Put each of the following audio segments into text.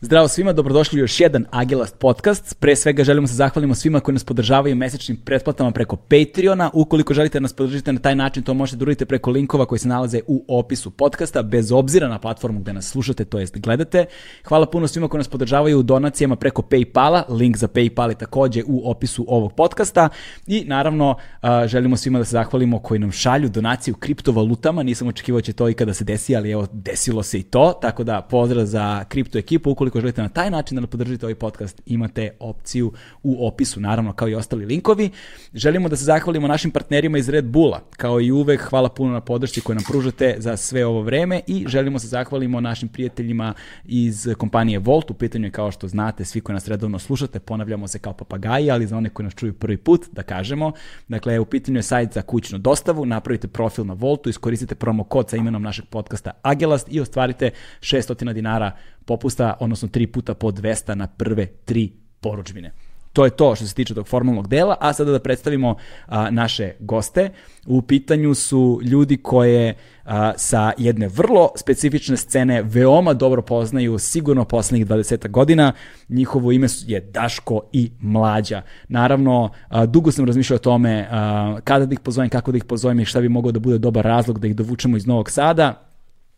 Zdravo svima, dobrodošli u još jedan Agilast podcast. Pre svega želimo se zahvalimo svima koji nas podržavaju mesečnim pretplatama preko Patreona. Ukoliko želite da nas podržite na taj način, to možete da uradite preko linkova koji se nalaze u opisu podcasta, bez obzira na platformu gde nas slušate, to jest gledate. Hvala puno svima koji nas podržavaju u donacijama preko Paypala, link za Paypal je takođe u opisu ovog podcasta. I naravno, a, želimo svima da se zahvalimo koji nam šalju donaciju kriptovalutama, nisam očekivao da će to ikada se desi, ali evo, desilo se i to, tako da pozdrav za kripto ekipu, ukoliko želite na taj način da nam podržite ovaj podcast, imate opciju u opisu, naravno, kao i ostali linkovi. Želimo da se zahvalimo našim partnerima iz Red Bulla, kao i uvek, hvala puno na podršci koju nam pružate za sve ovo vreme i želimo se zahvalimo našim prijateljima iz kompanije Volt, u pitanju je kao što znate, svi koji nas redovno slušate, ponavljamo se kao papagaji, ali za one koji nas čuju prvi put, da kažemo, dakle, u pitanju je sajt za kućnu dostavu, napravite profil na Voltu, iskoristite promo kod sa imenom našeg podcasta Agelast i ostvarite 600 dinara popusta, odnosno 3 puta po 200 na prve 3 poručbine. To je to što se tiče tog formalnog dela, a sada da predstavimo a, naše goste. U pitanju su ljudi koje a, sa jedne vrlo specifične scene veoma dobro poznaju sigurno poslednjih 20 godina. Njihovo ime su- je Daško i Mlađa. Naravno, a, dugo sam razmišljao o tome a, kada da ih pozovem, kako da ih pozovem i šta bi mogao da bude dobar razlog da ih dovučemo iz Novog Sada.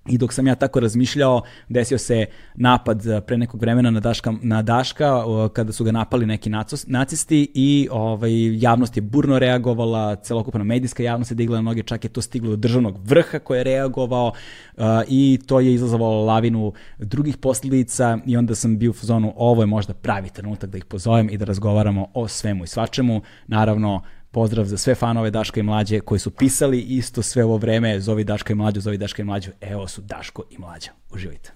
I dok sam ja tako razmišljao, desio se napad eh, pre nekog vremena na Daška, na Daška o, kada su ga napali neki nacos- nacisti i ovaj, javnost je burno reagovala, celokupna medijska javnost je digla na noge, čak je to stiglo do državnog vrha koji je reagovao eh, i to je izazvalo lavinu drugih posledica i onda sam bio u fazonu ovo je možda pravi trenutak da ih pozovem i da razgovaramo o svemu i svačemu. Naravno, Pozdrav za sve fanove Daška i Mlađe koji su pisali isto sve ovo vreme, zovi Daška i Mlađu, zovi Daška i Mlađu, evo su Daško i Mlađa. Uživajte.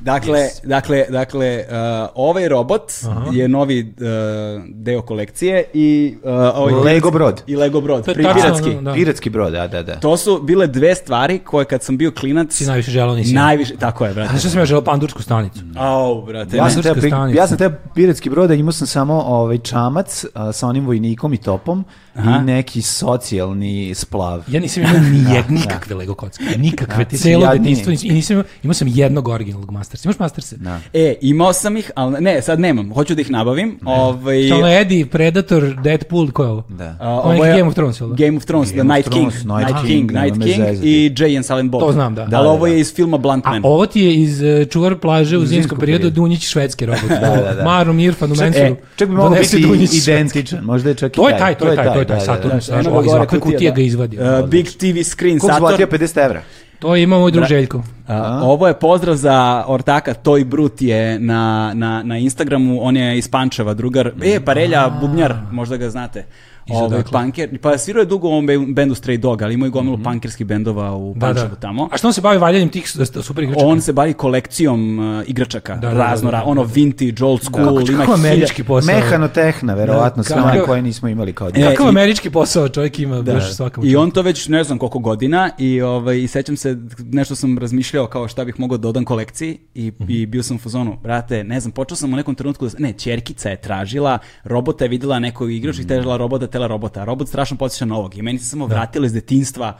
Dakle, yes. dakle, dakle, uh, ovaj robot Aha. je novi uh, deo kolekcije i uh, ovaj Lego brod. i Lego brod, je pri tačno, piratski. ono, Da. Piratski brod, da, da, da. To su bile dve stvari koje kad sam bio klinac Si najviše želao nisi. najviše, tako je, brate. A što sam ja želao pandursku stanicu? Au, brate. Ja sam, Mađarska teo, pri, stanica. ja sam teo piratski brod, a imao sam samo ovaj čamac a, sa onim vojnikom i topom Aha. i neki socijalni splav. Ja nisam imao ni jed, nikakve Lego kocke, nikakve, Da, ti si celo jadniji. detinjstvo nisam, i nisam imao, imao sam jednog originalnog Mastersa. Imaš Mastersa? Da. E, imao sam ih, ali ne, sad nemam. Hoću da ih nabavim. Ovaj, Što ono Eddie, Predator, Deadpool, ko je ovo? Da. A, Ovo je neki Ono Game of Thrones, jel da? Game of Thrones, The Game of Night King, Thrones, Night, King, Night nema King me zezati. i Jay and Silent Bob. To znam, da. Ali Da, da, ovo da. je iz filma A Bluntman. ovo ti je iz e, čuvar plaže u zimskom periodu periodu. Dunjić švedski robot. da, da, da. Marom, Irfan, u E, Mensoru. čak bi mogao Donese biti Dunjić švedski. identičan, možda je čak i To je taj, to je taj, to je taj, da, da, Saturn. da. Znaš, ovo iz ono gore ovakve kutije ga izvadi. Uh, Big TV screen, Koliko Saturn. zlatija 50 evra? To je imao moj drug Željko. A, ovo je pozdrav za ortaka Toy Brut je na, na, na Instagramu, on je iz Pančeva, drugar. E, Parelja, Bubnjar, možda ga znate. Ovaj, odakle? punker, pa svirao je dugo u ovom be- bendu Stray Dog, ali imao je gomilu Mhm. punkerskih bendova u Da, Pančevu da. tamo. A što on se bavi valjanjem tih s- s- super igračaka? On se bavi kolekcijom uh, igračaka, da, da, da, razno, da, da, da, da. ono vintage, old school, da, Kako- ima kako hiljade... američki posao? Mehanotehna, verovatno, sve kako- one koje nismo imali kao djeca. Kakav E, i- američki posao čovjek ima da, baš svakam. I on to već ne znam koliko godina i ovaj i sećam se nešto sam razmišljao kao šta bih mogao da dodam kolekciji i, i bio sam u fazonu, brate, ne znam, počeo sam u nekom trenutku da ne, ćerkica je tražila, robota je videla nekog igrača i težila robota, tela robota. A Robot strašno podsjeća na ovog i meni se samo vratilo iz detinjstva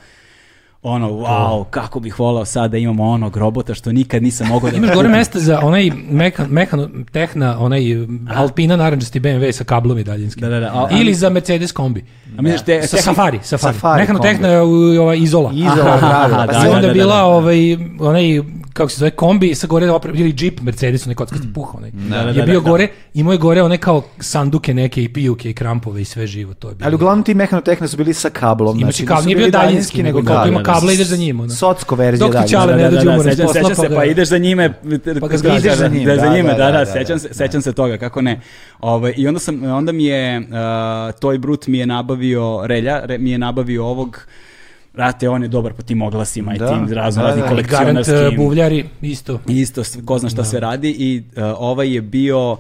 ono, wow, kako bih volao sad da imamo onog robota što nikad nisam mogao da... Imaš kupim. gore mesta za onaj mehan, mehan, tehna, onaj Alpina naranđasti BMW sa kablom i daljinskim. Da, E, da, da, a- Ili za Mercedes kombi. A misliš te- sa tehnik- Safari, Safari. Safari Mehano kombi. tehna je u- ova izola. Izola, pravila, da, pa Pa da, da, sve onda onda bila ovaj, onaj, kako se zove, kombi sa gore opre, ili džip Mercedes, onaj kockasti puh, onaj. Mm. da, da, je bio da. gore, imao je gore one kao sanduke neke i pijuke i krampove i sve živo, to je bilo. Ali uglavnom ti mehanotehne su bili sa kablom. znači, Imaš i kabel, nije bio daljinski, nego koliko ima kabla ideš za njim. ono. Socko verzija Dok ti daljinska. Dakle, Da, čale ne da, dođe da, umoran iz sećam, posla, sećam se, pa ga- ideš za njime, Pa ga zgaziš. ideš za njim, da, za njime, da, da, da, sećam da, se, sećam se toga, kako ne. Ovaj i onda sam onda mi je uh, Toy Brut mi je nabavio Relja, re, mi je nabavio ovog Rate, on je dobar po tim oglasima i Da. tim razno raznim Da, da. Garant eh, kolekcionarskim. e, buvljari, isto. I isto s- ko zna šta sve radi i uh, ovaj je bio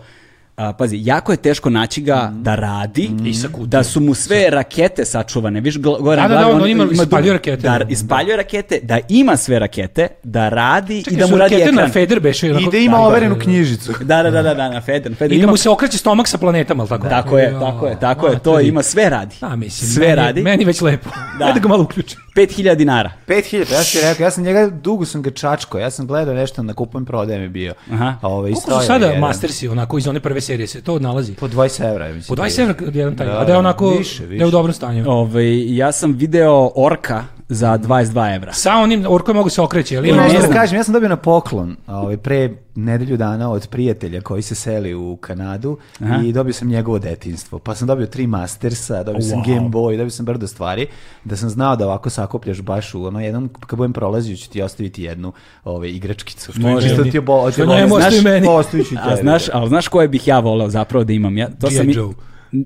A, pazi, jako je teško naći ga da radi, I Mhm. sa kutijom. da su mu sve rakete sačuvane, viš gl- gore Da, na da, glavi, da, on ima- ispaljuje dug- rakete. Da, ispaljuje rakete, da ima sve rakete, da radi i da su mu radi rakete ekran. na Feder beše. I da ima overenu knjižicu. Da, da, da, da, da, na Feder. Feder I da ima- mu se okreće stomak sa planetama, ali tako? Tako je, tako je, tako je, to ima, sve radi. Da, mislim, sve meni, radi. Meni već lepo. Da. Da. Ajde ga malo uključim. 5000 dinara. 5000, ja sam ti rekao, ja sam njega, dugo sam ga čačkao, ja sam gledao nešto na kupujem prodajem je bio. Aha. A Ovaj, Koliko stojao su je sada jedan. Mastersi, onako, iz one prve serije se to nalazi? Po 20 evra, ja Po mislim. 20 evra jedan taj, Da, a da je onako, više, više. da je u dobrom stanju. Ovaj, ja sam video orka Mhm. za 22 evra. Sa onim orkom mogu se okreće, ali Ima ima Ne nešto da znam. kažem, ja sam dobio na poklon ovaj, pre nedelju dana od prijatelja koji se seli u Kanadu i dobio sam njegovo detinstvo. Pa sam dobio tri Mastersa, dobio sam Wow. Game Boy, dobio sam brdo stvari, da sam znao da ovako sakopljaš baš u ono jednom, kad budem prolazio ću ti ostaviti jednu ovaj, igračkicu. Što Može. Čisto ti je bo, Što njemu, znaš, što i meni. ostavit ću ti. A znaš, ali znaš koje bih ja voleo zapravo da imam? Ja, to G.I. sam i- Joe.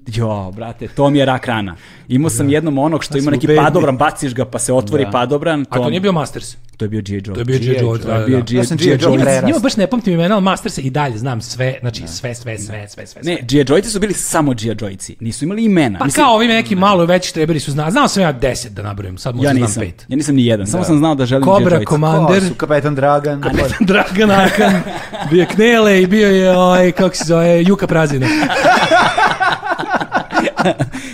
Jo, brate, to mi je rak rana. Imao sam jednom onog što ima smo neki bedni. padobran, baciš ga pa se otvori padobran. A to nije bio Masters, To je bio G.I. Joe. to je bio G.I. G.I. Joe. Joe, da, To je bio da. G.I. Ja sam G.I. Joe Joe. pre- Njima- Njima baš ne pamtim imena, ali Masters i dalje znam sve, znači sve, sve, sve, sve, sve. sve. Ne, G.I. Joe-ci su bili samo G.I. Joe-ci. Nisu imali imena. Pa Mislim, kao ovi neki malo veći štreberi su znali. Znao sam ja 10 da nabrojim, sad možda ja znam nisam. 5. Ja nisam ni jedan. Samo sam znao da želim G.I. Kobra Joe-ci. Ko Commander, su kapetan Dragan? Dragan Arkan, bio je Knele i bio je, ovaj, kako se zove, Juka Prazina.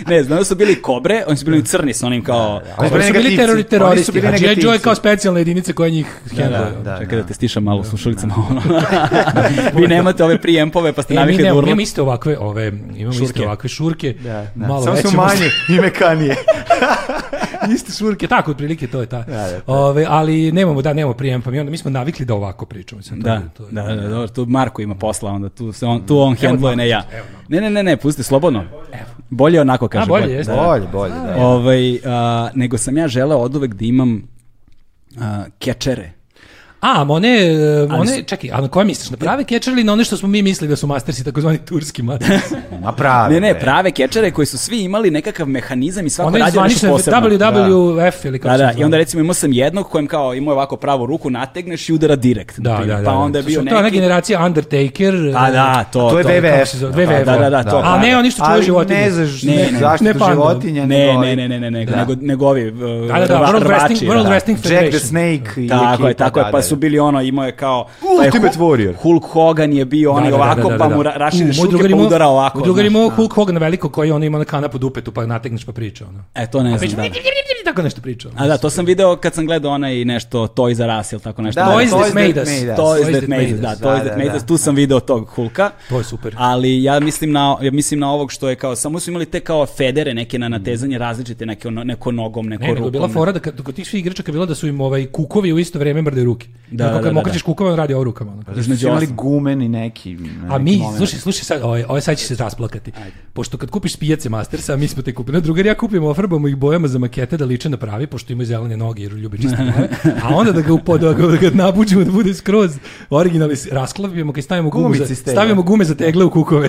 ne, znam da su bili kobre, oni su bili crni s onim kao... Oni Oni su bili negativci. terori, Oni su teroristi. Znači, bili A G.I. Joe je negativci. kao specijalna jedinica koja njih hendluje. da, da. Čekaj da te stišam malo slušalicama. ono. Vi nemate ove prijempove pa ste E, mi navikli da nemamo, mi imamo urlate. iste ovakve, ove, imamo Šurke. iste ovakve šurke, Da, da. malo Samo veće. su manje i mekanije. iste šurke, tako otprilike to je ta. da, da. Ove, ali nemamo, da, nemamo prijempa, mi onda mi smo navikli da ovako pričamo. Mislim, to Da, je- to je- da, da, dobro, tu Marko ima posla, onda tu, se on, tu on handluje, dva ne ja. puta, evo, Ne, ne, ne, ne, pusti, slobodno. Bolje onako, kaže. A, bolje, jeste. Da. Bolje, bolje, da. Ovaj, a, nego sam ja želeo od uvek da imam a, kečere. A, ma one, e, su- one, čekaj, a na koje misliš? Na prave catcher ili na one što smo mi mislili da su mastersi, takozvani turski mastersi? Ma pravi. Ne, ne, bre. prave kečere koji su svi imali nekakav mehanizam i svako One je radio nešto zvanične posebno. WWF ili kako Da, se da, i zove. onda recimo imao sam jednog kojem kao imao je ovako pravu ruku, nategneš i udara direkt. na Da, da, primjer. da. Pa onda je To bio su- To je ona neki... generacija Undertaker. Pa e, da, to, To je to. BBF. kako se zove, WWF. Da, da, da, to. pa- A ne, oni što čuvaju životinje. Ali ne znaš Ne, ne. zaštitu Ne panda. životinja. Ne, nego ne, ovi- ne, ne, ne, nego, Da. nego, nego ovi uh, Da, da, da, rva- World rvači, Wrestling, World da. Wrestling Jack the Federation. Snake i Tako je, ekipa, tako je, da, pa da, su da. bili ono, imao je kao... taj Ultimate Hulk- Warrior. Hulk Hogan je bio on Da, i da, da, ovako, da, da, pa da. mu ra- raširi U, moj šuke drugar pa imao- udara ovako. Moj drugar znaš. imao Hulk Hogan veliko koji on ima na kanapu dupetu pa nategneš pa priča. Ono. E, to ne Pa znam, da. tako nešto priča. ono. A da, to sam video kad sam gledao onaj nešto Toys R Us ili tako nešto. Da, Toys Toys that made that us. made us. Toys Toys That That Made Us, Made da, Us, Toys da, That da, Made Us, da. tu sam video tog Hulka. To je super. Ali ja mislim na, ja mislim na ovog što je kao, samo su imali te kao federe neke na natezanje različite, neke, ono- neko nogom, neko Ne, nego rukom. je bila ne- fora da kad, kod tih svih igračaka je bilo da su im ovaj kukovi u isto vrijeme mrde ruke. Da, Da, da, da, da, kad da, Pa mu okrećeš kukove, on radi ovo rukama. ono. Između Su imali ostalog. gumen i neki... neki A Pa mi, moment. slušaj, slušaj sad, ovaj, ovaj sad će se rasplakati. Pošto kad kupiš pijace Mastersa, a mi smo te kupili. No, drugar ja kupim ofarbamo ih bojama za makete da liče na pravi, pošto imaju zelene noge jer ljubi čiste boje. A onda da ga upoda, da ga nabuđimo da bude skroz original i s- rasklavimo ga i stavimo gumu Gumice za, iz tegle. stavimo gume za tegle u kukove.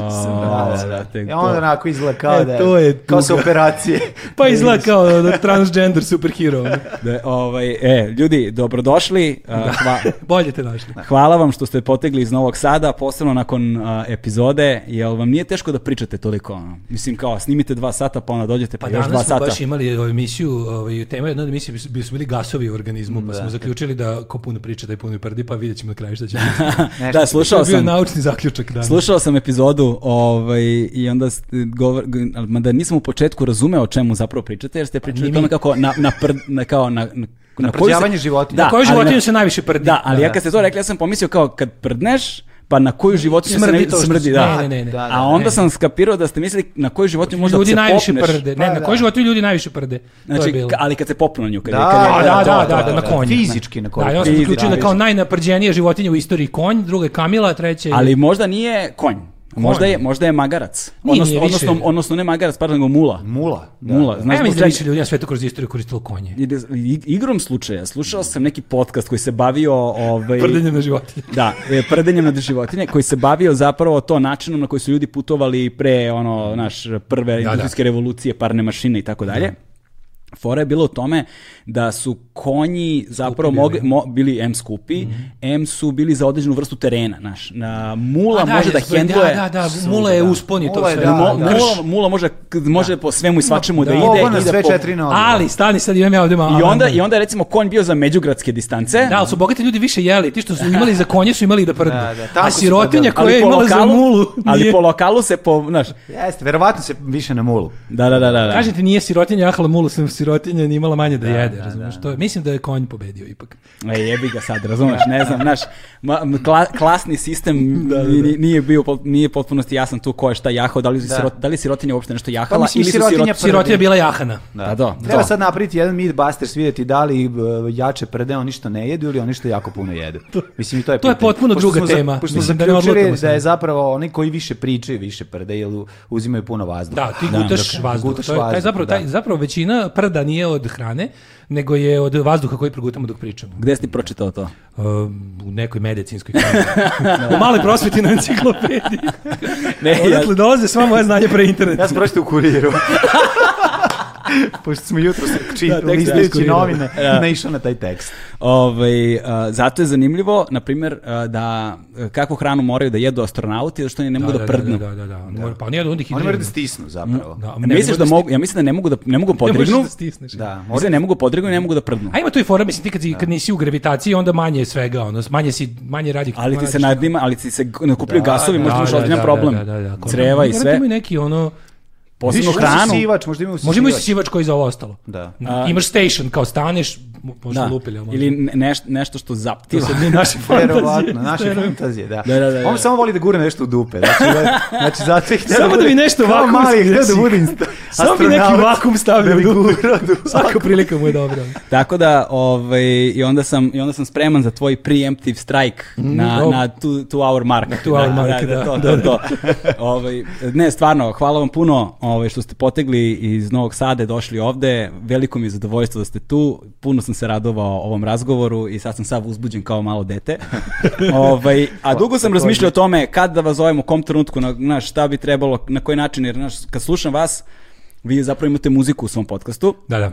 Da, da, da. I on onako izgleda kao E, da to je Kao tuga. sa operacije. pa izgleda kao da transgender superhero. ono. Da, ovaj, e, ljudi, dobrodošli. a, hva- Bolje te našli. Hvala vam što ste potegli iz Novog Sada, posebno nakon a, epizode, jel vam nije teško da pričate toliko? ono? Mislim kao, snimite dva sata pa onda dođete pa, Pa još dva danas smo sata. baš imali ovaj, emisiju, ovaj, tema je jedna od emisija, bi- bili su bili gasovi u organizmu, pa smo zaključili da ko puno priča, da je puno i prdi, pa vidjet ćemo na kraju šta će biti. Nešto. da, To slušao je bio sam. naučni zaključak danas. Slušao sam epizodu ovaj, i onda ste govor, g- ali mada nisam u početku razumeo o čemu zapravo pričate, Pa jer ste pričali o tome kako na, na, pr- na, kao na, na, na koju prljavanje životinja. Da, Koju ali na- životinju se najviše prdi? Da, ali ja kad ste to rekli, ja sam pomislio kao kad prdneš, pa na koju životinju se Smrdi ne- to što- smrdi, ne, da. ne, ne, ne. Da, da, A onda ne. sam skapirao da ste mislili na koju životinju možda ljudi se najviše popneš. prde. Ne, Pa, na da. koji životinju ljudi najviše prde? to je Znači, bilo. ka- ali kad se popnu na nju, kad je, Da, kad je- A, da, da, da, da, na da. konju. Fizički na konju. Da, ja sam Fizički, zaključio da da. kao najnaprđenija životinja u istoriji konj, druga je Kamila, treća je... ali možda nije konj. Možda je, možda je magarac. Nije, odnosno, nije više. odnosno, odnosno ne magarac, pardon, nego mula. Mula. da. Mula, znaš ja zbog mislim da čega- više ljudi na svetu kroz istoriju koristilo konje. Ide- ig- Igrom slučaja, slušao sam neki podcast koji se bavio ovaj, Prdenje na životinje. Da, e, prdenjem na životinje, koji se bavio zapravo to načinom na koji su ljudi putovali pre ono, naš, prve industrijske revolucije, parne mašine i tako dalje. Fora je bila u tome da su konji zapravo bili. mogli, mo, bili M skupi, M su bili za određenu vrstu terena, znaš. Na, mula može da jesmo, hendluje... Da, da, da, mula je uspon i to Mula je, sve. da, Mo- da. Mula, mula može, može po svemu i svačemu da, Da. ide. Ovo na i da sve po- četiri na odmah. Ali, stani, sad imam ja ovdje malo. I onda, I onda je recimo konj bio za međugradske distance. Da, ali su bogati ljudi više jeli, ti što su imali za konje su imali da prdnu. Da, da, tako A su sirotinja prdali. koja je po imala za lokalu- mulu, ali nije, po lokalu se po, znaš, Jeste, verovatno se više na mulu. da, da, da, da. da. Kažete nije sirotinja jahala mulu, sam sirotinja ni imala manje da, jede, razumiješ? To je- mislim da je konj pobedio ipak. E, jebi ga sad, razumeš, ne znam, znaš, ma- m- kla- klasni sistem ni- nije bio, pol- nije potpunosti jasan tu ko je šta jahao, da li, su Da. sirot- da li sirotinja uopšte nešto jahala mislim, ili su sirotinja sirot- Prvi. Sirotinja je bila jahana. Da, da, Treba da. sad napraviti jedan Mythbusters, vidjeti da li e, jače prde oni što ne jedu ili oni što jako puno jedu. Mislim, i to je To je pitanje. potpuno Pošto druga smo za- tema. Pošto smo Mislim, da ne zaključili odlutamo se. da je zapravo oni koji više pričaju više prde jer u- uzimaju puno vazduha. Da, ti gutaš dok- vazduh. gutaš to je, taj, vazduh, zapravo, taj, da. zapravo većina prda nije od hrane, nego je od vazduha koji progutamo dok pričamo. Gde si ti pročitao to? Um, u nekoj medicinskoj knjizi. u maloj prosveti na enciklopediji. Ne, E, ja, Odatle dolaze sva moja znanja pre interneta. Ja sam pročitao u kuriru. Pošto smo jutro čitali Da, tekst je iz listajući kurira. novine, Da. naišao na taj tekst. ovaj, a, zato je zanimljivo, na primjer, a, da e, kakvu hranu moraju da jedu astronauti, zato što oni ne mogu da, prdnu. Da, da, da. da. Mora- Pa nije da onda ih Oni moraju da hidriramo. stisnu zapravo. Da, ne, Misliš ne da možeš mogu, ja mislim da ne mogu da, ne mogu Ne možeš podrignu, da stisneš. Da, mislim da ne mogu podrignu i ne mogu da prdnu. A ima tu i fora, mislim, ti kad, si- kad nisi u gravitaciji, onda manje je svega, ono, manje si, manje radi. Ali ti manje se radiš- nadima, ali ti se g- nakupljaju Da, gasovi, da, možda imaš ozbiljan problem. Creva i Morate sve, imaju neki, ono, posebno Možda hranu. usisivač, možda imaju možda imaju usisivač. sisivač koji je za ovo ostalo. Da. Imaš station, kao staneš, mo- možda Da, lupili. ali možda. ili ne- neš- nešto što zaptiva. Sad nije naše fantazije. Verovatno, naše fantazije, da. Da, da, da, da. On samo voli da gura nešto u dupe. Znači, da, znači zato je htio Samo da mi bude- nešto kao vakuumski mali, htio desi. da bude inst- Samo bi neki astronaut. vakum stavio Da u bi dupe. gurao dupe. Svaka prilika mu je dobra. Tako da, ovaj, i, onda sam, i onda sam spreman za tvoj preemptive strike na, o. na two, two hour mark. Na two hour mark, da, to, da, to, to. ovaj, ne, stvarno, hvala vam puno ovaj, što ste potegli iz Novog Sada, i došli ovde. Veliko mi je zadovoljstvo da ste tu. Puno sam se radovao ovom razgovoru i sad sam sav uzbuđen kao malo dete. ovaj, a dugo sam razmišljao o tome kad da vas zovem, u kom trenutku, na, na šta bi trebalo, na koji način, jer znaš, kad slušam vas, vi zapravo imate muziku u svom podcastu Da, da.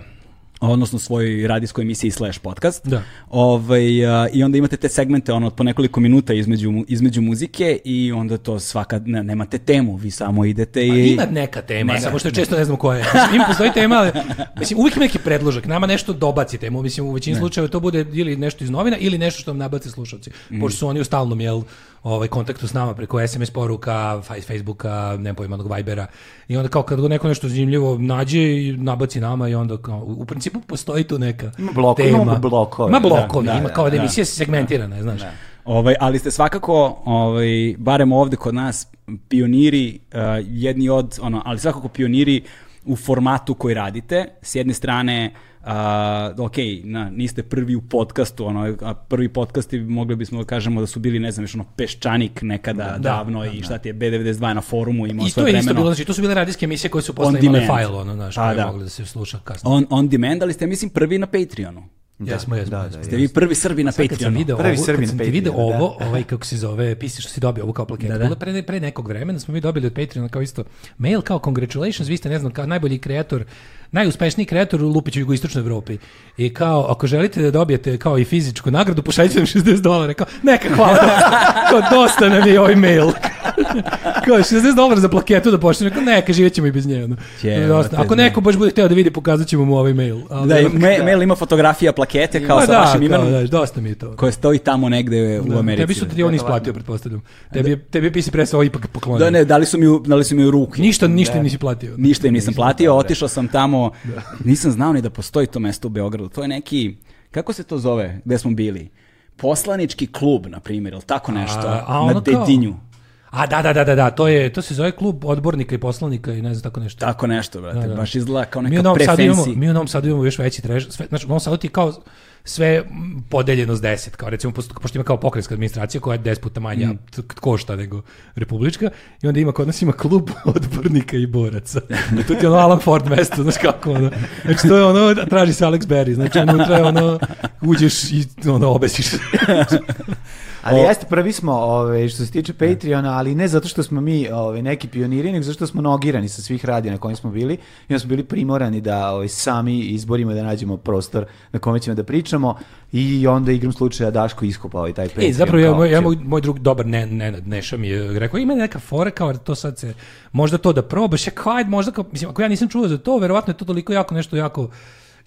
odnosno svojoj radijskoj emisiji slash podcast. Da. Ovaj, a, I onda imate te segmente ono, od po nekoliko minuta između, mu- između muzike i onda to svaka, ne- nemate temu, vi samo idete Pa i... ima neka tema, samo što je često ne znam koja je. Mislim, ima postoji tema, ali mislim, uvijek ima neki predložak. Nama nešto dobaci temu. Mislim, u većini slučajeva to bude ili nešto iz novina ili nešto što nam nabace slušalci. Pošto su oni u stalnom jel, ovaj, kontaktu s nama preko SMS poruka, fa- Facebooka, ne pojma, onog Vibera. I onda kao kad god neko nešto zanimljivo nađe i nabaci nama i onda kao, u principu postoji tu neka Ima blokove, tema. imamo blokove. Ima blokovi, Da, da, ima da, kao da emisija se segmentirana, je, znaš. Ovaj, ali ste svakako, ovaj, barem ovde kod nas, pioniri, eh, jedni od, ono, ali svakako pioniri u formatu koji radite. S jedne strane, a, ok, na, niste prvi u podcastu, ono, a prvi podcasti mogli bismo da kažemo da su bili, ne znam, još ono, Peščanik nekada davno i šta ti je, B92 na forumu imao I Ono to svoje je isto vremeno. bilo, znači, to su bile radijske emisije koje su posle On imale demand. file, ono, znaš, Pa, koje je da. moglo da se sluša kasnije. On, on demand, ali ste, mislim, prvi na Patreonu. Jesmo, jesmo. da, jesmo. Ste vi prvi Srbi na Kad ono sam Patreonu. video Prvi ovo, Srbin kad sam ti Patreon, video da. ovo, ovaj kako se zove, pisi što si dobio ovu kao plaketu. Da, Pre, pre nekog vremena smo mi dobili od Patreona kao isto mail kao congratulations, vi ste ne znam kao najbolji kreator najuspešniji kreator u Lupiću jugoistočnoj Evropi. I kao, ako želite da dobijete kao i fizičku nagradu, pošaljite nam 60 dolara. Kao, neka, hvala. kao, dosta nam je ovaj mail. kao, 60 dolara za plaketu da pošaljem. Kao, neka, živjet ćemo i bez njega. Jebote, Dosta. Ako neko baš bude hteo da vidi, pokazat ćemo mu ovaj mail. Ali, Da, i ono, me- mail ima fotografija plakete kao pa sa da, vašim kao, imenom. da, dosta mi je to. koja stoji tamo negde u Americi. Tebi su ti on isplatio, pretpostavljam. Tebi je, tebi je PC Press ovo ipak poklonio. Da, ne, dali su mi, u- dali su mi u ruke. Ništa, ništa im nisi platio. Ništa im nisam platio, otišao sam tamo, nisam znao ni da postoji to mesto u Beogradu. To je neki, kako se to zove, gde smo bili? Poslanički klub, na primjer, ili tako nešto, na ono kao- Dedinju. A da, da, da, da, da, to, je, to se zove klub odbornika i poslanika i ne znam tako nešto. Tako nešto, brate, da. baš izgleda kao mi u, neka Novom Sadu imamo, prefensi. mi u Novom Sadu imamo još veći trež. Sve, znači, u Novom Sadu ti je kao sve mm, podeljeno s deset, kao recimo, posto- pošto ima kao pokrenjska administracija koja je deset puta manja Mm. t- košta nego republička, i onda ima kod nas ima klub odbornika i boraca. I tu ti je ono Alan Ford mesto, znaš kako ono. Znači to je ono, da traži se Alex Berry, znači unutra je ono, uđeš i ono, obesiš. Ali O- jeste, prvi smo ove, što se tiče Patreona, ali ne zato što smo mi ove, neki pioniri, nego zato što smo nogirani sa svih radija na kojim smo bili. I onda smo bili primorani da ove, sami izborimo da nađemo prostor na kome ćemo da pričamo. I onda igrom slučaja Daško iskopao i taj Patreon. E, zapravo ja, kao moj, ja, opciju. moj, moj drug dobar ne, Nenad Neša mi je rekao, ima neka fora kao da to sad se, možda to da probaš, ja kao, ajde, možda kao, mislim, ako ja nisam čuo za to, verovatno je to toliko jako nešto jako,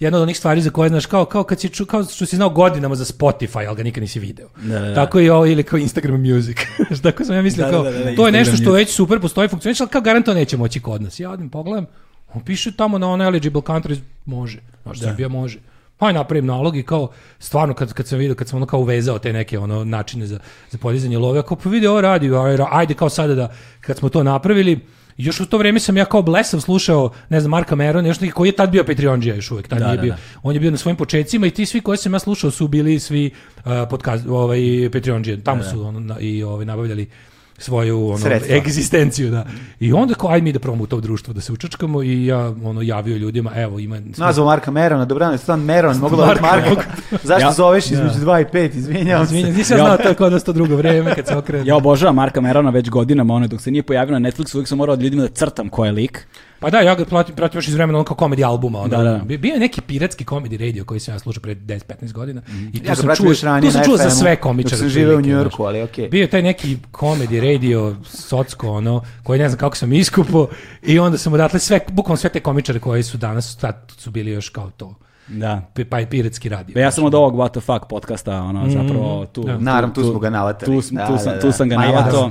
jedna od onih stvari za koje znaš, kao, kao, kad si ču, kao što si znao godinama za Spotify, ali ga nikad nisi video. Da, da, da. Tako i ovo, ili kao Instagram Music. Znaš, Tako sam ja mislio, Da, kao, da, da, da, to je Instagram nešto što Music. već super postoji, funkcioniš, ali kao garanto neće moći kod nas. Ja odim, pogledam, on piše tamo na onaj eligible countries, može, znaš, Srbija može. Pa ja napravim nalog i kao, stvarno kad, kad sam vidio, kad sam ono kao uvezao te neke ono načine za, za podizanje love, ja kao pa vidi ovo radi, aj- ra- ajde kao sada da, kad smo to napravili, Još u to vreme sam ja kao blesav slušao, ne znam, Marka Merona, još neki koji je tad bio Patreonđija još uvek, tad Da, nije da, bio. da. On je bio na svojim početcima i ti svi koje sam ja slušao su bili svi uh, podcast, ovaj, Patreonđije, tamo su ono, na- i ovaj, nabavljali svoju ono, Sredstva. egzistenciju, da. I onda kao, ajde mi da probamo u to društvo, da se učačkamo i ja ono, javio ljudima, evo, ima... Nazvao Marka Merona, dobro, ne stan Meron, mogla je Marka, Marka. Zašto Ja- zoveš između 2 i 5, izvinjavam se. Izvinjam, nisam Ja- znao to je kod nas to drugo vreme kad se okrene. Ja obožavam Marka Merona već godinama, ono, dok se nije pojavio na Netflixu, uvijek sam morao od ljudima da crtam ko je lik. Pa da, ja ga platim, pratim još iz vremena ono kao komedi albuma. Ono. Da, da. Bi- Bio je neki piratski komedi radio koji sam ja slušao pre 10-15 godina. I tu Mhm. Ja ga sam pratim čuo, još ranije tu sam na čuo za FM-u, sve dok komičare. sam živeo u otprilike, Njujorku, znaš. ali okej. Bio je taj neki komedi radio, socko, ono, koji ne znam kako sam iskupo. I onda sam odatle sve, bukvalno sve te komičare koji su danas, tad su bili još kao to. Da. pi- Pa i piratski radio. Pa ja sam od ovog What the fuck podcasta, ono, zapravo tu... Mhm. Da. Naravno, tu smo ga navatali. Tu, sam, Da, tu, da, sam, da. tu sam ga Ma, ja jasno. navatao.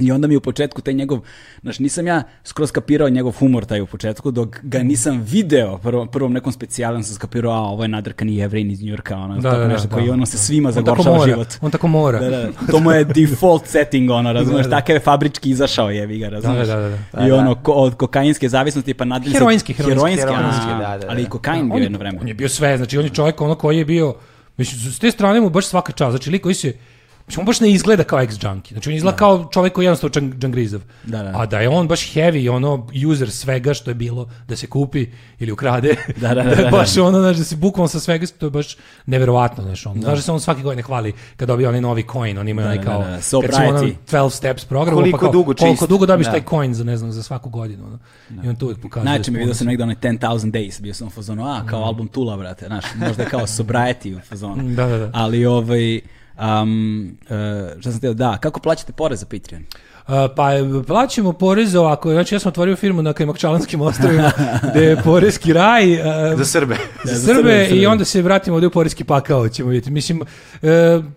I onda mi u početku taj njegov, znaš, nisam ja skroz kapirao njegov humor taj u početku, dok ga nisam video, prvo, prvom nekom specijalnom sam skapirao, a ovo je nadrkani jevrin iz Njurka, ono, Da, tako da, da, nešto da. koji ono se svima On tako zagoršava mora, život. on tako mora. Da, da, da. To mu je default setting, ono, razumeš, Da, da. takav je fabrički izašao, jevi ga, razumeš. da, da, da. I Da, ono, ko, od kokainske zavisnosti pa nadalje... se- Heroinski, heroinski, heroinski, heroinski, a, da, da, da. Ali i kokain bio je- jedno vreme. On je bio sve, znači on je čovjek ono koji je bio, mislim, s te strane mu baš svaka čast, znači lik koji se, mislim, on baš ne izgleda kao ex-junkie, znači on izgleda kao čovjek koji je jednostavno džang- džangrizav. Da, da. A da je on baš heavy, ono, user svega što je bilo da se kupi ili ukrade, Da, da, da, da, je da. baš ono, znači, da se bukvalno sa svega, to je baš neverovatno, znači, on, znaš da se on svaki godine hvali kad dobije onaj novi coin, on ima onaj da, kao, da, da, se kad su ono obrajati. 12 steps program, Koliko pa kao, dugo koliko čist. dugo dobiš Da. taj coin za, ne znam, za svaku godinu, ono. i on to uvijek pokazuje. Najče mi s vidio ponosom. sam negdje onaj 10,000 Days, bio sam u fazonu, a, kao album Tula, brate, znaš, možda kao sobriety u fazonu. Mhm. Da, da, da. Ali, ovaj, um, uh, šta sam teo, da, kako plaćate porez za Patreon? A, pa e, plaćamo porez ovako, znači ja sam otvorio firmu na Kajmakčalanskim ostrovima, gde je porezki raj, e, Za Srbe. za za Srbe, Srbe za Srbe. i onda se vratimo ovdje u poreski pakao, ćemo vidjeti. Mislim, e,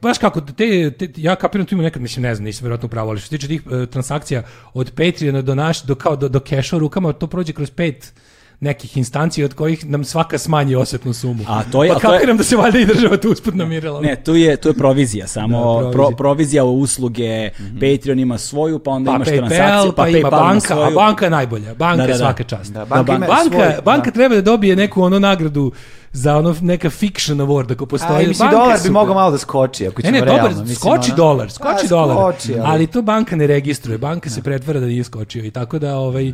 baš kako, te, te, ja kapiram tu ima nekad, mislim, ne znam, nisam vjerojatno pravo, ali što se tiče tih e, transakcija od Patreona do naš, do, kao, do, do keša u rukama, to prođe kroz pet nekih instanci od kojih nam svaka smanji osetnu sumu. A to je- pa a to je- kapiram da se valjda i država tu usput namirila. Ne, tu je, tu je provizija, samo Da, provizija. Mhm. provizija. Pro, provizija u usluge, Patreon ima svoju, pa onda pa imaš PayPal, transakciju, pa, ima PayPal ima banka, a svoju. banka je najbolja. Banka Da, da, je da. svaka čast. Da, Da, banka, ima Banka, svoj- banka da. treba da dobije neku ono nagradu za ono neka fiction award ako postoji. A, i mislim, Banka je dolar bi super. mogao malo da skoči, ako Ne, ćemo ne, realno. dobar, mislim, skoči ono- dolar, skoči A, dolar. skoči, ali... to banka ne registruje, banka se pretvara da nije skočio i tako da ovaj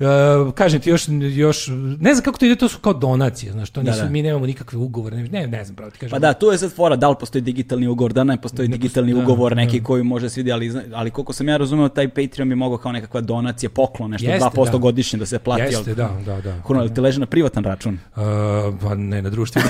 e, kažem ti još još ne znam kako to ide, to su kao donacije, znaš, to nisu, da. mi nemamo nikakve ugovore, ne, ne, ne znam pravo ti kažem. Pa da, tu je sad fora, da li postoji digitalni ugovor, da li ne postoji digitalni da, ugovor, neki koji može svi, ali, zna- ali koliko sam ja razumeo, taj Patreon bi mogao kao nekakva donacija, poklon, nešto Jeste, 2% da. godišnje pa da se plati. jel? Jeste, da, da, da. Kurno, ali ti leži na privatan račun? E, pa ne, na društvu.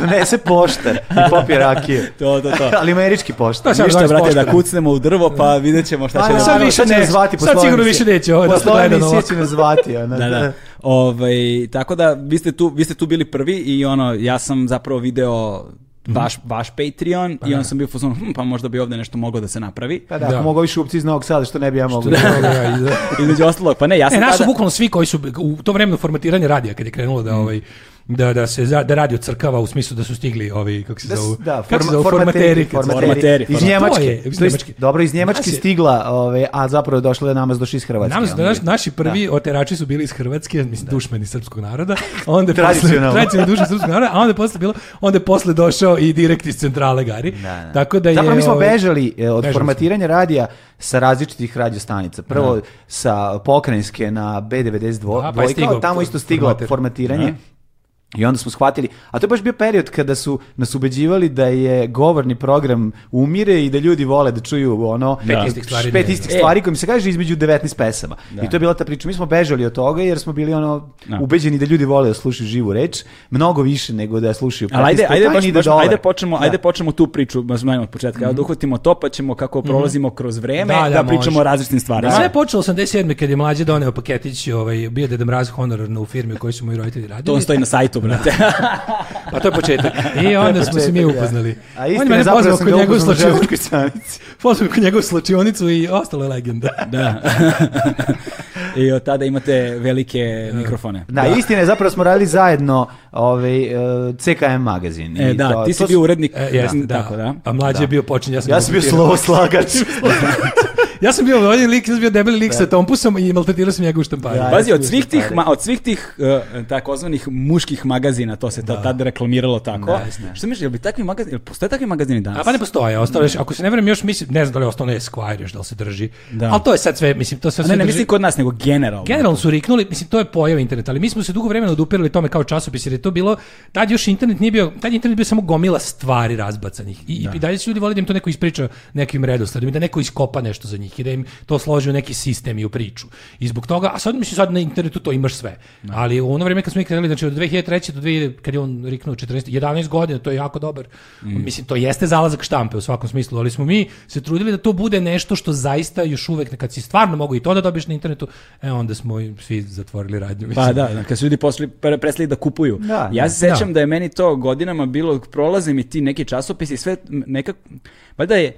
Donese poštar i popije rakije. To, to, to. ali američki poštar. Šta Pa sad Ništa, danas brate, pošteno? da kucnemo u drvo, pa vidjet ćemo šta Pa, će da, da... sad da, više šta će ne, nas zvati, sad poslovna sigurno emisija. više neće, ovo je dosta Poslovna gledano emisija ovako. će nas zvati, ono, Da, da. Ovaj, tako da, vi ste, tu, vi ste tu bili prvi i ono, ja sam zapravo video Mhm. vaš, vaš Patreon i onda sam bio fuzon, hm, pa možda bi ovdje nešto moglo da se napravi. Pa da, Da. ako mogu ovi šupci iz Novog Sada, što ne bi ja mogu. Između ostalog, pa ne, ja sam E, naš su tada- bukvalno svi koji su u to vremenu formatiranje radija kad je krenulo Mm. da ovaj da da se za, da radio crkava u smislu da su stigli ovi kako se Znači, Da, zovu da, kako se forma- zovu formateri, kad se- formateri. Iz To je, Njemačke. iz To jest, Njemačke. Dobro, iz Njemačke Nas je- stigla, ove, a zapravo je došla da namaz došli iz Hrvatske. Nama su ono, naš, naši prvi oterači su bili iz Hrvatske, mislim dušmani srpskog naroda. a Onda je Tradicionalno. posle- tradicionalni dušmani srpskog naroda, a onda je posle bilo, onda je posle došao i direkt iz centrale Gari. Da, da. Tako da je Zapravo mi smo ovaj, bežali e, bežali od smo. formatiranja radija sa različitih radiostanica. Prvo sa pokrajinske na B92, Da, pa je dvojka, stigao tamo isto stiglo formater. formatiranje. I onda smo shvatili, a to je baš bio period kada su nas ubeđivali da je govorni program umire i da ljudi vole da čuju ono Pet istih stvari pet dnevno. E. istih stvari kojim se kaže između 19 pesama. I to je bila ta priča. Mi smo bežali od toga jer smo bili ono ubeđeni da ljudi vole da slušaju živu reč, mnogo više nego da slušaju Ali ajde, 15 ajde, puta, baš, ni da baš, dolar. ajde počnemo, Da. ajde počnemo tu priču, baš najmo od početka. Mm -hmm. Da uhvatimo to, pa ćemo kako prolazimo kroz vreme, Mhm. Da, da, da, pričamo može. o različitim stvarima. Sve je počelo 87. kad je mlađe doneo paketić, ovaj, bio je Deda Mraz honorarno u firmi u kojoj su moji roditelji radili. To stoji na sajtu, brate. Pa to je početak. I onda smo se mi Početak, da. upoznali. A On je istina, mene zapravo pozvao sam kod ga njegovu upoznao na slačionicu. železničkoj stanici. Pozvao kod njegovu slačionicu i ostala je legenda. da. I od tada imate velike mikrofone. Da, istina je, zapravo smo radili zajedno ovaj, eh, CKM magazin. E, I da, to- ti to si su- bio urednik, E, jeste, mislim, da. tako da. A mlađi je bio počinje, ja sam Ja sam bio volontirao. slovoslagač. Ja sam bio onaj lik, ja sam bio debeli lik sa tompusom i maltretirao sam njega u štamparu. Da, Pa Pazi, ja od sam svih bio tih, stari. ma, od svih tih uh, takozvanih muških magazina, to se da. tad reklamiralo tako. Da, jeste. Što misliš, jel bi takvi magazini, jel postoje takvi magazini danas? A pa ne postoje, ostalo je još- ako se ne vrem još mislim, ne znam da li je ostalo ne Esquire još da li se drži. Da. Ali to je sad sve, mislim, to sve, A sve ne, ne drži- mislim kod nas, nego generalno. Generalno su riknuli, mislim to je pojava interneta, ali mi smo se dugo vremena odupirali tome kao časopis jer je to bilo tad još internet nije bio, tad je internet bio samo gomila stvari razbacanih. I, i dalje su ljudi voleli da im to neko ispriča nekim redosledom i da neko iskopa nešto za njih i da im to složi u neki sistem i u priču. I zbog toga, a sad mislim sad na internetu Znači, to imaš sve. Ali u ono vreme kad smo mi krenuli, znači od 2003 do 2000 kad je on riknuo 14 11 godina, to je jako dobar. Mm. Mislim to jeste zalazak štampe u svakom smislu, ali smo mi se trudili da to bude nešto što zaista još uvek kad si stvarno mogu i to da dobiješ na internetu, e onda smo i svi zatvorili radnju. Pa mislim. da, da, kad su ljudi posli, pre- prestali da kupuju. Da, ja da. se sećam da. je meni to godinama bilo, prolaze mi ti neki časopisi i sve nekako, valjda je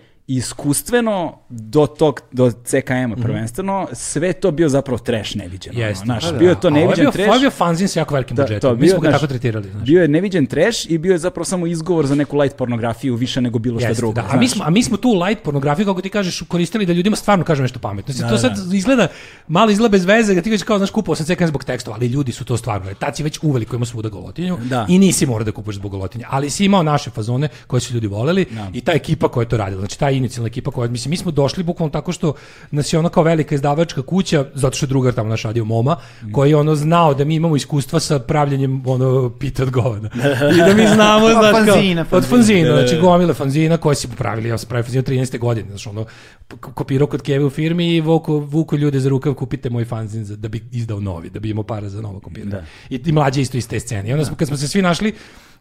iskustveno do tog, do CKM-a prvenstveno, sve je to bio zapravo trash neviđeno. ono, Mhm. Jeste. znaš, Pa da. bio je to A ovo neviđen bio- trash. Ovo je bio fanzin sa jako velikim Da, budžetom. to, mi bio, smo ga znaš, tako tretirali. Znaš. Bio je neviđen trash i bio je zapravo samo izgovor za neku light pornografiju više nego bilo šta Jeste, drugo. da. A, znaš. mi smo, a mi smo tu light pornografiju, kako ti kažeš, koristili da ljudima stvarno kažu nešto pametno. Znači, to da, sad izgleda, malo izgleda bez veze, da ti kažeš kao, znaš, kupao sam cekan zbog tekstova, ali ljudi su to stvarno. gledali. Tad si već uveliko imao svuda golotinju Da. i nisi morao da kupuješ zbog golotinja. Ali si imao naše fazone koje su ljudi voleli i ta ekipa koja je to radila. Znači, ta inicijalna ekipa koja, mislim, mi smo došli bukvalno tako što nas je ona kao velika izdavačka kuća, zato što je drugar tamo naš radio Moma, Mm. koji je ono znao da mi imamo iskustva sa pravljenjem ono pita od govana. I da mi znamo, Od znaš, pa, kao- fanzina, od fanzina. fanzina, znači gomile fanzina koje si popravili, ja sam pravio fanzina 13. godine, znači ono, p- kopirao kod Keve u firmi i vuko, vuko ljude za rukav, kupite moj fanzin za, da bi izdao novi, da bi imao para za novo kopiranje. I, I mlađe isto iz te scene. I onda smo, kad smo se svi našli,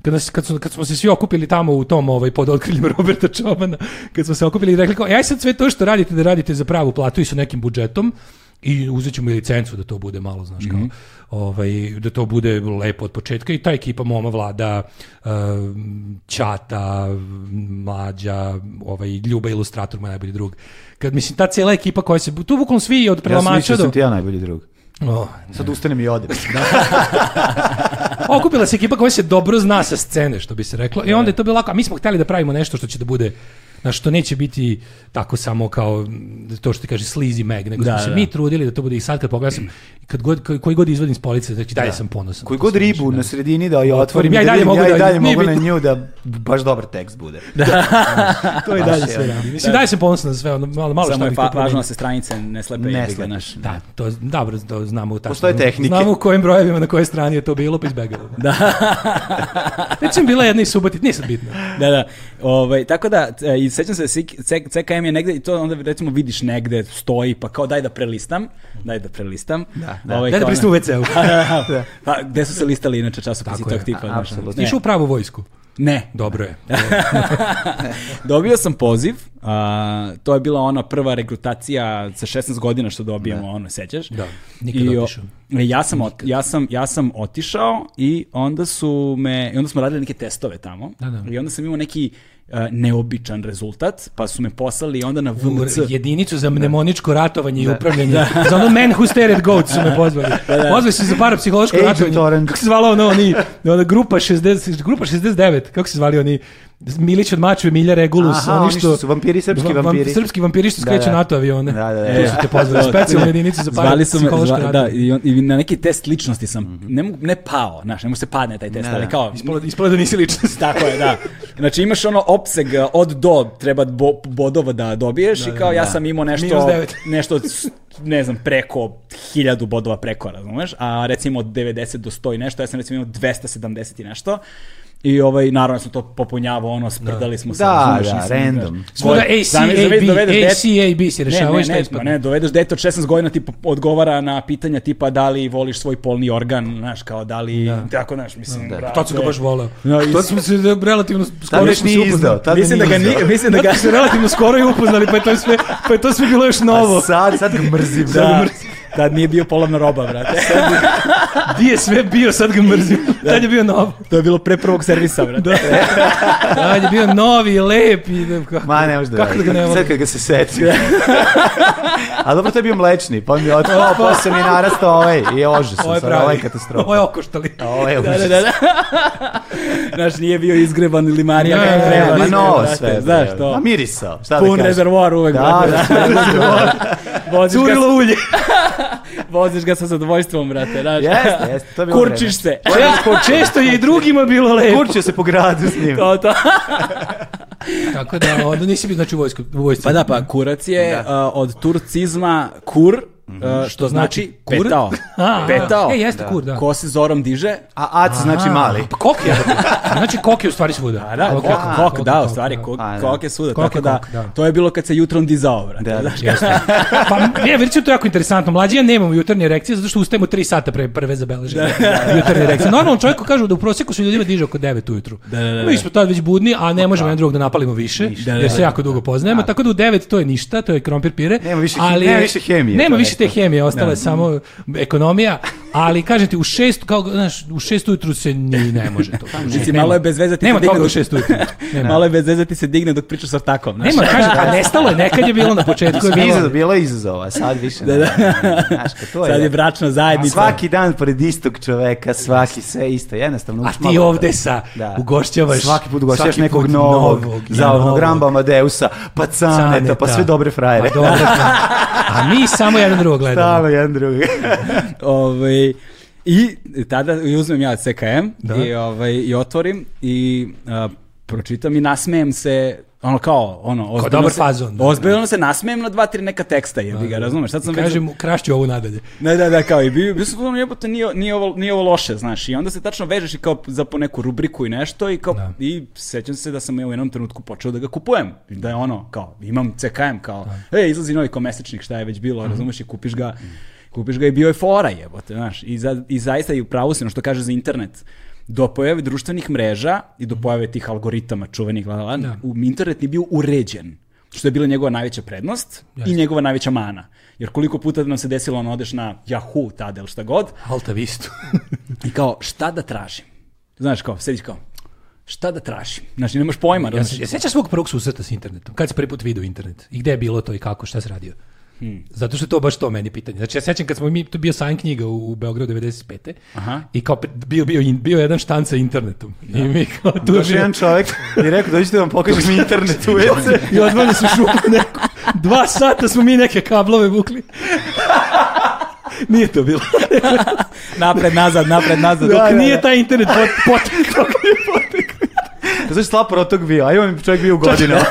Kad, nas, kad, su, kad smo se svi okupili tamo u tom ovaj, pod otkriljem Roberta Čobana, kad smo se okupili i rekli kao, aj sad sve to što radite da radite za pravu platu i sa nekim budžetom, i uzet ćemo i licencu da to bude malo, znaš, kao, Mhm. ovaj, da to bude lepo od početka i ta ekipa Moma Vlada, eh, Ćata, Mlađa, ovaj, Ljuba Ilustrator, moj najbolji drug. Kad, mislim, ta cijela ekipa koja se, tu bukvalno svi od Ja sam mislio prelamača da do... sam ti ja najbolji drug. O, Sad ustanem i odem. Okupila se ekipa koja se dobro zna sa scene, što bi se reklo. I onda je to bilo lako. A mi smo hteli da pravimo nešto što će da bude na što neće biti tako samo kao mm, to što ti kaže sleazy mag, nego Da, smo se da. mi trudili da to bude i sad kad pogledam sam, kad god, koji, koji god izvodim s police, znači dalje sam ponosan. Koji god ribu na sredini da je otvorim, Otvorim, ja i da dalje vidim, mogu ja i da- dalje nije mogu na bitno. nju da baš dobar tekst bude. to je baš dalje je, sve ono. radi. Mislim, dalje sam ponosan na sve, ono, malo, malo Samo šta je bih fa- tu važno promenio. da se stranice ne slepe. Ne jebi ga, slepe. znaš. Da, to dobro, to znamo tačno. Postoje tehnike. Znamo u kojim brojevima, na kojoj strani je to bilo, pa izbegavamo. Da. Recimo, bila je jedna i subotit, nije sad bitno. da, da. Ovaj, tako da, e, i sećam se, da sik- C- CKM je negde, i to onda recimo vidiš negde, stoji, pa kao daj da prelistam, daj da prelistam. Da, Ovaj, Daj da kao pristim u na- WC-u. Da. Pa, gde su se listali inače časopisi Tako tog je, tipa? a- znaš, ono? apsolutno. Ne, Išao u pravu vojsku. ne. Dobro je. Dobio sam poziv, a, to je bila ona prva rekrutacija sa 16 godina što dobijemo, ono, sećaš? Da, nikad I, o- otišao. Ja sam, ot- ja, sam, ja sam otišao i onda su me, i onda smo radili neke testove tamo Da, da. i onda sam imao neki e, neobičan rezultat, pa su me poslali onda na VMC. jedinicu za mnemoničko ratovanje i upravljanje. za ono man who stared at goats su me pozvali. Pozvali su se za parapsihološko Agent ratovanje. Orange. Kako se zvalo ono, oni, ona grupa, 60, grupa 69, kako se zvali oni, Milić od Mačve, Milja Regulus, Aha, oni što su vampiri, srpski Va- vam- vampiri. srpski vampiri što Da, skreću da. NATO avione. Da, da, da. Tu su te pozvali, to- specijalnu jedinicu za Zvali su me, parapsihološko zva, ratovanje. da, i, on, i na neki test Mhm. ličnosti sam, ne, mogu- ne pao, znaš, ne može se padne taj test, Ne, ali ne. kao, Ispalo, ispalo da nisi ličnost. Tako je, da. Znači imaš ono opseg uh, od do, treba bo, bodova da dobiješ i kao ja sam imao Minus nešto, devet. nešto od, ne znam, preko hiljadu bodova preko, razumeš? A recimo od 90 do 100 i nešto, ja sam recimo imao 270 i nešto. I ovaj, naravno sam to popunjavao, ono, sprdali smo se. Da, razumeš, da, mislim, random. znaš. Smo da Zamisli, zamisli, dovedeš ACAB, dete- ACAB si rešavao i šta ne, ne, ispadne. ne, dovedeš dete od 16 godina ti po- odgovara na pitanja tipa da li voliš svoj polni organ, znaš, kao da li, tako, znaš, mislim, brate. Tad sam ga baš voleo. No, Tad smo se da, relativno Tad skoro još smo se nije izdao. upoznali. Tad mislim da ga nije nije, izdao. mislim da ga Tad smo se relativno skoro i upoznali, pa je to sve, pa je to sve bilo još A novo. sad, sad ga mrzim. da, tad nije bio polovna roba, brate. Di je sve bio, Pa sad ga mrzim. Tad je bio novo. to je bilo pre prvog servisa, brate. Tad je bio novi, lep i da, kako, Ma, ne može da kako da radi. ga ne volim. Sad kad ga se seti. A dobro, to je bio mlečni, pa mi je otkao, pa sam i narastao ovaj. I ožasno, Ovo je sad, ovo pravi. je katastrofa. Ovo je okoštali. Ovo je Da, užas. da, da. Znaš, nije bio izgreban ili Marija Ne, kako ne, Ne, treba. ma brate, novo brate, sve. Znaš bre. to? Ma mirisao, šta da Pun kažem. rezervoar uvek, brate. Da, da, da. Voziš ga- Curilo ulje. Voziš ga sa zadovoljstvom, brate, znaš. Jeste, jeste, to je bilo vreme. Kurčiš se. Često, često je i drugima bilo lepo. Kurčio se po gradu s njim. To, to. Tako da, onda nisi bio znači u vojsku, u vojsci. Pa da, pa kurac je uh, od turcizma kur, Mhm. uh, što znači Kur? petao. A, a, petao. E, jeste kur, da. Ko se zorom diže, A ac znači mali. Pa kok je? znači kok je u stvari svuda. A da, Kok, kok, kok, kok, kok, da, u kok, stvari, da. kok, A, da. kok je svuda, Kok je tako da, kok, da. to je bilo kad se jutrom dizao, brate. Da, da. Pa ne, već je to jako interesantno. Mlađi ja nemamo jutarnje erekcije zato što ustajemo 3 sata pre prve zabeležene jutarnje erekcije. Normalno čovjeku kažu da u prosjeku se ljudima diže oko 9 ujutru. da, da. Mi smo tad već budni, a ne možemo jedan drugog da napalimo više, Da, da, jer da. se jako dugo poznajemo. Tako da u 9 to je ništa, to je krompir pire. Nema više he- nema više hemije, Nema to je više te hemije, ostala je samo ekonomija, ali kažem ti u 6 kao znaš, u 6 ujutru se ni ne može to. Mislim, Nema- malo je bez veze ti Nema se digne toga u dok, 6 ujutru. Nema. malo je bez veze ti se digne dok pričaš s ortakom, znaš. Nema, kažem, a nestalo je, nekad je bilo na početku. je bilo- Izazov, bilo je izazova, sad više ne. Znaš, kad to Sad je bračna zajednica. Svaki dan pored istog čoveka, svaki sve isto, jednostavno A uči Pa ti malo- ovde sa Da. ugošćavaš Svaki put ugošćavaš svaki nekog put novog, i zavodnog novog. Ramba Amadeusa, pa Caneta, pa Caneta. sve dobre frajere. Pa dobro, a mi samo jedan drugog gledamo. Stalno jedan drugi. ovaj, I tada i uzmem ja CKM Da. i, ovaj, i otvorim i a, pročitam i nasmejem se ono kao ono ozbiljno dobar se, fazon, da. ozbiljno se nasmejem na dva tri neka teksta jebi ga razumeš sad sam već- Kažem, krašću ovu nadalje. Ne, da, da, kao i bio, bio sam ono jebote, nije, nije, ovo, nije ovo loše, znaš, i onda se tačno vežeš i kao za po neku rubriku i nešto i kao, Da. i sećam se da sam ja u jednom trenutku počeo da ga kupujem, I da je ono, kao, imam CKM, kao, ej, izlazi novi komesečnik, šta je već bilo, Mhm. razumeš, i kupiš ga, kupiš ga i bio je fora, jebote, znaš, i, za, i zaista i u pravu si, ono što kaže za internet, do pojave društvenih mreža i do pojave tih algoritama čuvenih, la, la, la, Da. u- internet je bio uređen što je bila njegova najveća prednost i njegova najveća mana. Jer koliko puta nam se desilo, ono, odeš na Yahoo tada ili šta god Alta vistu. i kao, šta da tražim? Znaš, kao, sediš kao, šta da tražim? Znači, nemaš pojma. Ja razumeš? se ja sećam svog prvog susreta s internetom. Kad si prvi put video internet? I gde je bilo to i kako, šta si radio? Hmm. Zato što je to baš to meni pitanje. Znači ja sećam kad smo mi, to je bio sajn knjiga u, u Beogradu 95. Aha. I kao pri- bio, bio, in- bio jedan štan sa internetom. I mi kao tu je Došao bio- jedan čovek i rekao, dođite da vam pokažem internet u WC. I odvali su šupu neku. Dva sata smo mi neke kablove vukli. Nije to bilo. napred, nazad, napred, nazad. Dok Dok nije- nije taj internet pot, potekao. Znaš, slab protok bio, a imam čovjek bio u godinama.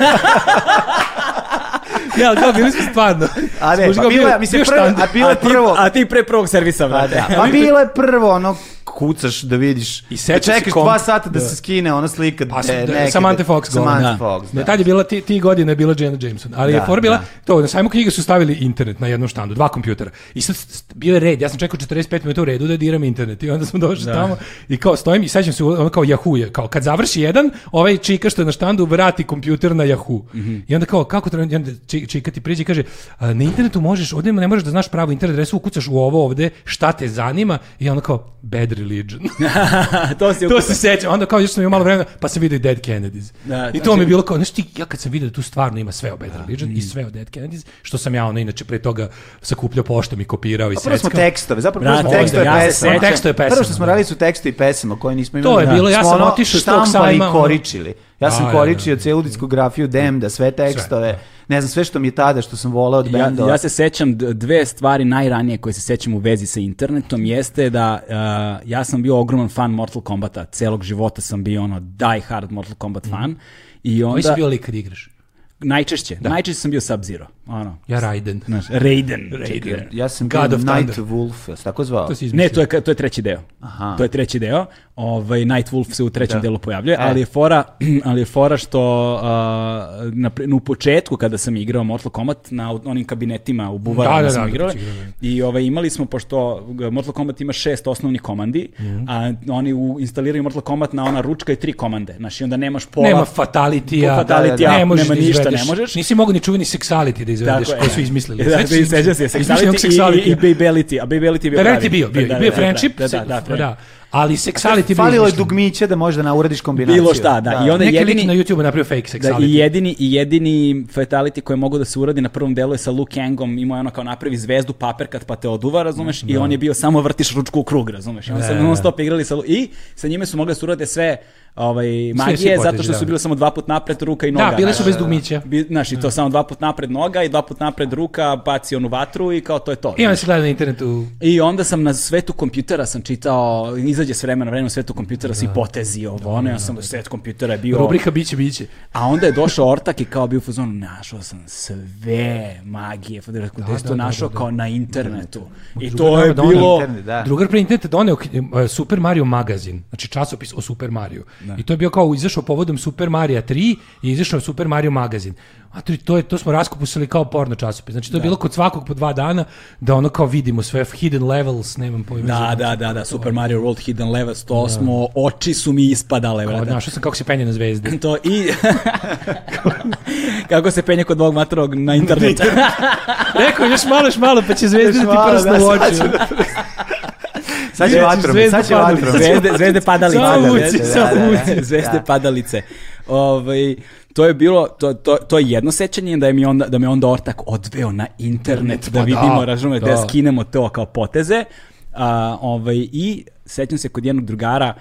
Ne, ali da, bili smo stvarno. A ne, Smo pa bio- bilo je, mislim, bio prvo, štand. a bilo a, je ti, prvo, a ti pre prvog servisa, Pa brate. da, pa bilo je prvo ono kucaš da vidiš. I sećaš se čekaš kom- dva sata da, da. se skine ona slika. Pa, e, da, nekada. Samantha Fox. Samantha da. Fox, da. Ne, tad je bila, ti, ti godine je bila Jenna Jameson, ali je Da, for bila, da. to, na sajmu knjige su stavili internet na jednom štandu, dva kompjutera. I sad s- bio je red, ja sam čekao 45 minuta u redu da diram internet i onda smo došli tamo i kao stojim i sećam se, ono kao Yahoo je, kao kad završi jedan, ovaj čika što je na štandu vrati kompjuter na Yahoo. Mhm. I onda kao, kako treba, i onda Či- čika ti priđe i kaže, "A, na internetu možeš, ovdje ne možeš da znaš pravu internet adresu, ukucaš u ovo ovde, šta te zanima i onda kao, bad religion. to si To se sećam. Onda kao još sam imao malo vremena, pa sam vidio i Dead Kennedys. Da, I to znači- mi je bilo kao, znaš ti, ja kad sam vidio da tu stvarno ima sve o Bad Religion i sve o Dead Kennedys, što sam ja ono inače pre toga sakupljao poštom i kopirao i Prvo smo seckao. tekstove, zapravo prvo smo Brate, tekstove ja se pesama. sećam. Tekstove pesama, Prvo što smo da. radili su tekstovi pesama koje nismo To imali. je bilo, ja Smo sam ono otišao s tog štampali sajma, i ono- koričili. Ja sam A, koričio da, da. celu diskografiju Demda, sve tekstove, ne znam, sve što mi je tada što sam voleo od Ja, bendova. ja se sećam d- dve stvari najranije koje se sećam u vezi sa internetom jeste da uh, ja sam bio ogroman fan Mortal Kombata, celog života sam bio ono die hard Mortal Kombat fan i Koji si onda bio lik kad igraš? najčešće, najčešće sam bio Sub-Zero, ono, Ja Raiden. znaš, Raiden. Raiden. čekaj. Ja sam God bio of Thunder. Nightwolf, jel se tako zvao? To si Ne, izmislio. to je, ka- to je treći deo. Aha. To je treći deo. Ovaj, Nightwolf se u trećem Da. delu E. pojavljuje, ali je fora, ali je fora što a, na, pri- u početku kada sam igrao Mortal Kombat na onim kabinetima u buvarama Da, da, smo da, igrali. dok si igrao, I ovaj, imali smo, pošto Mortal Kombat ima šest osnovnih komandi, Mhm. a oni u, instaliraju Mortal Kombat na ona ručka i tri komande. Znači, onda nemaš pola... Nema fatalitija, Po fatalitija, ne možeš nema da ništa, izvedeš. ne možeš. Nisi mogu ni čuveni sexality da izvedeš, koji su izmislili. Da, Sećaš da, se- sećam se, izmišljenog Sexality i, i, sexalitya. Babyality, a Babyality je bio pravi. Reality je bio, bio, je. Da, da, bio je da, friendship, da, da, da, da. da. ali sexuality je bio Falilo je izmišljen. dugmiće da možda na uradiš kombinaciju. Bilo šta, da. I onda Neki jedini... lik na YouTube napravio fake sexuality. Da, i jedini, i jedini fatality koji mogu da se uradi na prvom delu je sa Luke Kangom, imao je ono kao napravi zvezdu paperkat pa te oduva, razumeš, i on je bio samo vrtiš ručku u krug, razumeš, i onda su Da, non stop igrali sa Lu- i sa njime su mogli da se urade sve ovaj, magije, svi zato što potezi, su da. bile samo dva put napred ruka i noga. bile su znaš. bez dugmića. Bi- Znaš, i to samo dva put napred noga i dva put napred ruka, baci onu vatru i kao to je to. I onda se gleda na internetu. I onda sam na svetu kompjutera sam čitao, izađe s vremena na vremena u svetu kompjutera, svi potezi ovo, ono, ja sam svet kompjutera je bio... Rubrika biće, biće. A onda je došao ortak i kao bio u fazonu, našao sam sve magije, da, da, da, da, to našao kao na internetu. I Drugar to je nama doneo bilo... internet, da. Drugar pre interneta doneo knji- e, Super Mario magazin, znači časopis o Super Mario. I to je bio kao izašao povodom Super Mario 3 i izašao je Super Mario magazin. A to, je- to, je, to smo raskopusili kao porno časopis. Znači to je bilo kod svakog po dva dana da ono kao vidimo sve hidden levels, nemam pojma. Da, za- da, da, da, Super Mario World Hidden Level 108, oči su mi ispadale, Kao, brate. Našao sam kako se penje na zvezde. To i... Kako se penje kod ovog matrog na internetu. Rekao, još malo, još malo, pa će zvezde da ti malo, prsne da, u sad oči. Sad će Vidjet ću vatrom, zvezdu sad će padnu. vatrom. Zvezde, zvezde padalice. Samo Padalice, uci, da, samo da, da. uci. Zvezde Da. padalice. Ovaj, to je bilo, to, to, to je jedno sećanje da, je mi onda, da me onda ortak odveo na internet da Pa da, vidimo, razumete, da. da. skinemo to kao poteze. A, ovaj, I sećam se kod jednog drugara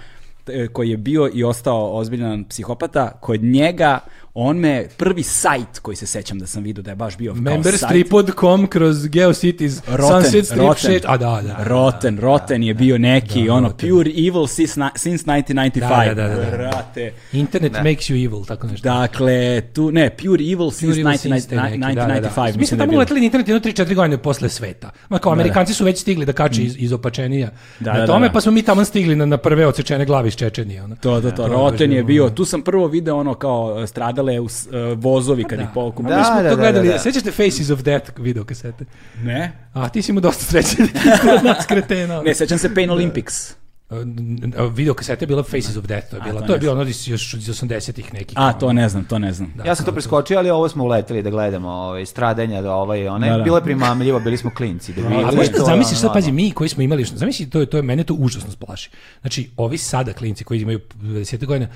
t- e, koji je bio i ostao ozbiljan psihopata, kod njega on me prvi sajt koji se sećam da sam vidio da je baš bio kao sajt. Memberstripod.com kroz Geocities, Roten, Sunset Strip, Roten. shit, a da, da. Roten, Roten je bio neki, ono, pure evil since, na- since 1995. Da, da, da, da. Brate. Internet makes you evil, tako nešto. Dakle, tu, ne, pure evil since Pure Evil Since te 1995, neke, da, da, da. Mi mislim da smo je tamo bilo. uleteli na internet jedno 3-4 godine posle sveta. Ma kao Amerikanci su već stigli da kače iz, iz opačenija Mm. Da, da, da, na tome, da. pa smo mi tamo stigli na, na prve odsečene glave iz Čečenije. Ono. To, to, to, je Roten baš je bilo, bio, tu sam prvo video ono kao e, stradale u s- e, vozovi kad ih pokupu. Da, mi smo to Da, da, da, gledali, da, da. sećaš te Faces of Death video kasete? Ne? A ti si mu dosta sreće da ti isto od nas kretena. Ne, sećam se Pain Olympics. video kasete je bila Faces of Death, to je bila. to to je ne bilo ono iz- još iz 80-ih nekih. A, to ne znam, to ne znam. Ja sam to preskočio, ali ovo smo uleteli da gledamo ovaj, stradenja, da ovaj, one. Da, da. Bilo je primamljivo, bili smo klinci. Da ono, A možeš da zamisliš sad, pazi, mi koji smo imali, zamisli, to je, to je, mene to užasno splaši. Znači, ovi sada klinci koji imaju 20 godina,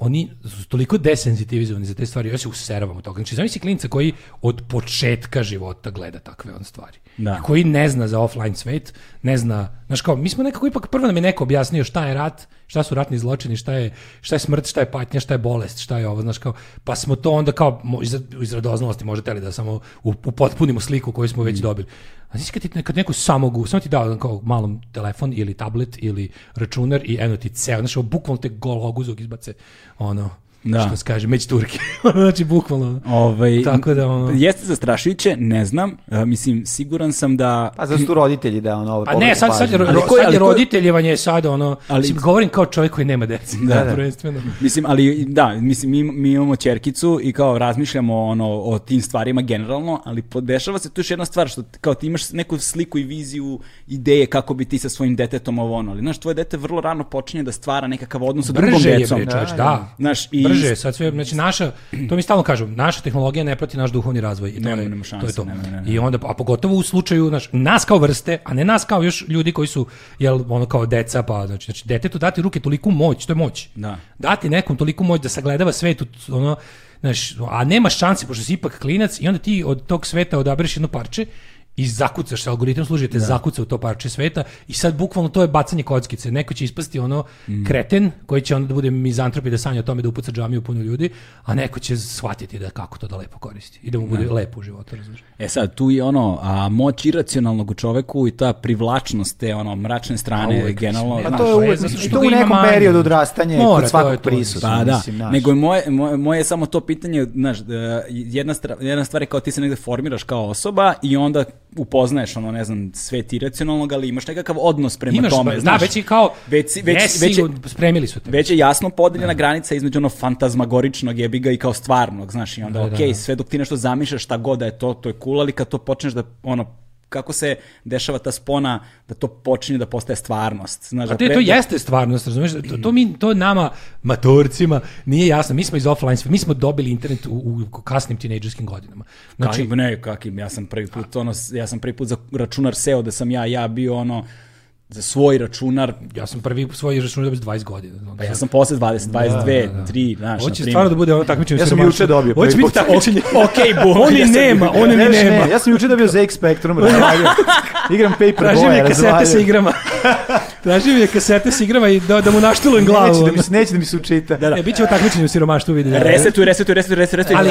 oni su toliko desenzitivizovani za te stvari, ja se useravam od toga. Znači, zamisli klinca koji od početka života gleda takve on stvari. Da. I Koji ne zna za offline svet, ne zna, znaš kao, mi smo nekako ipak, prvo nam je neko objasnio šta je rat, šta su ratni zločini, šta je, šta je smrt, šta je patnja, šta je bolest, šta je ovo, znaš kao, pa smo to onda kao, mo- iz, iz radoznalosti možda teli da samo u- upotpunimo sliku koju smo Mm. već dobili. A znaš kad, ti, kad neko samog, samo ti dao ono, kao malom telefon ili tablet ili računar i eno ti ceo, znaš, ovo bukvalno te gol oguzog izbace, ono, Da. što se kaže, među Turke. znači, bukvalno. Ovaj, Tako da, ono- Jeste zastrašujuće, ne znam. e, mislim, siguran sam da... Pa zato su tu roditelji da ono... Pa ne, sad, sad, je ro, Ali ali ko- sad ali je ko- roditeljevanje je sad ono, Ali- ali, govorim kao čovjek koji nema dece, da, da. prvenstveno. Mislim, ali da, mislim, mi, mi imamo čerkicu i kao razmišljamo ono, o tim stvarima generalno, ali podešava se tu još jedna stvar, što ti- kao ti imaš neku sliku i viziju ideje kako bi ti sa svojim detetom ovo ono, ali znaš, tvoje dete vrlo rano počinje da stvara nekakav odnos sa drugom Brže je, decom. bre, čoveč, da. Znaš, i- Brže je sad sve, znači naša, to mi stalno kažu, naša tehnologija ne prati naš duhovni razvoj. I to Nema, je- nema šanse, To je to. nema, nema, nema. I onda, a pogotovo u slučaju, znaš, nas kao vrste, a ne nas kao još ljudi koji su, jel, ono kao deca, pa, znači, znači detetu dati u ruke toliku moć, to je moć. Da. Dati nekom toliku moć da sagledava svet, u- ono, znaš, a nema šanse, pošto si ipak klinac, i onda ti od tog sveta odabereš jedno parče, i zakucaš se, algoritam služi da te zakuca u to parče sveta i sad bukvalno to je bacanje kockice. Neko će ispasti ono kreten koji će onda da bude mizantrop i da sanja o tome da upuca džamiju puno ljudi, a neko će shvatiti da kako to da lepo koristi i da mu bude lepo u životu, razumiješ? E sad, tu je ono, a, moć iracionalnog u čoveku i ta privlačnost te ono, mračne strane, A uvek, generalno. mislim, Pa znaš, to je znaš, uvek, zato mislim, što to ga u ima nekom manje. periodu odrastanja je Mora, to kod je svakog to. prisutno. Pa da, mislim, znaš. nego je moje, moje, moje je samo to pitanje, znaš, da, jedna, stra, jedna stvar je kao ti se negde formiraš kao osoba i onda upoznaješ ono, ne znam, svet iracionalnog, ali imaš nekakav odnos prema Imaš, tome, ba- znaš. da, već je kao, Već, si- već, jesi, već, je, spremili su te. već je jasno podeljena granica između ono fantazmagoričnog jebiga i kao stvarnog, znaš, i onda Da, okej, da, da. sve dok ti nešto zamišljaš šta god da je to, to je cool, ali kad to počneš da, ono, kako se dešava ta spona da to počinje da postaje stvarnost. Znaš, A da te, pre- to da- jeste stvarnost, razumeš? To, to, mi, to nama, matorcima, nije jasno. Mi smo iz offline, sve- mi smo dobili internet u, u kasnim tinejdžerskim godinama. Znači, ne, kakim, ja sam prvi put, ono, ja sam prvi put za računar seo da sam ja, ja bio ono, za svoj računar, Ja sam prvi svoj račun dobio s 20 godina. pa ja sam posle 20, 22, 3, znaš, Hoće stvarno da bude ono takmičenje. Ja sam siromaštva. juče dobio Hoće prvi biti put takmičenje. Ok, boomer, On ja i sam- nema, on i Ne, ne, nema. E, ne, ja sam juče dobio ZX Spectrum, razvalio. igram Paper Traži mi Boy, kasete sa razvalio. igrama. Traži mi kasete sa igrama i da, da mu naštelujem glavu. Neće da mi se, neće da mi se učita. da. E, bit će ovo takmičenje u siromaštu, vidi. Resetuj, resetuj, resetuj, resetuj, resetuj. Ali,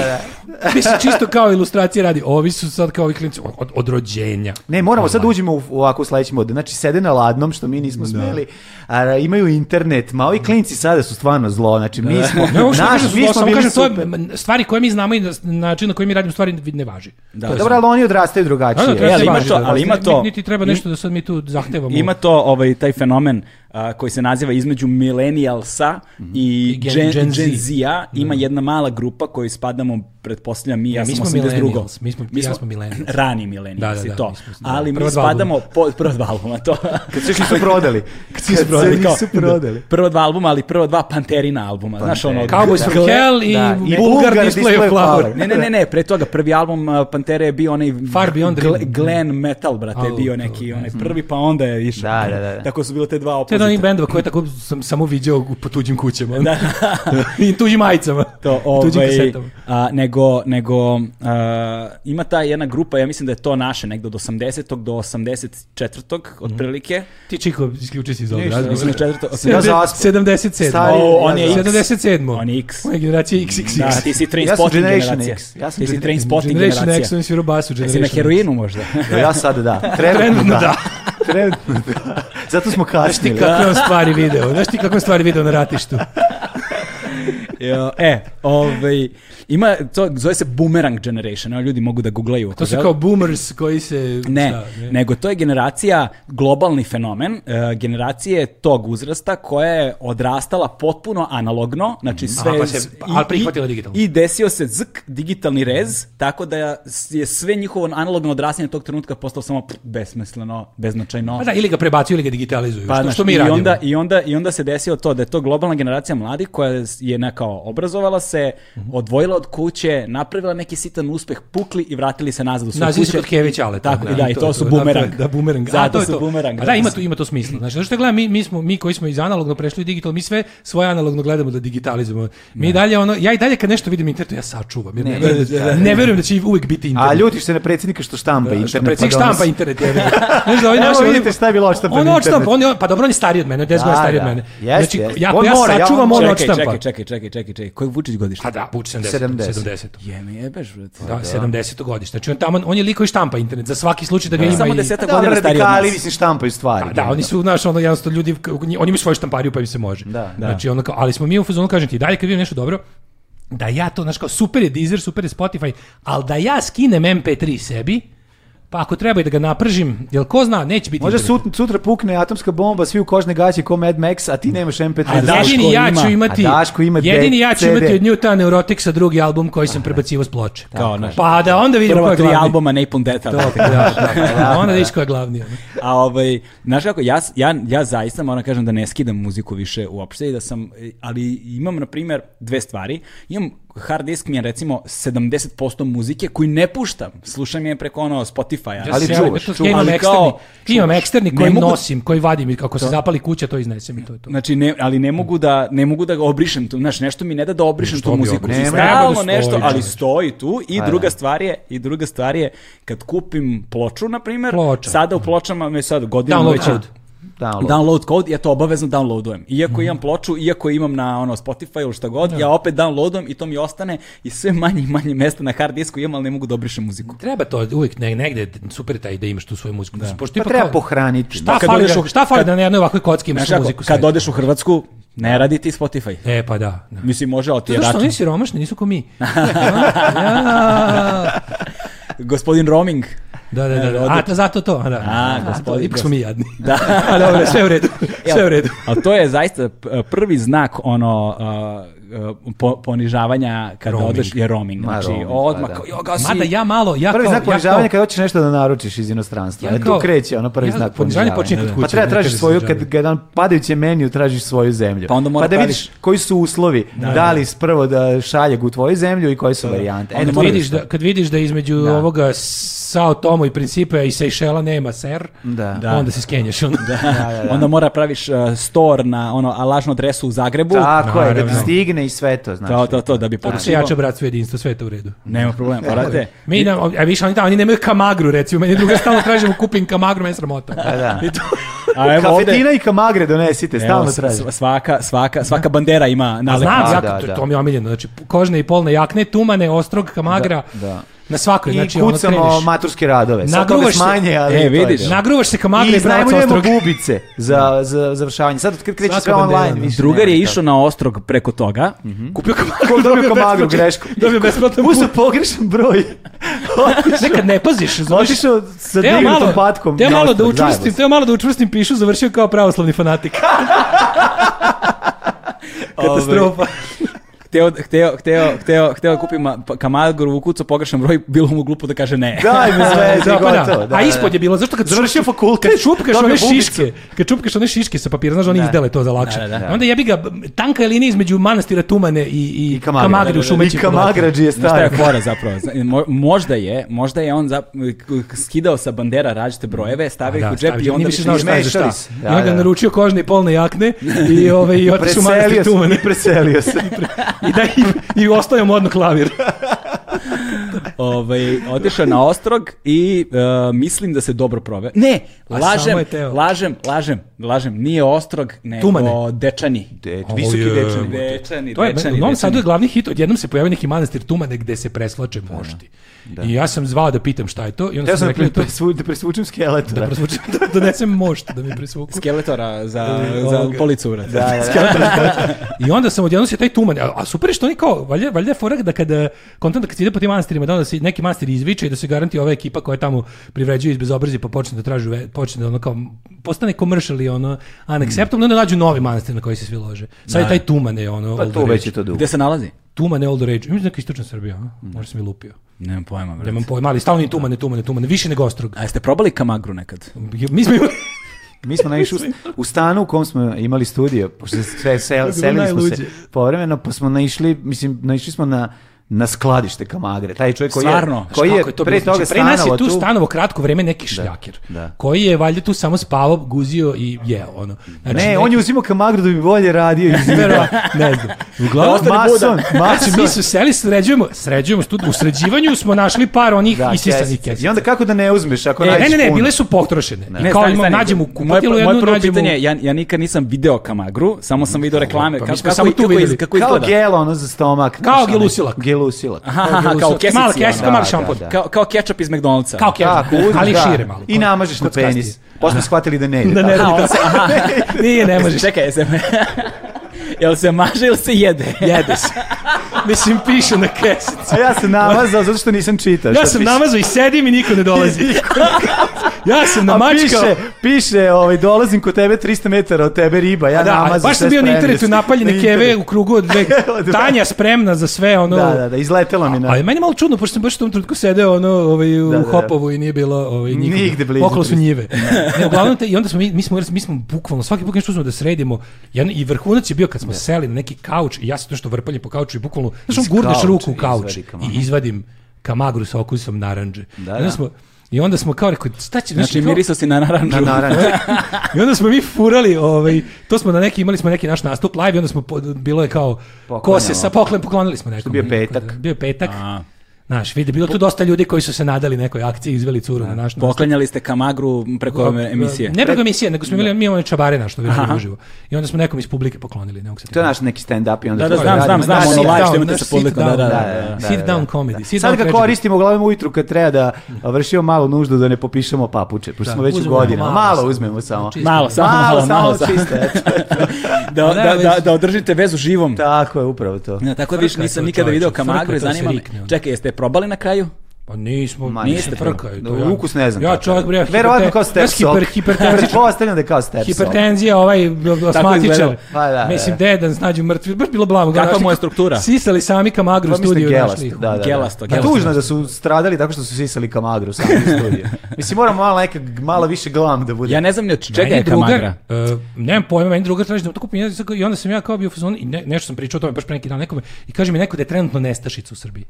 mislim, čisto kao ilustracije radi, ovi su sad kao ovi klinci od, od rođenja. Ne, moramo sad da uđemo u, u ovako u sledeći mod. Znači, sede na ladnom, što mi nismo smeli, a, imaju internet. Ma, ovi klinci sada su stvarno zlo. Znači, mi smo, Ne, ovo što naš, kažem, mi ovo smo samo bili kažem, to je super. m, stvari koje mi znamo i na- način na koji mi radimo stvari ne važi. Da. To je Dobro, ali oni odrastaju drugačije. Da, da, treba E, se ali ima važi, to- da, ali ima ni- to. Niti treba nešto da sad mi tu zahtevamo. Ima to ovaj, taj fenomen a, koji se naziva između millennialsa i Mhm. I gen- Gen, Gen Z. Gen Z-a. Ima jedna mala grupa koju spadamo, pretpostavljam, mi, ja, sam mi smo 82. millennials, mi smo- ja smo millennials. Rani millennials Da, da, da, da, da, to. mi smo- da. ali mi Prva dva albuma. spadamo po, prva dva albuma, to. Kad su išli su prodali. Kad su prodali, kao- nisu prodali. prva dva albuma, ali prva dva Panterina albuma. Znaš, ono, Cowboys from Hell i Da, i Bulgar Bulgar Display Display of Flower. Flower. Ne, ne, ne, ne, pre toga prvi album uh, Pantere je bio onaj Far Beyond Gle- Dream. Glen Metal, brate, je Au, bio to, neki ne onaj prvi, pa onda je išao. Da, da, da, da. Tako su bile te dva To je od onih opozita. bendova koje tako sam samo viđao u- po tuđim kućama. I tuđim majicama. To, I tuđim ovaj, kasetama. a, nego, nego a, ima ta jedna grupa, ja mislim da je to naše, negde od 80. do 84. Mhm. otprilike. Ti Čiko, isključi se iz ovog Ništa, razgovora. Mislim da je 4. Ja Sedamde- zaspao. 77. Stari, O, on ja je X. zaspao. 77. On je X. On je generacija XXX. Da, ti si train Ja sam spotting Generation generacija. X. Ja sam ti si Generation- train spotting Generation X, on generacija. je svirao basu. Jesi na Generation X. heroinu možda? Evo, Ja sada da. Trenutno Trenutno Znači, da. Trenutno da. Zato smo Ti kasnili. kakve on stvari video. Znaš ti kakve on stvari video na ratištu. Jo, e, ovaj, ima, to zove se Boomerang Generation, evo ljudi mogu da googlaju. ako To su žele. kao boomers koji se... Ne, šta, nego to je generacija, globalni fenomen, e, generacije tog uzrasta koja je odrastala potpuno analogno, znači sve... Aha, pa se- i- ali prihvatila i- digitalno. I desio se zk, digitalni rez, tako da je sve njihovo analogno odrastanje tog trenutka postalo samo pff, besmisleno, beznačajno. Pa da, ili ga prebacuju ili ga digitalizuju. što, Pa znaš, što mi i radimo. onda, i, onda, I onda se desilo to da je to globalna generacija mladih koja je nekao obrazovala se, Mhm. odvojila od kuće, napravila neki sitan uspeh, pukli i vratili se nazad u svoje Nazivi su kuće. kod Kevića, ali Tako, i da, i to, je su Da, bumerang. to je- Da, bumerang. A, Zato to je su to. bumerang. A da, ima to, ima to smisla. Znači, zato što gledam, mi, mi, smo, mi koji smo iz analognog prešli u digital, mi sve svoje analogno gledamo da digitalizujemo. Mi i dalje, ono, ja i dalje kad nešto vidim internetu, ja sačuvam. Jer ne, verujem, da, ne verujem da će uvek biti internet. A ljutiš se na predsjednika što štampa internet. Što pa predsjednik donosi. štampa internet je. Znaš da ovaj Evo naš- vidite šta je bilo odštampano On na odštampa, internetu. on je, pa dobro, on je stariji od mene, on je 10 Da, godina stariji od da. mene. Jeste, znači, jeste. ja, On ja mora, ja sačuvam, ono on- on Čekaj, čekaj, odštampa. čekaj, čekaj, čekaj, čekaj. Koji je Vučić godište? A Pa da, Vučić 70. 70. 70. Jeme jebeš, brate. Da, 70. godište. Znači on tamo on je liko i štampa internet za svaki slučaj da pa ga ima. Samo i- desetak Da, godina ono, stariji od radikali, nas. mislim, štampaju stvari. A, Pa da, oni su, znaš, ono, jednostavno ljudi, k- oni imaju svoju štampariju pa im se može. Da, da. Znači, ono, kao, ali smo mi u fazonu, kažem ti, dalje kad vidim nešto dobro, da ja to, znaš, kao, super je Deezer, super je Spotify, ali da ja skinem MP3 sebi, pa ako treba i da ga napržim, jel ko zna, neće biti... Možda interneta. sut, sutra pukne atomska bomba, svi u kožne gaće ko Mad Max, a ti nemaš MP3. da, A Daško jedini ja ću ima- imati, a Daško ima jedini ja ću CD. imati od Newta Neuroticsa drugi album koji sam prebacivo s ploče. Kao, znaš, Pa da onda vidimo ko Prva je tri glavni. albuma Napalm Death. Da, brate. da, da, da. Onda da vidiš ko je glavni. ono. A ovaj, znaš kako, ja, s- ja, ja zaista moram kažem da ne skidam muziku više uopšte i da sam, e, ali imam, na primjer, dve stvari. Imam hard disk mi je recimo 70% muzike koju ne puštam. Slušam je preko ono Spotify-a. Ali se čuvaš, javim, to- čuvaš. Ja imam Ali eksterni, kao, imam čuvaš. eksterni Ne koji mogu- nosim, koji vadim i kako se zapali kuća to iznesem i to je to. Znači, ne, ali ne mogu da ne mogu da ga obrišem tu, znači nešto mi ne da da obrišem Što tu bi muziku. obrisao? Ne, Ne, Stalno ne, ne, ne, nešto, stoji, ali čoveče. stoji tu i druga stvar je i druga stvar je kad kupim ploču na primjer, Ploča. sada u pločama me sad godinama Download već code. Download. download code, ja to obavezno downloadujem. Iako imam ploču, iako imam na ono Spotify ili šta god, ja opet downloadujem i to mi ostane i sve manje i manje mesta na hard disku imam, ali ne mogu da obrišem muziku. Treba to uvijek ne, negde, super je taj da imaš tu svoju muziku. Pošto Pa ipak treba kao- pohraniti. Šta Kad fali, odeš da, u- šta fali kad- da na jednoj ovakvoj kocki imaš Znaš kako, muziku? kad sve? odeš u Hrvatsku, ne radi ti Spotify. E, pa da. da. Mislim, može, ali ti je Zato što račun. oni siromašni, nisu ko mi. Ja. Gospodin roaming. Da, da, da. da. E, A, to, zato to. a, Da. A, Zato, gospodin, Ipak smo mi jadni. Da. A, dobro, sve u redu. Sve u redu. Ali to je zaista p- prvi znak ono uh, uh, po- ponižavanja kada Roaming. odeš je roaming. Ma, Znači roaming, pa odmah da. kao, "Jo, ga si." Mada ja malo, ja Prvi kao, znak ja kao- ponižavanja kad hoćeš nešto da naručiš iz inostranstva. Ja Ja, kao- tu kreće ono prvi ja- znak ponižavanje ponižavanja. počinje kod Pa kuće, treba ne tražiš kaže se svoju, za kad, džabe. kad na padajućem meniju tražiš svoju zemlju. Pa onda mora da vidiš praviš- koji su uslovi. Da, li prvo da šalje u tvoju zemlju i koje su varijante. E, Onda to Kad moraš- je vidiš, da, kad vidiš da između Da. ovoga Sao Tomo i Principe i Sejšela nema ser, Da. Da. onda se skenješ. Ono. Onda mora praviš uh, store na ono a lažnu adresu u Zagrebu. Tako je, da ti Naravno. stigne i sve to. Znači. to, to, to, da bi Tako se pokušao. jače bratstvo i jedinstvo, sve je to u redu. Nema problema, morate. Mi nam, a više oni tamo, oni nemaju kamagru recimo, meni druga stalno tražimo kupim kamagru, meni je sramota. Da, da. I to- A evo ovde, Kafetina i kamagre donesite, evo, stalno s- tražim. s- svaka, svaka, svaka bandera ima A nalepnicu. znam, Da, ja, da, to, da. to mi je omiljeno, znači kožne i polne jakne, tumane, ostrog, kamagra, Da, da. na svakoj, I znači ono kucamo kreneš. maturske radove. Sad toga Nagruvaš se- smanje, ali E, to je vidiš. to. Nagruvaš se I kamagra i branac iznajmljujemo ostrog. bubice za, za završavanje. Sad kad kreće Svaka sve bandera, online, da. više Drugar je nema išao na ostrog preko toga, kupio tako. Ko kamagru, dobio kamagru grešku. Dobio besplatan put. Uzeo pogrešan broj. Nekad ne paziš, znaš. Otišao sa Teo dignutom malo, patkom. teo na malo da ostrog, učvrstim, zajebo teo malo da učvrstim pišu, završio kao pravoslavni fanatik. Katastrofa. hteo, hteo, hteo, hteo, hteo da kupim ma- pa- kamagru, ukucao pogrešan broj, bilo mu glupo da kaže ne. se. Daj mi zvezi, Da, pa da. gotovo. Da, A da. ispod je bilo, zašto kad Završio fakultet. Kad čupkaš dobio one bubicu. šiške, kad čupkaš one šiške sa papira, znaš, oni Da. izdele to za lakše. Da, da, da. Onda jebi ga, b- tanka je linija između manastira Tumane i, i, I kamagre. Kamagre u Šumeći. I kamagrađi je Znaš šta je stari. fora zapravo? Zna- mo- Možda je, možda je on zap- k- skidao sa bandera različite brojeve, stavio ih u džep i stavio, onda nije više više znao šta je za šta. mešali se. I Da, onda da. naručio kožne i polne jakne i, ove, i otišao u Preselio manastir se, Tumane. i preselio se. I, da, i, i ostao je modno klavir. Ovaj, otišao na ostrog i e, mislim da se dobro prove. Ne, A lažem, samo je teo. lažem, lažem, lažem. Nije ostrog, nego Tumane. dečani. De- Visoki Ovo je- dečani. Dečani, To je, dečani, u Novom dečani. Sadu je glavni hit, odjednom se pojavi neki manastir Tumane gde se preslače mošti. I ja sam zvao da pitam šta je to i onda sam Teo sam rekli da to presvu- da presvučem skeletora. da prosvučim, da donesem mošt da mi prisvuku. Skeletora za, E, za ovoga. policu, vrati. Da, da, da. I onda sam odjednom se taj tuman, a, a super je što oni kao, valjda, valjda je forak da kada, kontent da kad se ide po tim manastirima, da onda se neki manastir izviče i da se garanti ova ekipa koja tamo privređuje iz bezobrazi pa počne da tražu, ve- počne da ono kao, postane commercial i ono, unacceptable, onda nađu novi manastir na koji se svi lože. Sad je taj tuman je ono, Pa old to već rage. je to dugo. Gde se nalazi? tuman je old rage. Mislim da je neka istočna Srbija, a? ono, možda sam i lupio. Nemam pojma, vrati. Nemam pojma, ali stalno je tumane, tumane, tumane, više nego ostrog. A jeste probali kamagru nekad? Mi smo imali... Mi smo naišli u- u stanu u kom smo imali studio, pošto se sve sel, selili smo se najluđe. povremeno, pa smo naišli, mislim, naišli smo na na skladište kamagre. Taj čovjek koji Stvarno? je, koji je, Kako to pre bilo? toga Znači, pre nas stanovao je tu tu. stanovo kratko vreme neki šljaker, da. koji je valjda tu samo spavao, guzio i jeo. Ono. Znači, Ne, on je uzimao kamagru da bi bolje radio. i zidao. Vero- ne znam. Uglavnom, Da ostane budan. mason, mason. Znači, mi su seli, sređujemo, sređujemo studiju. U sređivanju smo našli par onih Da, isisanih kesice. kesica. I onda kako da ne uzmeš ako E, ne, nađeš ne, ne, puno? bile su potrošene. Ne, I kao stani, imam, stani. nađemo moje, kupatilu pr- moje jednu, prvo nađemo... pitanje je, ja, ja nikad nisam video kamagru, samo sam video reklame. pa mi kako, smo kako, samo tu kako, videli. iz- kako Kao izgleda? gel ono za Kao stomak. znaš, onaj- gelusilak. Gelusilak. Aha, aha, kao u kesici, Mala ono. kesica, Da, mali da, šampon. da. Kao, kao ketchup iz McDonald'sa. Kao keš, Tako, uzmeš, ali da. šire malo. I namažeš na Kockastije. penis. Pošto smo shvatili da ne ide. Da ne tako. radi to. Nije, ne možeš. Čekaj, jel se, jel se maže ili se jede? Jede se. Mislim, piše na kesici. A ja sam namazao zato što nisam čitao. Ja šta sam piše. namazao i sedim i niko ne dolazi. Ja sam namačkao. piše, piše, ovaj, dolazim kod tebe 300 metara od tebe riba, ja A da, namazam a baš sam sve bio na spremni internetu ste. napaljene Na keve internetu. u krugu od dve. Od- Tanja spremna za sve, ono... Da, da, da, izletelo mi na... Ali meni je malo čudno, pošto sam baš u tom trenutku sedeo ono, ovaj, u Da, da, da. Hopovu i nije bilo ovaj, nikoga. Nigde blizu Okolo su pristupa. njive. ne, uglavnom, te, i onda smo, mi, mi, smo, mi smo bukvalno, svaki put nešto uzmemo da sredimo. Jedan, I vrhunac je bio kad smo seli na neki kauč i ja sam to što vrpaljem po kauču i bukvalno, znaš, on Iz gurneš kauča ruku u izvadi kauč i kamagru. izvadim kamagru sa okusom naranđe. Da, I onda da. smo, I onda smo kao rekao, šta će, Znači, kao- mirisao si na naranđu. Na naranđu. i onda smo mi furali, ovaj, to smo na neki, imali smo neki naš nastup live i onda smo, pod- bilo je kao, ko se Poklanjamo. sa poklon, poklonili smo nekom. je bio petak. Bio je petak. A. Znaš, vidi, bilo tu dosta ljudi koji su se nadali nekoj akciji, izveli curu na naš nastup. Poklanjali ste kamagru preko ove emisije. Ne preko emisije, nego smo imali, mi imamo one čabare naš, što bi uživo. I onda smo nekom iz publike poklonili. Ne mogu se To je naš neki stand-up i onda... Da, da, to znam, radimo. Znači, znam, znam, Da, ono sit live što down, imate naš sa sit publika. down, Da, da, da, da. Sit down comedy, sit down Sad ga tragedy. koristimo uglavnom ujutru kad treba da a, vršimo malu nuždu da ne popišemo papuče, pošto smo već u uzmemo godinama. malo Malo samo. uzmemo samo. Znači, Malo, samo malo, Malo, malo. samo samo. čiste. eto. Da, Ne, da, već- da, da održite vezu živom. Tako je, upravo to. Ne, tako da više Frka je nisam to, nikada čoveče, video frka je kamagru i to, se ono. zanima me. rikne onda. Čekaj, jeste je probali na kraju? Pa nismo, Ma, nisam niste frka. probali. to ja- Ukus ne znam Ja kako je. čovjek bre, Verovatno hiperte- kao ja step sam hiper, sok. hipertenzičan. Pretpostavljam da je kao step sok. Hipertenzija, ovaj izgledalo. asmatičar. Pa da, da, da. Mislim, dedan, snađu mrtvi, baš bilo blavo. Kakva Našli- mu je struktura? Sisali sami kamagru u Pa mislim da je studiju. i gelasto, našli ih. da, da, da. Gelasto, Pa gelasto. Tužno da su stradali tako što su sisali kamagru sami u studiju. Mislim, moramo malo, neka, malo više glam da bude. Ja ne znam ni od čega Meni je kamagra. Drugar, uh, nemam pojma, meni drugar traži da mu to kupim jezik i onda sam ja kao bio u fazonu i ne, nešto sam pričao o tome baš pre neki dan nekome i kaže mi neko da je trenutno nestašica u Srbiji.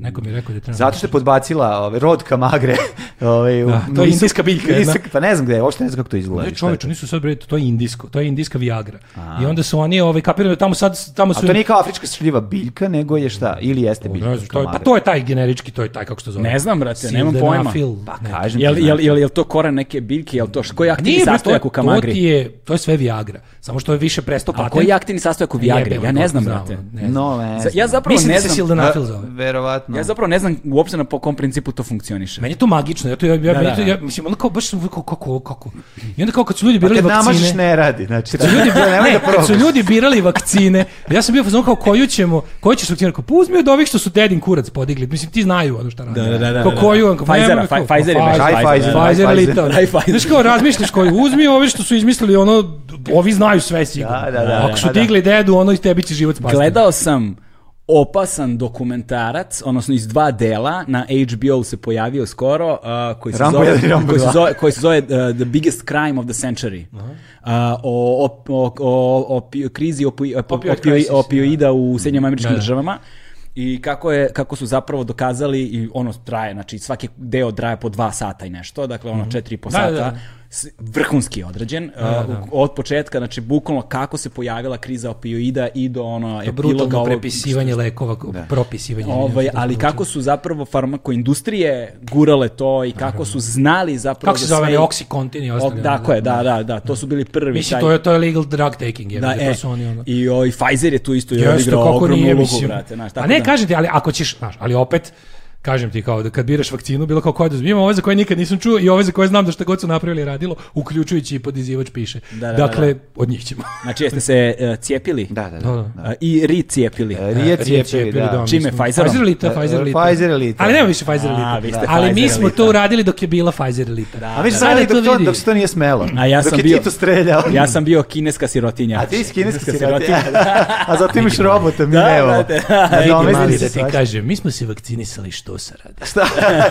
Neko mi je rekao da je trenutno Zato što je podbacila ovaj, rod kamagre. Ovaj, u- Da, to je nisu- indijska biljka jedna. nisu- pa ne znam gde je, uopšte ne znam kako to izgleda. Ne, šta je to. E, čoveče, nisu sad bre, to je indijsko, to je indijska Viagra. I onda su oni, ovaj, kapirali, da tamo sad, tamo su... A to nije kao afrička šljiva biljka, nego je šta? Ili jeste biljka? Ne znam, to je, pa kamagre. to je taj generički, to je taj, kako se to zove. Ne znam, brate, nemam pojma. Sildenafil, ne. Kažem ti, Jel, znači. jel, jel, jel to koren neke biljke, jel to što, koji je aktivni Nije, bre, to, sastojak u to ti kamagri? je, Pa to je sve Viagra. Samo što je više presto A patent. koji je aktivni sastojak u Viagri? Jebem, Ja ne kako znam, znam, brate. ne znam. No, ne Za- znam. Ja zapravo Mislim ne da se znam. sildenafil zove. Verovatno. Ja zapravo ne znam uopšte na po kom principu to funkcioniše. Meni je to magično, ja to ja, ja, Da, meni da, to, da. ja mislim ono kao baš sam uvijek kao kako kako. I onda kao kad su ljudi Pa birali kad namažiš vakcine. ne radi, znači. Kad su ljudi, da, nemoj ne, da kad su probaš. ljudi birali vakcine, ja sam bio fazon kao koju ćemo, koju ćeš vakcinu, kao pa uzmi od ovih što su dedin kurac podigli, mislim ti znaju ono šta rade. Da, da, da, da, Kao da. koju, ono, kao, Pfizera, nemoj, kao, Pfi- Pfizer je pa, baš, Pfizer, Aj, Pfizer, Pfizer, aj, Pfizer. ili to. Aj, Pfizer. Znaš kao razmišljaš koju uzmi, ovi što su izmislili ono, ovi znaju sve sigurno. Da, da, da, Ako su da, da. digli dedu, ono i tebi će život spasti. Gledao sam opasan dokumentarac, odnosno iz dva dela, na HBO se pojavio skoro, uh, koji, se Rambo zove, jedan i Rambo koji, se dva. zove, koji se zove uh, The Biggest Crime of the Century. Uh, o, op- o, o, opi- krizi opi- op- Opioid opioid- crisis, opioida u Sjedinjama američkim Da, da. državama i kako, je, kako su zapravo dokazali i ono traje, znači svaki deo traje po dva sata i nešto, dakle ono četiri i po Mhm. Da, sata. da, da. s- vrhunski je odrađen uh, da. od početka znači bukvalno kako se pojavila kriza opioida i do ono To epiloga brutalno ovog- prepisivanje lekova, propisivanje. Ovaj, ne znam, ali kako su zapravo farmakoindustrije gurale to i kako su znali zapravo Kako se za sve- zove, Oxycontin i ostalo. Ok, Tako je, da, da, da, to su bili prvi. Mislim, taj- to je, to je legal drug taking, jer da, to e, su oni ono... I ovaj, Pfizer je tu isto je Jeste, odigrao kako ogromnu nije, ulogu, mislim. brate, znaš, A tako ne, da- kažem ti, ali ako ćeš, znaš, ali opet, kažem ti kao da kad biraš vakcinu, bilo kao koja da imam ove za koje nikad nisam čuo i ove za koje znam da šta god su napravili i radilo, uključujući i podizivač piše. Da, da, da, dakle, od njih ćemo. Ono, Znači, jeste se e, cijepili Da, da, Da, da. da. E, i ricijepili. E, Rijeci je Rijeci, prvi, da. Čime, mislim. Pfizerom? Pfizer elita, E, Pfizer e, elita. Pfizer elita. Ali nema više Pfizer A, elita. vi ste ali mi Pfizer smo elita. to uradili dok je bila Pfizer elita. A mi da. se Sada sad to dok, to, vidi. dok se to nije smelo. A ja dok sam je bio- Tito streljao. Ja sam bio kineska sirotinja. A ti iz kineske Kineska sirotinje. A zato imaš robota, mi Da, nemamo. brate. Da, Vidi, mali, da se ti svašta. kažem, mi smo se vakcinisali što se radi. Šta,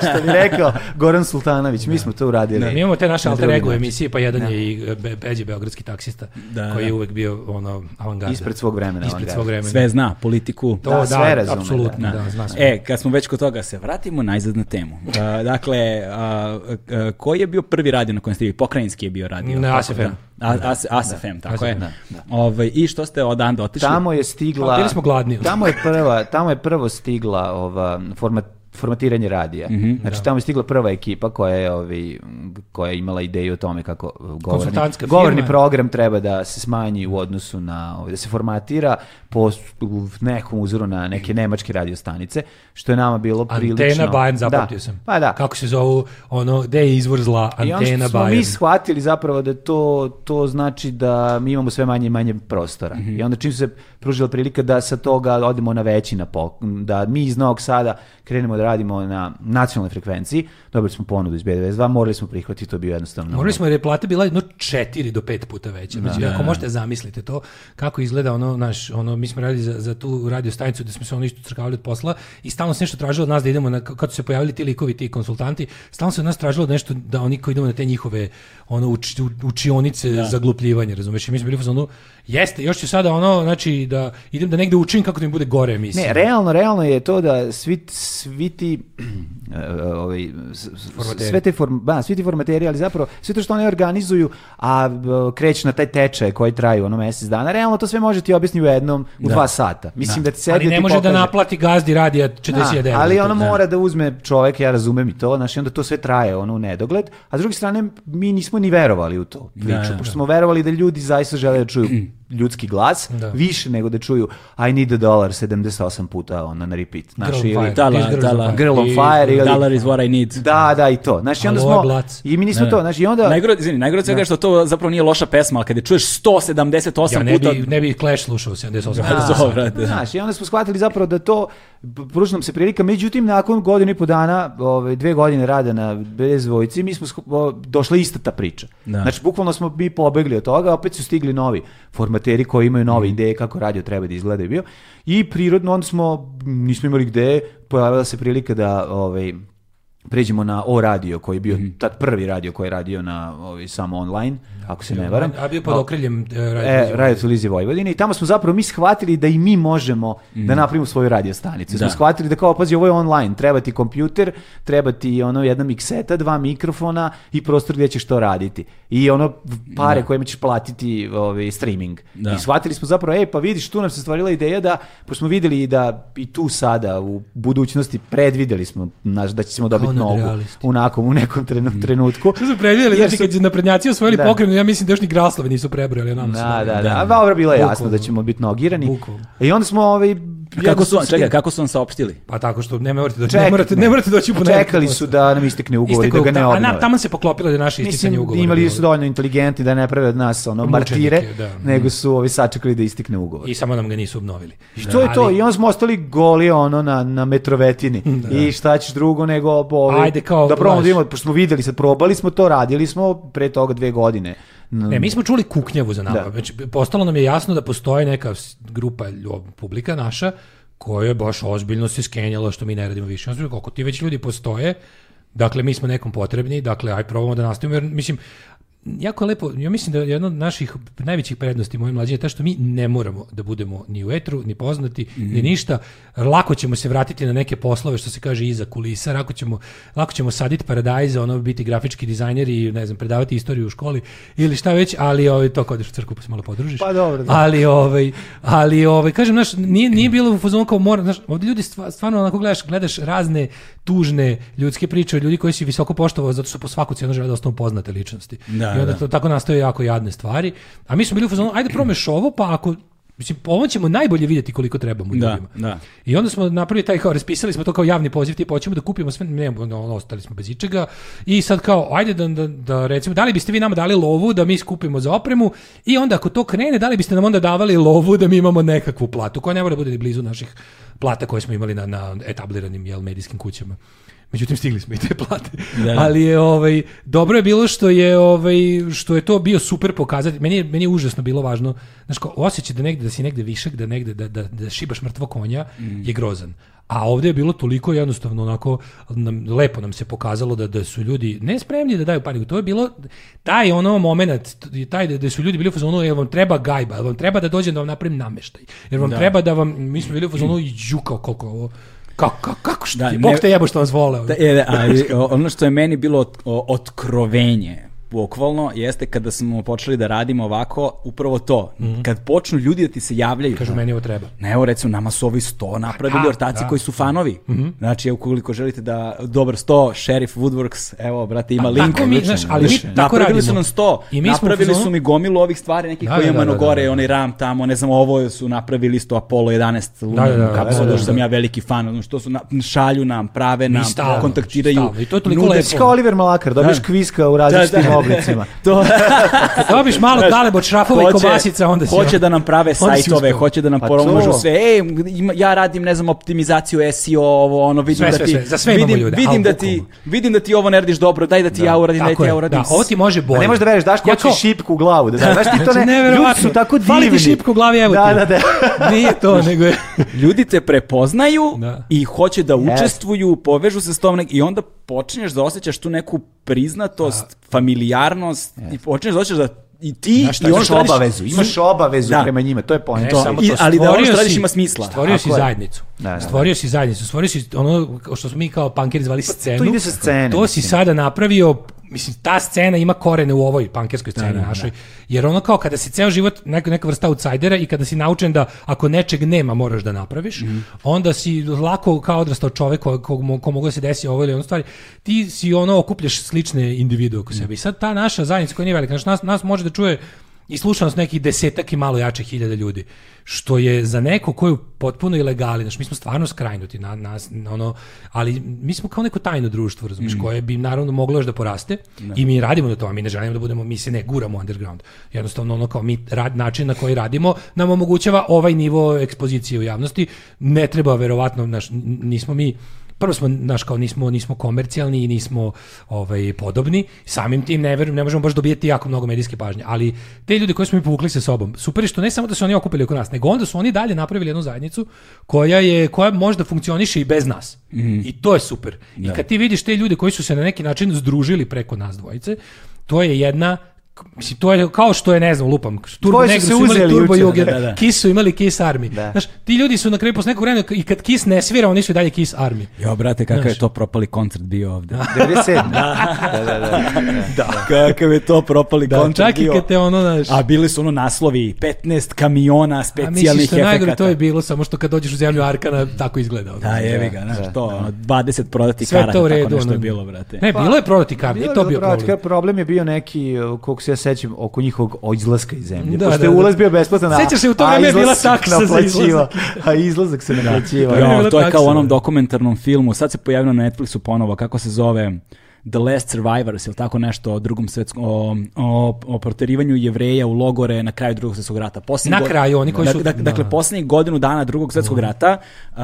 što bi rekao Goran Sultanović, mi smo to uradili. Mi imamo te naše Na alter drugi ego način. emisije, pa jedan je i Be- Beđe, beogradski taksista, Da, koji je da. uvek bio ono, avangarda. Ispred svog vremena. Ispred avangarda. svog vremena. Sve zna, politiku. To, Da, da, sve razume, apsolutno, Da. da, zna sve. E, kad smo već kod toga, se vratimo najzad na temu. Uh, dakle, uh, uh, koji je bio prvi radio na kojem ste vi? Pokrajinski je bio radio. Na tako ASFM. da. A, as, ASFM, tako je. Da, Ovaj, I što ste odanda otišli? Tamo je stigla... Pa, bili smo gladni. Tamo je prva, tamo je prvo stigla ova format formatiranje radija. Mhm, znači tamo je stigla prva ekipa koja je ovi m, koja je imala ideju o tome kako e, govorni, Konsultantska firma. govorni program treba da se smanji u odnosu na ovaj, da se formatira po s- u nekom uzoru na neke nemačke radiostanice što je nama bilo prilično Antena Bayern, zapamtio da. sam. Pa da. Kako se zovu, ono, gde je izvor zla, I ono Antena što smo mi Bayern. shvatili zapravo da to to znači da mi imamo sve manje i manje prostora. Mhm. I onda čim se pružila prilika da sa toga odemo na veći, na po, da mi iz Novog Sada krenemo da radimo na nacionalnoj frekvenciji, dobili smo ponudu iz B92, morali smo prihvatiti, to je bio jednostavno. Morali smo jer je plata bila jedno četiri do pet puta veća. Znači, ako možete zamislite to, kako izgleda ono, naš, ono, mi smo radili za, za tu radio stanicu gde smo se ono isto crkavali od posla i stalno se nešto tražilo od nas da idemo, na, kad su se pojavili ti likovi, ti konsultanti, stalno se od nas tražilo nešto da oni koji idemo na te njihove ono, uč, u- učionice za glupljivanje, razumeš? I mi smo bili u fazonu, jeste, još ću sada ono, znači, da idem da negde učim kako da mi bude gore emisija. Ne, realno, realno je to da svi, svi ti e, ovaj, s- s- Formateri. sve te form, ba, svi ti formateri, ali zapravo sve to što oni organizuju, a e, kreću na taj tečaj koji traju ono mesec dana, realno to sve može ti objasniti u jednom, u dva sata. Mislim da, ti sedi ali i ne ti može da pokaže. naplati gazdi radija 40.000 Da, evra. ali za to. ono mora da uzme čovek, ja razumem i to, znači onda to sve traje ono u nedogled, a s druge strane mi nismo ni verovali u to priču, da, da. pošto smo verovali da ljudi zaista žele da čuju ljudski glas, Da. više nego da čuju I need a dollar 78 puta ono na repeat. Znaš, Girl on ili, fire. Da, la, da, These girls da, are la. fine. Girl on I- fire ili... Dollar is what I need. Da, da, i to. Znači, onda Aloha, smo... glac. I mi nismo Ne. to, znači, i onda... Najgore, izvini, najgore od svega je što to zapravo nije loša pesma, ali kad je čuješ 178 Ja ne puta... bi, ne bi Clash slušao 78. Pa Da. Da. Dobro, da. Znaš, i onda smo shvatili zapravo da to p- pružila nam se prilika, međutim nakon godinu i po dana, ove, dve godine rada na bez dvojici, mi smo sk- o, došla ista ta priča. Da. Znači, bukvalno smo mi pobegli od toga, opet su stigli novi formateri koji imaju nove Mhm. ideje kako radio treba da izgleda i bio. I prirodno onda smo, m, nismo imali gde, pojavila se prilika da ovaj, pređemo na O radio koji je Mhm. bio tad prvi radio koji je radio na ovaj, samo online, ako se ne varam. A bio pod A- okriljem e, radio. E, Radio Televizije Vojvodine i tamo smo zapravo mi shvatili da i mi možemo Mm. da napravimo svoju radio stanicu. Da. Smo shvatili da kao, pazi, ovo je online, treba ti kompjuter, treba ti ono jedna mikseta, dva mikrofona i prostor gdje ćeš to raditi. I ono pare kojima ćeš platiti ovaj, streaming. Da. I shvatili smo zapravo, e, pa vidiš, tu nam se stvarila ideja da, pošto smo vidjeli i da i tu sada u budućnosti predvidjeli smo naš, da ćemo dobiti nogu nadrealisti. onako, u nekom trenu- trenutku. Mm. Što su predvidjeli, Jer znači su- kad je naprednjaci osvojili Da. pokrajinu, ja mislim da još ni graslove nisu prebrojali. ono, onamo su Da, da, dobili. da. A dobro, bilo je jasno Bukvalno. da ćemo biti nogirani. Bukvalno. I onda smo ovaj... Kako su, jednostavno se- čekaj, kako su vam saopštili? Pa tako što ne morate doći, ne Čekaj, morate, ne morate doći u ponedeljak. Čekali su da nam istekne ugovor i Istekao da ga je- ne a na- obnove. Tamo se poklopilo da je naše isticanje Mislim, ugovora. imali bilo. su dovoljno inteligentni da ne prave od nas ono, Mučenike, martire, da. nego su ovi sačekali da istekne ugovor. I samo nam ga nisu obnovili. I to je to, i onda smo ostali goli ono na, na metrovetini. I šta ćeš drugo nego ovi, Ajde, kao, da probamo znaš. da imamo, pošto smo videli, sad probali smo to, radili smo pre toga dve godine. N- Ne, mi smo čuli kuknjavu za nama. Da. Znači, postalo nam je jasno da postoji neka s- grupa lju- publika naša koja je baš ozbiljno se skenjala što mi ne radimo više. Ozbiljno, koliko ti već ljudi postoje, dakle, mi smo nekom potrebni, dakle, aj probamo da nastavimo, jer, mislim, jako je lepo, ja mislim da je jedna od naših najvećih prednosti moje mlađe je ta što mi ne moramo da budemo ni u etru, ni poznati, ni ništa. Lako ćemo se vratiti na neke poslove što se kaže iza kulisa, lako ćemo, lako ćemo saditi paradajza, ono biti grafički dizajner i ne znam, predavati istoriju u školi ili šta već, ali ovaj, to kad odeš u crkvu pa se malo podružiš. Pa dobro, da. Ali ovaj, ali ovaj, kažem, znaš, nije, nije bilo u fazonu kao mora, znaš, ovdje ljudi stva- stvarno onako gledaš, gledaš razne tužne ljudske priče od ljudi koji si visoko poštovao zato što po svaku cijenu žele da ostanu poznate ličnosti. Da, I onda da. to tako nastaju jako jadne stvari. A mi smo bili u fazonu, ajde promeš ovo, pa ako Mislim, po ovom ćemo najbolje vidjeti koliko trebamo Da, ljudima. da. I onda smo napravili taj kao, raspisali smo to kao javni poziv, tipa hoćemo da kupimo sve, ne, ono, ono, ostali smo bez ičega. I sad kao, ajde da, da, da recimo, da li biste vi nama dali lovu da mi skupimo za opremu i onda ako to krene, da li biste nam onda davali lovu da mi imamo nekakvu platu, koja ne mora da bude ni blizu naših plata koje smo imali na, na etabliranim jel, medijskim kućama. Međutim, stigli smo i te plate. Da. Ali je, ovaj, dobro je bilo što je, ovaj, što je to bio super pokazatelj. Meni je, meni je užasno bilo važno. Znaš, kao, osjećaj da negde, da si negde višak, da negde, da, da, da šibaš mrtvo konja Mm. je grozan. A ovdje je bilo toliko jednostavno onako, nam, lepo nam se pokazalo da, da su ljudi ne spremni da daju paniku. To je bilo taj ono moment, taj da, da su ljudi bili u fazonu, jer vam treba gajba, jer vam treba da dođe da vam napravim nameštaj, jer vam treba da vam, mi smo bili u fazonu, jukao koliko je ovo, kako, kako, kako što, Da, je, Bog ne- te jebo što vas voleo. Da, je, da, ali o- ono što je meni bilo ot- o- otkrovenje bukvalno jeste kada smo počeli da radimo ovako upravo to kad počnu ljudi da ti se javljaju Kažu, meni ovo treba. Na evo recimo nama su ovi 100 napravili da, ortaci da. Mhm. koji su fanovi. Znači ukoliko želite da dobar 100 Sheriff Woodworks, evo brate ima Pa link. tako mi, odlično, znaš, ali mi odlično. tako napravili radimo. su nam 100. I mi smo u napravili fazonu- su mi gomilu ovih stvari nekih Da, koje da, ima da, da, na ono gore, da, da. onaj ram tamo, ne znam, ovo su napravili isto Apollo ono, 11 lunarnu da, da, kapsulu, da, da, što sam ja veliki fan, ono što su na, šalju nam, prave nam, stalno, kontaktiraju. stalno, i to je toliko nude lepo. Kao Oliver Malakar, dobiješ Da. kviska u različitim Da, da, oblicima. to Kad dobiš malo taleb od šrafova i kobasica, onda si... ono- hoće da nam prave onda si sajtove, uspeo. hoće da nam Pa promožu to. sve. Ej, ima- ja radim, ne znam, optimizaciju SEO, ovo, ono, vidim Sve, da sve, ti... sve. Za sve imamo vidim, ljude, ali Vidim da, ti, bukvalno. vidim da ti ovo ne radiš dobro, daj da ti ja uradim, daj da Tako ti ja je, uradim. da, ovo ti može bolje. A ne možeš da veriš, daš Ja ko kao- šipku u glavu. Da, znaš, znaš ti to Znači, ne, ljudi neverovatno. su tako divni. Fali ti šipka u glavi, evo Da, ti. da, da. Nije to, nego je... Ljudi te prepoznaju Da. i hoće da učestvuju, povežu se s tom nek- i onda počinješ da osjećaš tu neku priznatost, familijarnost i počinješ da osjećaš da i ti Znaš šta, i ono Imaš što radiš- obavezu, imaš obavezu Da. prema njima, to je poenta. To, E, samo i- ali da ono stvorio što radiš si- ima smisla. Stvorio si Tako je. zajednicu. Da, da, da. Stvorio si zajednicu, stvorio si ono što smo mi kao punkeri zvali scenu. Pa to ide sa scene, To si mislim. sada napravio Mislim, ta scena ima korene u ovoj pankerskoj sceni našoj. Jer ono kao kada si ceo život neka, neka vrsta outsidera i kada si naučen da ako nečeg nema moraš da napraviš, Mhm. onda si lako kao odrastao čovek ko, ko, mo- ko moglo da se desi ovo ili ono stvari, ti si ono okupljaš slične individue Mhm. oko sebe. I sad ta naša zajednica koja nije velika, znaš, nas, nas može da čuje i sluša nas nekih desetak i malo jače hiljada ljudi, što je za neko ko je potpuno ilegali, znaš, mi smo stvarno skrajnuti, na, nas, na ono, ali mi smo kao neko tajno društvo, razumiješ, koje bi naravno moglo još da poraste i mi radimo na tome, mi ne želimo da budemo, mi se ne guramo underground, jednostavno ono kao mi rad, način na koji radimo nam omogućava ovaj nivo ekspozicije u javnosti, ne treba verovatno, naš, nismo mi prvo smo naš kao nismo nismo komercijalni i nismo ovaj podobni samim tim ne verujem ne možemo baš dobijeti jako mnogo medijske pažnje ali te ljude koje smo mi povukli sa sobom super je što ne samo da su oni okupili oko nas nego onda su oni dalje napravili jednu zajednicu koja je koja možda funkcioniše i bez nas i to je super i kad ti vidiš te ljude koji su se na neki način združili preko nas dvojice to je jedna Mislim, to je kao što je, ne znam, lupam, Turbo Tvoji su Negro se su imali uzeli Turbo juče, Jugend, da, da, da. Kiss su imali Kiss Army. Znaš, ti ljudi su na kraju posle nekog vremena, i kad Kiss ne svira, oni su i dalje Kiss Army. Jo, brate, kakav je to propali koncert bio ovde. 97. Da, da, da. da. Kakav je to propali Da, koncert čak i bio. kad te ono, znaš, A bili su ono naslovi 15 kamiona a misliš specijalnih što je najgore, efekata. to je bilo, samo što kad dođeš u zemlju Arkana, tako izgleda. ono. Da, jevi ga, znaš, to, ono, 20 prodati Sve karata, to u redu. tako nešto je ono. bilo, brate. Ne, bilo je prodati kartu, nije to bio brate, problem. kad Problem je bio neki, koliko se ja sećam, oko njihovog izlaska iz zemlje. Da, Da, Pošto da, je da. ulaz bio besplatan, a, Sećaš se, u to a vreme je bila izlazak se taksa za naplaćivao. izlazak. A izlazak se naplaćivao. Da. Jo, bilo to je tako kao u sve. onom dokumentarnom filmu, sad se pojavilo na Netflixu ponovo, kako se zove The Last Survivors, ili tako nešto o drugom svetskom, o, o, o proterivanju jevreja u logore na kraju drugog svetskog rata. Posljednjih Na go- kraju, oni koji su- Dak- dak- da. dakle, posljednjih godinu dana drugog svetskog rata, a,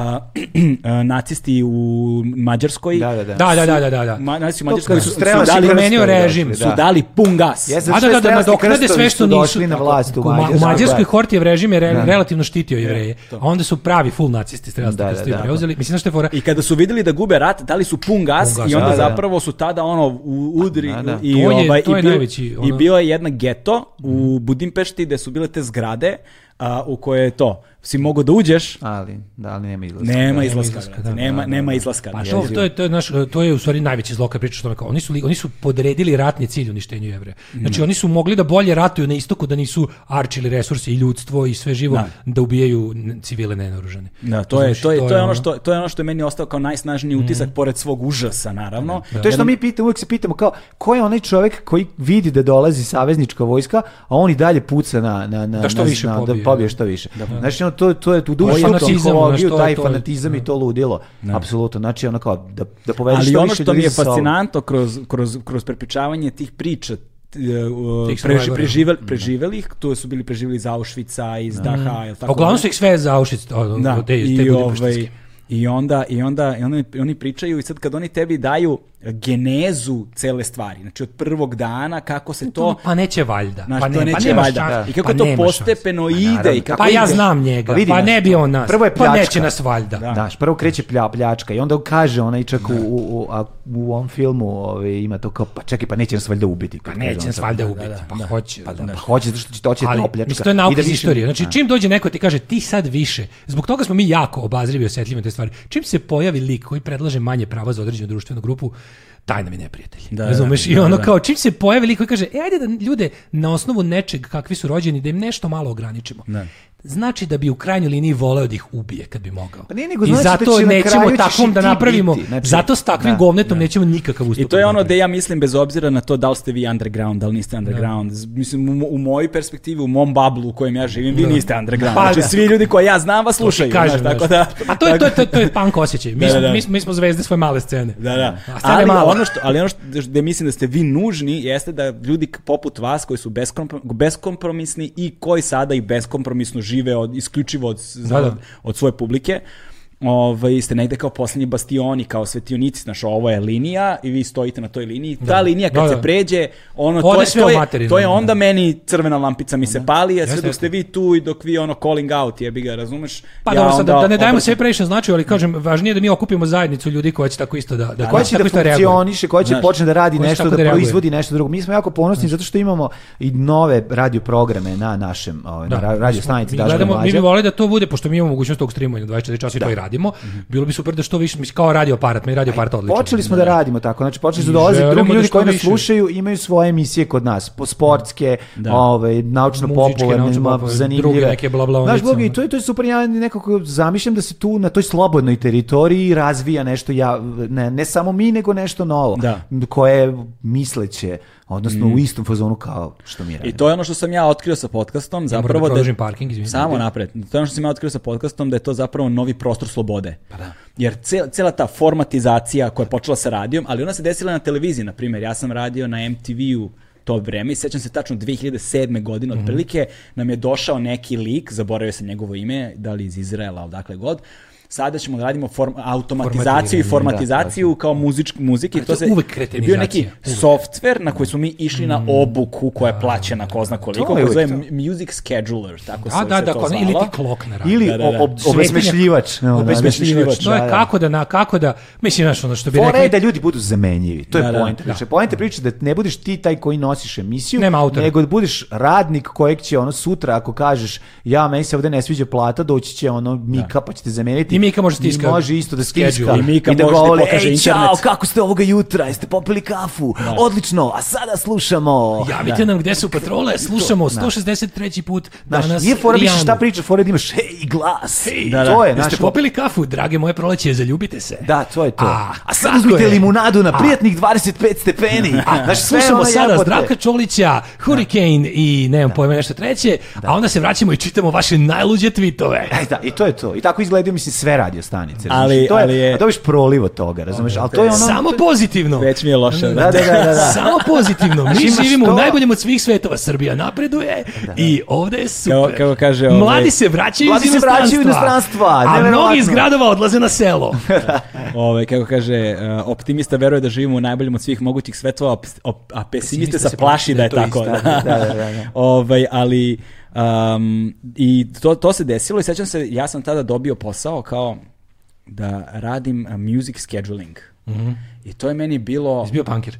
a, nacisti u Mađarskoj, Da, da, da. Da, da, da, da, da. da. Ma, nacisti u To Mađarskoj kad su, su su strelaši dali, krstovi promenio došli, režim, su dali pun gas. Jeste, A da, da, da, Šesnaesti nadoknade sve krstovi što su nisu. došli na tako. vlast u Ma- Mađarskoj, Mađarskoj da. Hortijev režim je re- relativno štitio jevreje. A onda su pravi full nacisti strelali Da, da, da, da. preuzeli. Mislim, znaš što je fora? I kada su vidjeli da gube rat, dali su pun gas, Pun gas, i onda da, da. zapravo su tada ono u udri Da, da. i To je- ovaj, to je i, bio, najveći, ono- i bio je jedna geto u Budimpešti gde su bile te zgrade a, u koje je to si mogao da uđeš, Ali, da, ali nema izlaska. nema da. izlaska, brate, nema, nema izlaska. Pa brate. to, to je to je naš to je u stvari najveći zloka priča što me kao oni su li- oni su podredili ratni cilj uništenju Jevreja. Mm. Znači oni su mogli da bolje ratuju na istoku da nisu arčili resurse i ljudstvo i sve živo Da. da, ubijaju n- civile nenaoružane. Da, to je, Znači, to je, to je ono što, to je ono što je meni ostao kao Mhm. najsnažniji utisak pored svog užasa, naravno. To je što mi pitamo, uvijek se pitamo kao, ko je onaj čovjek koji vidi da dolazi saveznička vojska, a on i dalje puca na, na, na, Da što na- više na- pobije. da pobije što više. Znači, ono, to, to je To tu je dušu fanatizam, psihologiju, znaš, to je- taj to je- fanatizam i to ludilo. Apsolutno, znači ono kao, da, da povedeš Ali što ono više što mi ljudi je sa sobom. fascinantno kroz, kroz, kroz prepričavanje tih priča t- e, u- Tih preži, Mhm. survivora. preživel, preživelih, tu su bili preživjeli iz Auschwitza, iz Daha, jel tako? A Uglavnom su dalje? ih sve za Auschwitz, o, da, o, te, te i, ovaj, budipeštinske. i onda, i onda i oni, oni pričaju i sad kad oni tebi daju genezu cele stvari, znači od prvog dana kako se to... pa neće valjda. Znaš, pa to ne, pa neće nemaš valjda. šanse. I kako Pa to nemaš šanse. postepeno ide i kako Pa ja ide. znam njega, Pa pa, vidi nas. ne bi on nas. Prvo je pa neće pljačka. nas valjda. Znaš, prvo kreće plja, pljačka i onda on kaže onaj čak u, u, u, a u ovom filmu ovaj, ima to kao, pa čekaj, pa neće nas valjda ubiti. Pa neće nas valjda ubiti, pa hoće. Pa, da, pa hoće, zato što će to hoće da opljačka. mislim, to je I da nauka iz više- istorije. Znači, čim dođe neko i ti kaže ti sad više, zbog toga smo mi jako obazrivi i osjetljivi na te stvari. Čim se pojavi lik koji predlaže manje prava za određenu društvenu grupu, taj nam je neprijatelj. Da, Razumeš? da, I da, ono da. kao, čim se pojavi lik koji kaže, e, ajde da ljude na osnovu nečeg kakvi su rođeni, da im nešto malo ograničimo. znači da bi u krajnjoj liniji voleo da ih ubije kad bi mogao. Pa nije nego I znači da zato će na kraju nećemo ćeš i takvom da ti napravimo, biti. Znači, zato s takvim da, govnetom nećemo nikakav ustupak. I to je ono napraviti. gde ja mislim, bez obzira na to da li ste vi underground, da li niste underground. Z- Mislim, u, mo- u mojoj perspektivi, u mom bablu u kojem ja živim, vi niste underground. Pa znači, da. svi ljudi koji ja znam vas slušaju. Kažem, znaš, tako da, znaš. A to je, to, je- to, je- to je punk osjećaj. Mi, Da, smo- da, da. mi, smo- mi smo zvezde svoje male scene. Da, da. A scene Ali malo. ono što ali ono što gde mislim da ste vi nužni jeste da ljudi k- poput vas koji su beskompro- beskompromisni i koji sada i beskompromisno žive od isključivo od s- Da, da. od, od svoje publike. Ovaj ste negde kao poslednji bastioni, kao svetionici, znaš, ovo je linija i vi stojite na toj liniji. Ta linija kad Da, se da. pređe, ono Ode to je, sve to u je, materinu, to je da. onda meni crvena lampica mi se pali, a sve Jeste, dok ste vi tu i dok vi ono calling out, jebi ga, razumeš? Pa Ja dobro, sad, da, onda da ne dajemo obratim- sve previše značaju, ali kažem, važnije je da mi okupimo zajednicu ljudi koja će tako isto da... da Koja će tako da isto reaguju. funkcioniše, koja će Znaš, počne da radi koja će nešto, tako da, da reaguje. proizvodi nešto drugo. Mi smo jako ponosni zato što imamo i nove radio programe na našem ovaj, na Da. ra- radio stanici Mi, Daška i gledamo, mi bi Mlađe. voleli da to bude, pošto mi imamo mogućnost tog streamovanja 24 časa i to i radimo. Bilo bi super da što više, mislim, kao radio aparat, meni radio aparat odlično. Mhm. Počeli smo da radimo tako, znači počeli su I dolaze želimo drugi da ljudi što koji nas više. slušaju, imaju svoje emisije kod nas, po sportske, ovaj, naučno popularne, Muzičke, ma, naučno-popularne, zanimljive. druge neke blablaonice, Znaš, Boga, i ono. to je, to je super, ja nekako zamišljam da se tu na toj slobodnoj teritoriji razvija nešto, ja, ne, ne samo mi, nego nešto novo, Da. koje je misleće, odnosno u istom fazonu kao što mi radimo. I to je ono što sam ja otkrio sa podcastom, moram zapravo da da, produžim parking, izvinite. Samo napred. To je ono što sam ja otkrio sa podcastom, da je to zapravo novi prostor slobode. Pa da. Jer ce- cela ta formatizacija koja je počela sa radijom, ali ona se desila na televiziji, na primjer. Ja sam radio na MTV-u to vreme i sećam se tačno 2007. godine Mhm. otprilike nam je došao neki lik, zaboravio sam njegovo ime, da li iz Izraela, ali dakle god, sada ćemo da radimo form, automatizaciju i Formatiranje, formatizaciju kao muzičk, muzike. Ali to je uvek bio neki kretenizacija, uvek. software na koji smo mi išli na obuku koja je plaćena ko zna koliko, To je koja se zove uvek to. M- Music Scheduler, tako se, Da, da, se da, to kao- zvalo. ili ti klok na radio. Ili Da, da, da. ob- ob- obesmešljivač. ono, Obesmešljivač, To je da, da. kako da, na, kako da, mislim, znaš, ono što bi Fora je rekli, da ljudi budu zamenjivi. To je Da, da, poenta priče. Poenta priče da ne budeš ti taj koji nosiš emisiju, Nema autora. nego da budeš radnik kojeg će ono sutra ako kažeš ja meni se ovde ne sviđa plata, doći će ono Mika pa će te zameniti. I Mika može stiska I može isto da stiska. schedule. I Mika da može da govori, pokaže Ej, čao, internet." kako ste ovoga jutra? Jeste popili kafu? Odlično, a sada slušamo. javite nam gde su patrole, slušamo 163. put Znaš, danas nije fora više Rijanu. šta priča, fora je da imaš hej glas. Da, da. To je, Jeste znaš, ono- popili kafu, drage moje proleće, zaljubite se. Da, to je to. A, A, sad tako uzmite je. limunadu na A. prijatnih 25 stepeni. A, znaš, sve Slušamo ono sada jebote. Zdravka Čolića, Hurricane i nemam pojma nešto treće, a onda se vraćamo i čitamo vaše najluđe tweetove. E, da, i to je to. I tako izgledaju, mislim, sve radio stanice. razumeš? Ali- to je, ali je- a Dobiš proliv od toga, razumeš? Ali to je ono... Samo pozitivno. Već mi je loše. Da, da, da, da. da. Samo pozitivno. Mi Znači, imaš živimo to- u najboljem od svih svetova. Srbija napreduje i ovde je super. Kako- kako kaže ovaj- Mladi se vraćaju Mladi iz se inostranstva. vraćaju iz inostranstva, A neverovatno. mnogi iz gradova odlaze na selo. Ove, kako kaže, e, optimista veruje da živimo u najboljem od svih mogućih svetova, a pes- op- a pesimista se plaši da je to tako. isto. Da, Da, da, da, da. Ovaj, ali, um, i to, to se desilo i sećam se, ja sam tada dobio posao kao da radim a, music scheduling. I to je meni bilo... Jesi bio punkir?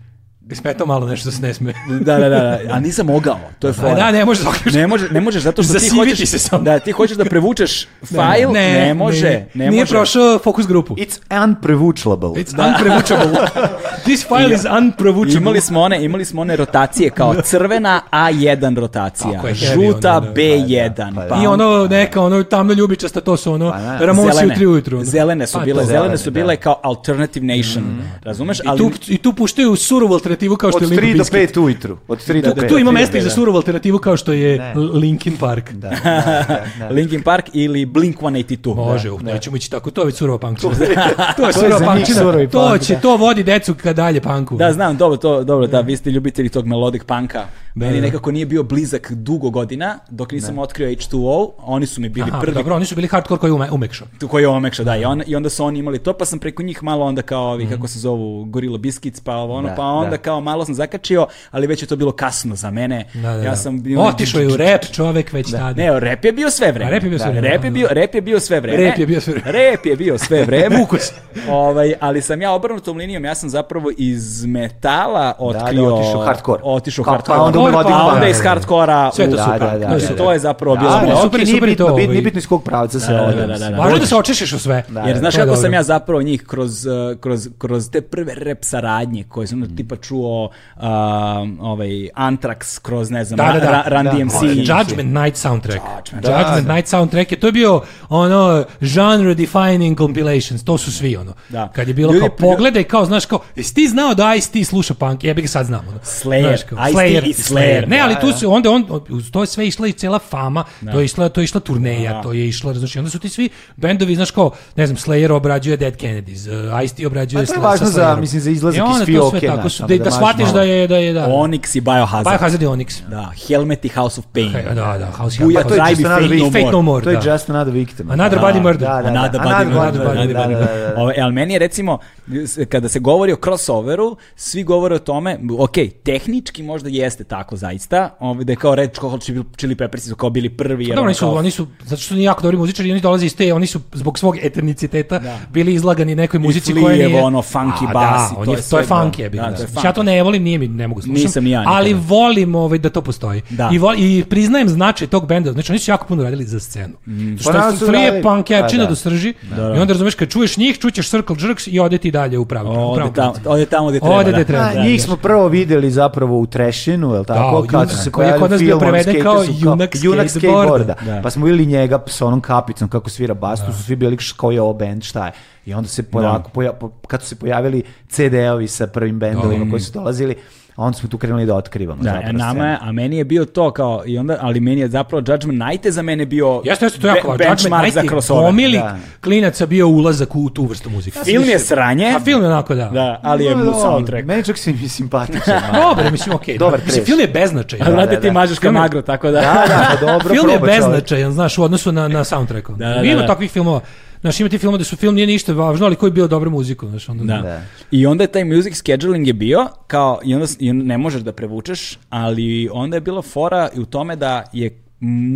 Smetao malo nešto da se ne sme. Da, da, da, da, a nisam mogao, to je fora. A da, ne možeš da okriš. Ne, može, ne možeš zato što ti Zasiviti hoćeš se samo. da ti hoćeš da prevučeš fajl, ne, može, ne, Nije može. prošao fokus grupu. It's unprevučable. It's unprevučable. This file is unprevučable. Imali smo one, imali smo one rotacije kao crvena A1 rotacija, Tako je, heavy žuta ono, da. B1, Pa da, pa da. pa I ono neka, ono tamno ljubičasta, to su ono, da. Ramonsi u tri ujutru. ono. Zelene su Pa bile, to. Mhm. zelene zelene, su da. bile kao Alternative Nation, razumeš? I tu, I tu puštaju surovu alternativu kao što Od je Limp 3 do Bizkit. 5 ujutru. Od 3 do 5. Tu ima mesta i za surovu alternativu kao što je Ne. Linkin Park. Da, da, da, da. Linkin Park ili Blink-182. Može, uh, nećemo ići tako, to je već surova punkčina. to je To je surova za njih punkčina. surovi To punk, će, da. to vodi decu ka dalje punku. Da, znam, dobro, to, dobro, da, vi ste ljubitelji tog melodic punka. Meni Mhm. da. nekako nije bio blizak dugo godina, dok nisam otkrio H2O, a oni su mi bili Aha, prvi dobro, oni su bili hardcore koji ume, umekšao. tu koji je omekša, da, i, on, i onda su oni imali to, pa sam preko njih malo onda kao ovi, Mhm. kako se zovu, Gorilla Biscuits, pa ovo ono, Da, pa onda da. kao malo sam zakačio, ali već je to bilo kasno za mene. Da, da, ja da. sam bio... Otišao je u rap čovek već tada. Ne, rep je bio sve vreme. A rep je bio sve Da, vreme, Rep je da, bio, rep je bio sve vreme. Rep je bio sve vreme. Rep je bio sve vreme. Vuko se. ovaj, ali sam ja obrnutom linijom, ja sam zapravo iz metala otkrio... otišao hardcore. Otišao Kao- hardcore. pa onda u melodic a onda punk. iz hardkora Sve je to u- super. Da, da, da. Znači, To je to je zapravo bilo Da, Ali da, super, okej, nije super je to, bitno, bit- ovaj. nije bitno iz kog pravca se ovo da, da, da, da. Važno je da se očešeš u sve. Jer znaš To Pa je kako sam dobro. ja zapravo njih kroz, eh, kroz, kroz te prve rep saradnje koje sam Mm. ono, tipa čuo a, ovaj Antrax kroz ne znam Da, da, da. Ra- Ra- Run Da. DMC. Ovaj, Judgment Night soundtrack. Judgment, Da, da. Night soundtrack je to je bio ono genre defining compilations, to su svi ono. Da. Kad je bilo Ljudi- kao pogledaj kao znaš kao jesi ti znao da Ice-T sluša punk? Jebe ga sad znamo. ono. Slayer, Znaš kao, Ice-T i Slayer. Ne, ali Da, tu da. se onda on uz to je sve išla i cela fama, to je išla to je išla turneja, to je išla, znači onda su ti svi bendovi znaš kao ne znam Slayer obrađuje Dead Kennedys, uh, Ice-T obrađuje Pa to je Sla- važno sa za, Slayerom. mislim, za izlazak I iz onda to sve fioke, tako znaš, su samo da, da da maš shvatiš malo. da je da je da. Onyx i Biohazard. Biohazard i Onyx. Da, Helmet i House of Pain. Da, da, House Buja Helmet. to je Drive i čisto Fate No More. Fate Pa narod- No More. To je da. Just Another Victim. Another Body Murder. Da, da, da. Another Body Murder, Another Another Body Murder. da, da, da. Ovaj, ali meni je recimo, s- kada se govori o crossoveru, svi govore o tome, ok, tehnički možda jeste tako zaista, ovaj, da je kao Red Hot Chili- Chili Peppersi su kao bili prvi. Jer Pa Dobro, ono oni su, kao, oni su, zato što su oni jako dobri muzičari, i oni dolaze iz te, oni su zbog svog eterniciteta bili izlagani nekoj muzici Fleaevo, koja nije... ono, funky A, bas i da, on to je, je to je sve, da. funky, je Da, da, to je Ja funky. to ne volim, nije mi, ne mogu slušati. Nisam ni ja nikada. Ali volim ovaj, da to postoji. Da. I, vol, I priznajem značaj tog benda, znači oni su jako puno radili za scenu. Mm. Što Pa naravno su su free radili. punk Pa, jevčina da. do srži, i onda razumeš, kad čuješ njih, čućeš Circle Jerks i ode ti dalje u pravu. u Ode pravu tamo, pravcu. ode tamo gde treba. Ode gde da. treba. Da, Da, njih da. smo prvo videli zapravo u Trešinu, je li tako? Da, kad junak, su se koji je pojavili kod nas bio filmom, preveden skateri kao su junak junak skateboarda. skateboarda. Da. Pa smo videli njega s onom kapicom kako svira bas, tu su svi bili "Š, koji je ovo band, šta je. I onda se polako, poja, po- kad su se pojavili CD-ovi sa prvim bendovima koji su dolazili, a onda smo tu krenuli da otkrivamo. Da, zapravo e, nama scenu. je, a meni je bio to kao, i onda, ali meni je zapravo Judgment Night je za mene bio Jeste, jeste, to je jako be- važno. Judgment benchmark Night za je crossover. gomili Da. klinaca bio ulazak u tu vrstu muzike. Film je sranje, A film je onako, da. da, ali je No, dobro, soundtrack. Meni čak se mi simpatičan. Dobro, mislim, okej. Okay. Dobar mislim, trash. film je beznačajan. A Znate da, ti da. mažeš kao Film je- magro, tako da. da, da, pa dobro, Film je proba čovjek. beznačajan, znaš, u odnosu na, na soundtrack. Da, da, ima da. takvih filmova. Znaš, ima ti filmova da su film nije ništa važno, ali koji je bio dobru muziku, znaš, onda... Da. Da. I onda je taj music scheduling je bio kao i onda s- i onda ne možeš da prevučeš, ali onda je bila fora i u tome da je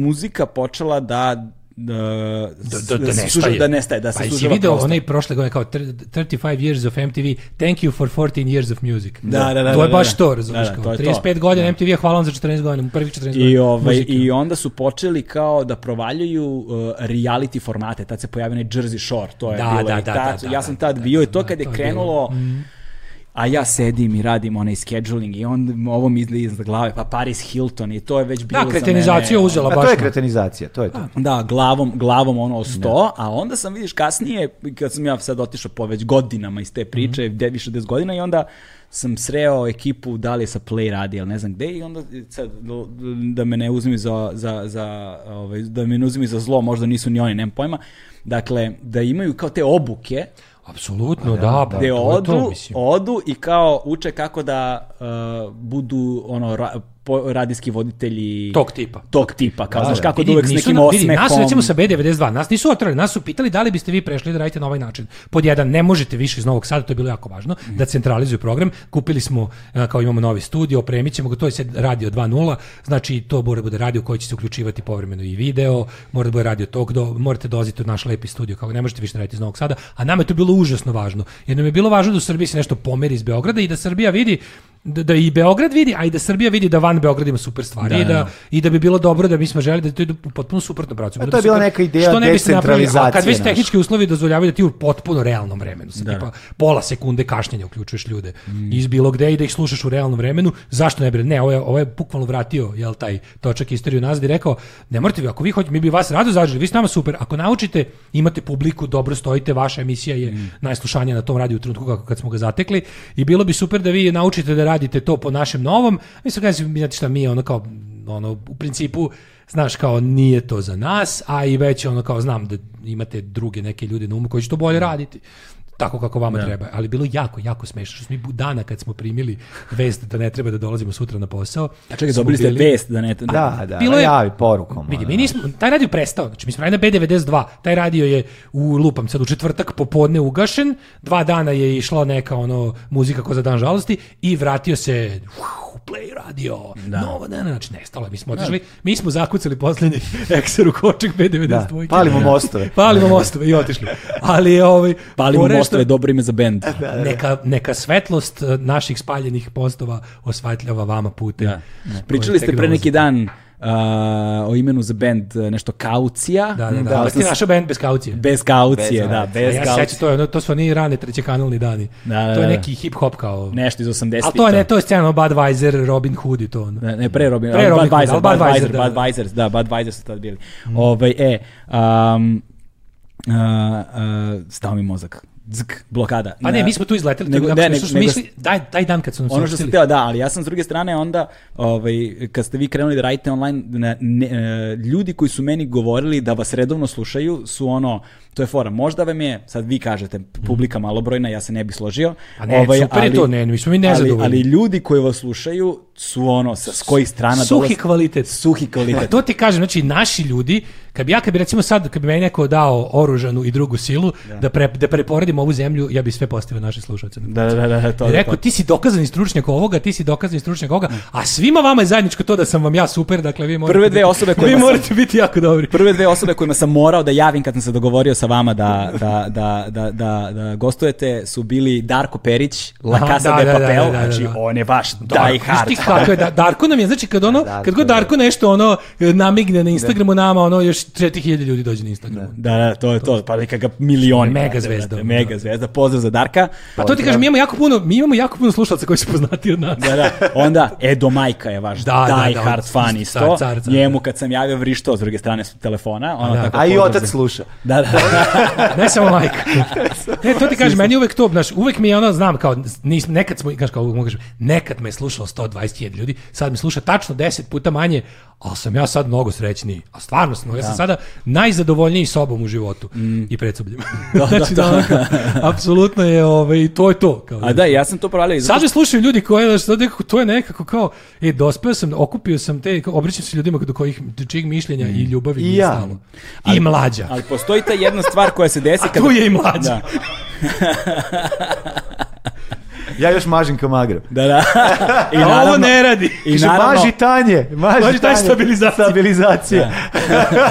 muzika počela da da, Da, da, da se nestaje. sužava- da nestaje, da se pa jesi sužava video prostor. onaj prošle godine kao tr- 35 years of MTV, thank you for 14 years of music. Da, da, da, To je da, baš da. to, razumiješ, Da, da, kao to je to. 35 godina MTV, hvala vam za 14 godina, prvih 14 godina I, ovaj, muzike. I onda su počeli kao da provaljuju uh, reality formate, tad se pojavio onaj Jersey Shore, to je Da, bilo da, i da, tad, da, da, ja sam da, tad da, bio da, i to da, kad je to je Mhm. krenulo, a ja sedim i radim onaj scheduling i onda ovo mi izli iz glave, pa Paris Hilton i to je već bilo Da, za mene, kretenizacija ono, uzela A baš. Pa to je ono. kretenizacija, to je to. Da, glavom, glavom ono o sto, a onda sam vidiš kasnije, kad sam ja sad otišao po već godinama iz te priče, Mhm. mm više od 10 godina i onda sam sreo ekipu da li je sa Play radi ili ne znam gde i onda sad l- da me ne uzmi za, za, za ovaj, da me ne uzmi za zlo, možda nisu ni oni, nemam pojma. Dakle, da imaju kao te obuke Apsolutno, da, pa, to gde je odu, to, mislim. odu i kao uče kako da uh, budu ono ra, po, radijski voditelji Tog tipa. tog tipa, kao znaš kako da Vidi, uvek s nisu nekim na- vidi, osmehom. Nas recimo sa B92, nas nisu otrali, nas su pitali da li biste vi prešli da radite na ovaj način. Pod jedan, ne možete više iz Novog Sada, to je bilo jako važno, da centralizuju program. Kupili smo, e, kao imamo novi studio, opremit ćemo ga, to je sad radio 2.0, znači to mora da bude radio koji će se uključivati povremeno i video, mora da bude radio tog, do, morate dolaziti u naš lepi studio, kako ne možete više raditi iz Novog Sada, a nama je to bilo užasno važno, jer nam je bilo važno da u Srbiji se nešto pomeri iz Beograda i da Srbija vidi da, da i Beograd vidi, a i da Srbija vidi da van Beograda ima super stvari Da, i, da, da. i da bi bilo dobro da mi smo želi da to ide u potpuno suprotnom pravcu. A to je bila neka ideja Što ne biste napravili, a kad decentralizacije već naše. tehnički uslovi dozvoljavaju da ti u potpuno realnom vremenu, sa tipa pola sekunde kašnjenja uključuješ ljude Mm. iz bilo gde i da ih slušaš u realnom vremenu, zašto ne bi, ne, ovo je, ovo je bukvalno vratio jel, taj točak istoriju nazad i rekao, ne morate vi, ako vi hoćete, mi bi vas rado zažili, vi ste nama super, ako naučite, imate publiku, dobro stojite, vaša emisija je Mm. najslušanija na tom radiju u trenutku kako kad smo ga zatekli i bilo bi super da vi naučite da radite to po našem novom, mislim, kažem, znate šta, mi ono kao, ono, u principu, znaš kao nije to za nas, a i već ono kao znam da imate druge neke ljude na umu koji će to bolje raditi tako kako vama treba. Ali bilo jako, jako smešno. Što smo mi bu- dana kad smo primili vest da ne treba da dolazimo sutra na posao. A čekaj, dobili ste vest da ne... Da, da, Bilo je- javi porukom. Vidi, ono. mi nismo, taj radio je prestao, znači mi smo radili na B92, taj radio je u lupam sad u četvrtak popodne ugašen, dva dana je išla neka ono muzika ko za dan žalosti i vratio se uh, play radio, novo dana, znači nestalo je, mi smo otišli, mi smo zakucali posljednji ekser u koček B92. Da, palimo mostove. Palimo mostove i otišli. Ali ovaj Palimo fora je postave dobro ime za bend. E, Neka, neka svetlost eh, naših spaljenih postova osvetljava vama pute. Da. Pričali ste pre neki dan a, o imenu za bend, e, nešto kaucija. Da, da, da. Pa sam Ali ste s- našao band bez kaucije. Bez kaucije, Bez- da, bez A ja se kaucije. sećam, to, je ono, to su oni rane trećekanalni dani. Da, da, to je da. neki hip-hop kao... Nešto iz 80-ih. Ali to je, ne, to je scena ono, Budweiser, Robin Hood i to. Ono. Ne, ne, pre Robin, Pre pre Robin Robin Hood, Budweiser, ali Budweiser, Budweiser, Budweiser, da, da, da. Budweiser su tad bili. Ovaj, e, um, uh, uh, stao mi mozak. Zk, blokada. A ne, mi smo tu izleteli. Nego- Nego, ne, ne, ne, što smo nego- mislili, daj, taj dan kad su nam Ono što sam saopštili. htio, da, ali ja sam s druge strane onda, ovaj, kad ste vi krenuli da radite online, ne, ne, e, ljudi koji su meni govorili da vas redovno slušaju su ono, to je fora, možda vam je, sad vi kažete, publika malobrojna, ja se ne bi složio. Mhm. ovaj, A ne, super je to, ne, mi smo mi nezadovoljni. Ali, ali ljudi koji vas slušaju su ono, sa, s kojih strana Suhi kvalitet. Suhi kvalitet. E, to ti kažem, znači naši ljudi, kad bi ja, kad bi recimo sad, kad bi meni neko dao oružanu i drugu silu, da, pre, da preporedim ovu zemlju, ja bi sve postavio naše slušalce. Da, da, da, da, pa. to I je rekao, ti si dokazani stručnjak ovoga, ti si dokazani stručnjak ovoga, a svima vama je zajedničko to da sam vam ja super, dakle vi morate, Prve biti- dve osobe vi kojima sam- morate biti jako dobri. Prve dve osobe kojima sam morao da javim kad sam se dogovorio sa vama da, da, da, da, da, da gostujete su bili Darko Perić, La Aha, Casa da, de da, da, Papel, da, da, znači da. on je vaš die Darko, hard. znaš ti kako je, da, Darko nam je, znači kad ono, Darko, kad god da. Darko nešto ono e, namigne na Instagramu nama, ono još 4000 ljudi dođe na Instagramu. Da, da, to je to, pa neka ga milioni. Mega brate, zvezda. brate, Mega zvezda, pozdrav za Darka. Pa to ti kažem, mi imamo jako puno, mi imamo jako puno slušalaca koji su poznati od nas. Da, da. Onda Edo Majka je vaš Da, da, die da, hard on- fan car, isto. car, car, Njemu kad sam javio vrištao s druge strane s telefona, ono da. tako A i pozdrav za- otac sluša. Da, da, da. ne samo like. Ne, to ti kažem, meni je uvek to, znaš, uvek mi je ono, znam, kao, nis, nekad smo, znaš, kao, mogu kažem, nekad me je slušalo 120.000 ljudi, sad me sluša tačno 10 puta manje, ali sam ja sad mnogo srećniji. A stvarno sam, ja sam sada najzadovoljniji sobom u životu i predsobljima. Da, znači, da, onako, apsolutno je, ovaj, to je to. Kao, A da, ja sam to provalio. Sad me slušaju ljudi koji, znaš, sad nekako, to je nekako kao, e, dospeo sam, okupio sam te, kao, obraćam se ljudima do kojih, do čijeg mišljenja i ljubavi I nije ja. stalo. I mlađa. Mm. Ali postoji ta jedna stvar koja se desi A tu je i mlađa. Da. Ja još mažem kamagram. Da, da. I A naravno, ovo ne radi. I Kaže, naravno, maži tanje, maži, Maži tanje, stabilizacija. stabilizacija.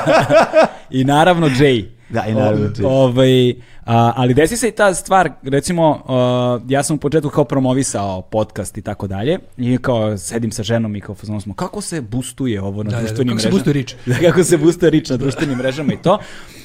i naravno Jay. Da, i naravno O- Jay. Ovaj, a, ali desi se i ta stvar, recimo, a, ja sam u početku kao promovisao podcast i tako dalje, i kao sedim sa ženom i kao fazonu smo, kako se boostuje ovo na Da, da, da, društvenim kako se mrežama? boostuje rič? Da, kako se boostuje rič na društvenim mrežama i to.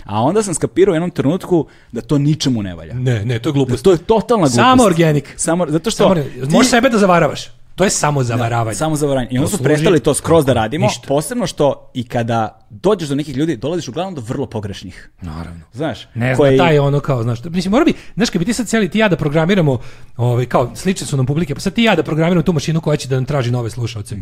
A onda sam skapirao u jednom trenutku da to ničemu ne valja. Ne, ne, to Da je glupost. to je totalna glupost. Mm. Samo organik. Samo, zato što... Samo, ti- možeš sebe da zavaravaš. To je samo zavaravanje. Samo zavaravanje. I onda su služi- prestali to skroz da radimo, Ništa. posebno što i kada dođeš do nekih ljudi, dolaziš uglavnom do vrlo pogrešnih. Naravno. Znaš, Ne koji- znam, taj je ono kao, znaš, to- mislim, mora bi, znaš, kad bi ti sad cijeli ti i ja da programiramo, ovaj, kao, slične su nam publike, pa sad ti i ja da programiramo tu mašinu koja će da nam traži nove slušalce.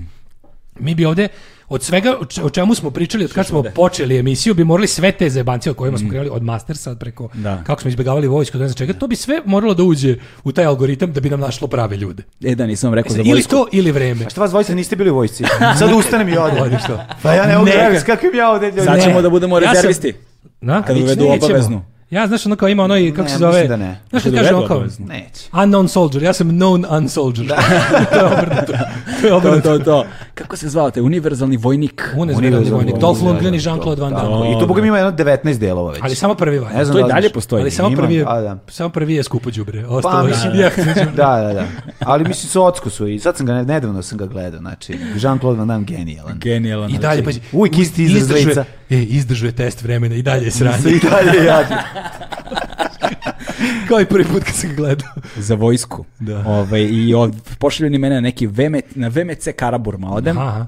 Mi bi ovde, od svega o č- o čemu smo pričali, od kad smo počeli emisiju, bi morali sve te zajebancije o kojima smo krenuli, od Mastersa preko, Mm. Da. kako smo izbegavali vojsku, da ne znam čega, to bi sve moralo da uđe u taj algoritam da bi nam našlo prave ljude. E da, nisam vam rekao za Ili vojsku. to, ili vreme. A što vas dvojica niste bili u vojsci? Sad ustanem i odem. Odi, što? Pa ja ne mogu Ne. reći, s kakvim ja ovdje ljudi. Sad Ne. ćemo da budemo Ja sam- rezervisti. Na? Kad uvedu Nećemo. obaveznu. Ja, znaš, ono kao ima ono i, kako Ne, se mislim zove, da ne. znaš kad Kad kaže uvedu ono kao, obaveznu. Neće. unknown soldier, ja sam known unsoldier. to je obrnuto. To je To, obrnuto. to, to. Kako se zvao taj univerzalni vojnik? Univerzalni vojnik, Dolph Lundgren i Jean-Claude Van Damme. Tako, I tu, boga mi, ima jedno 19 delova već. Ali samo prvi valja. Ne znam To i da li dalje znaš. postoji. Pa Ali samo Ima, prvi, je, a, da. samo prvi je skupo đubre. Ostalo Pa, je mislim, jeftino da, đubre. da, da. Ali mislim, su ocku su i sad sam ga, ne- nedavno sam ga gledao, znači, Jean-Claude Van Damme genijalan. Genijalan. znači, I dalje, pazi, Uvijek isti izraz izdržuje- lica. E, izdržuje test vremena i dalje je Pa sranje. I dalje ja. Kao i prvi put kad sam ga gledao. Za vojsku. Da. Ovaj, I od, pošalju ni mene na neki VMC, na VMC Karaburma odem. Aha.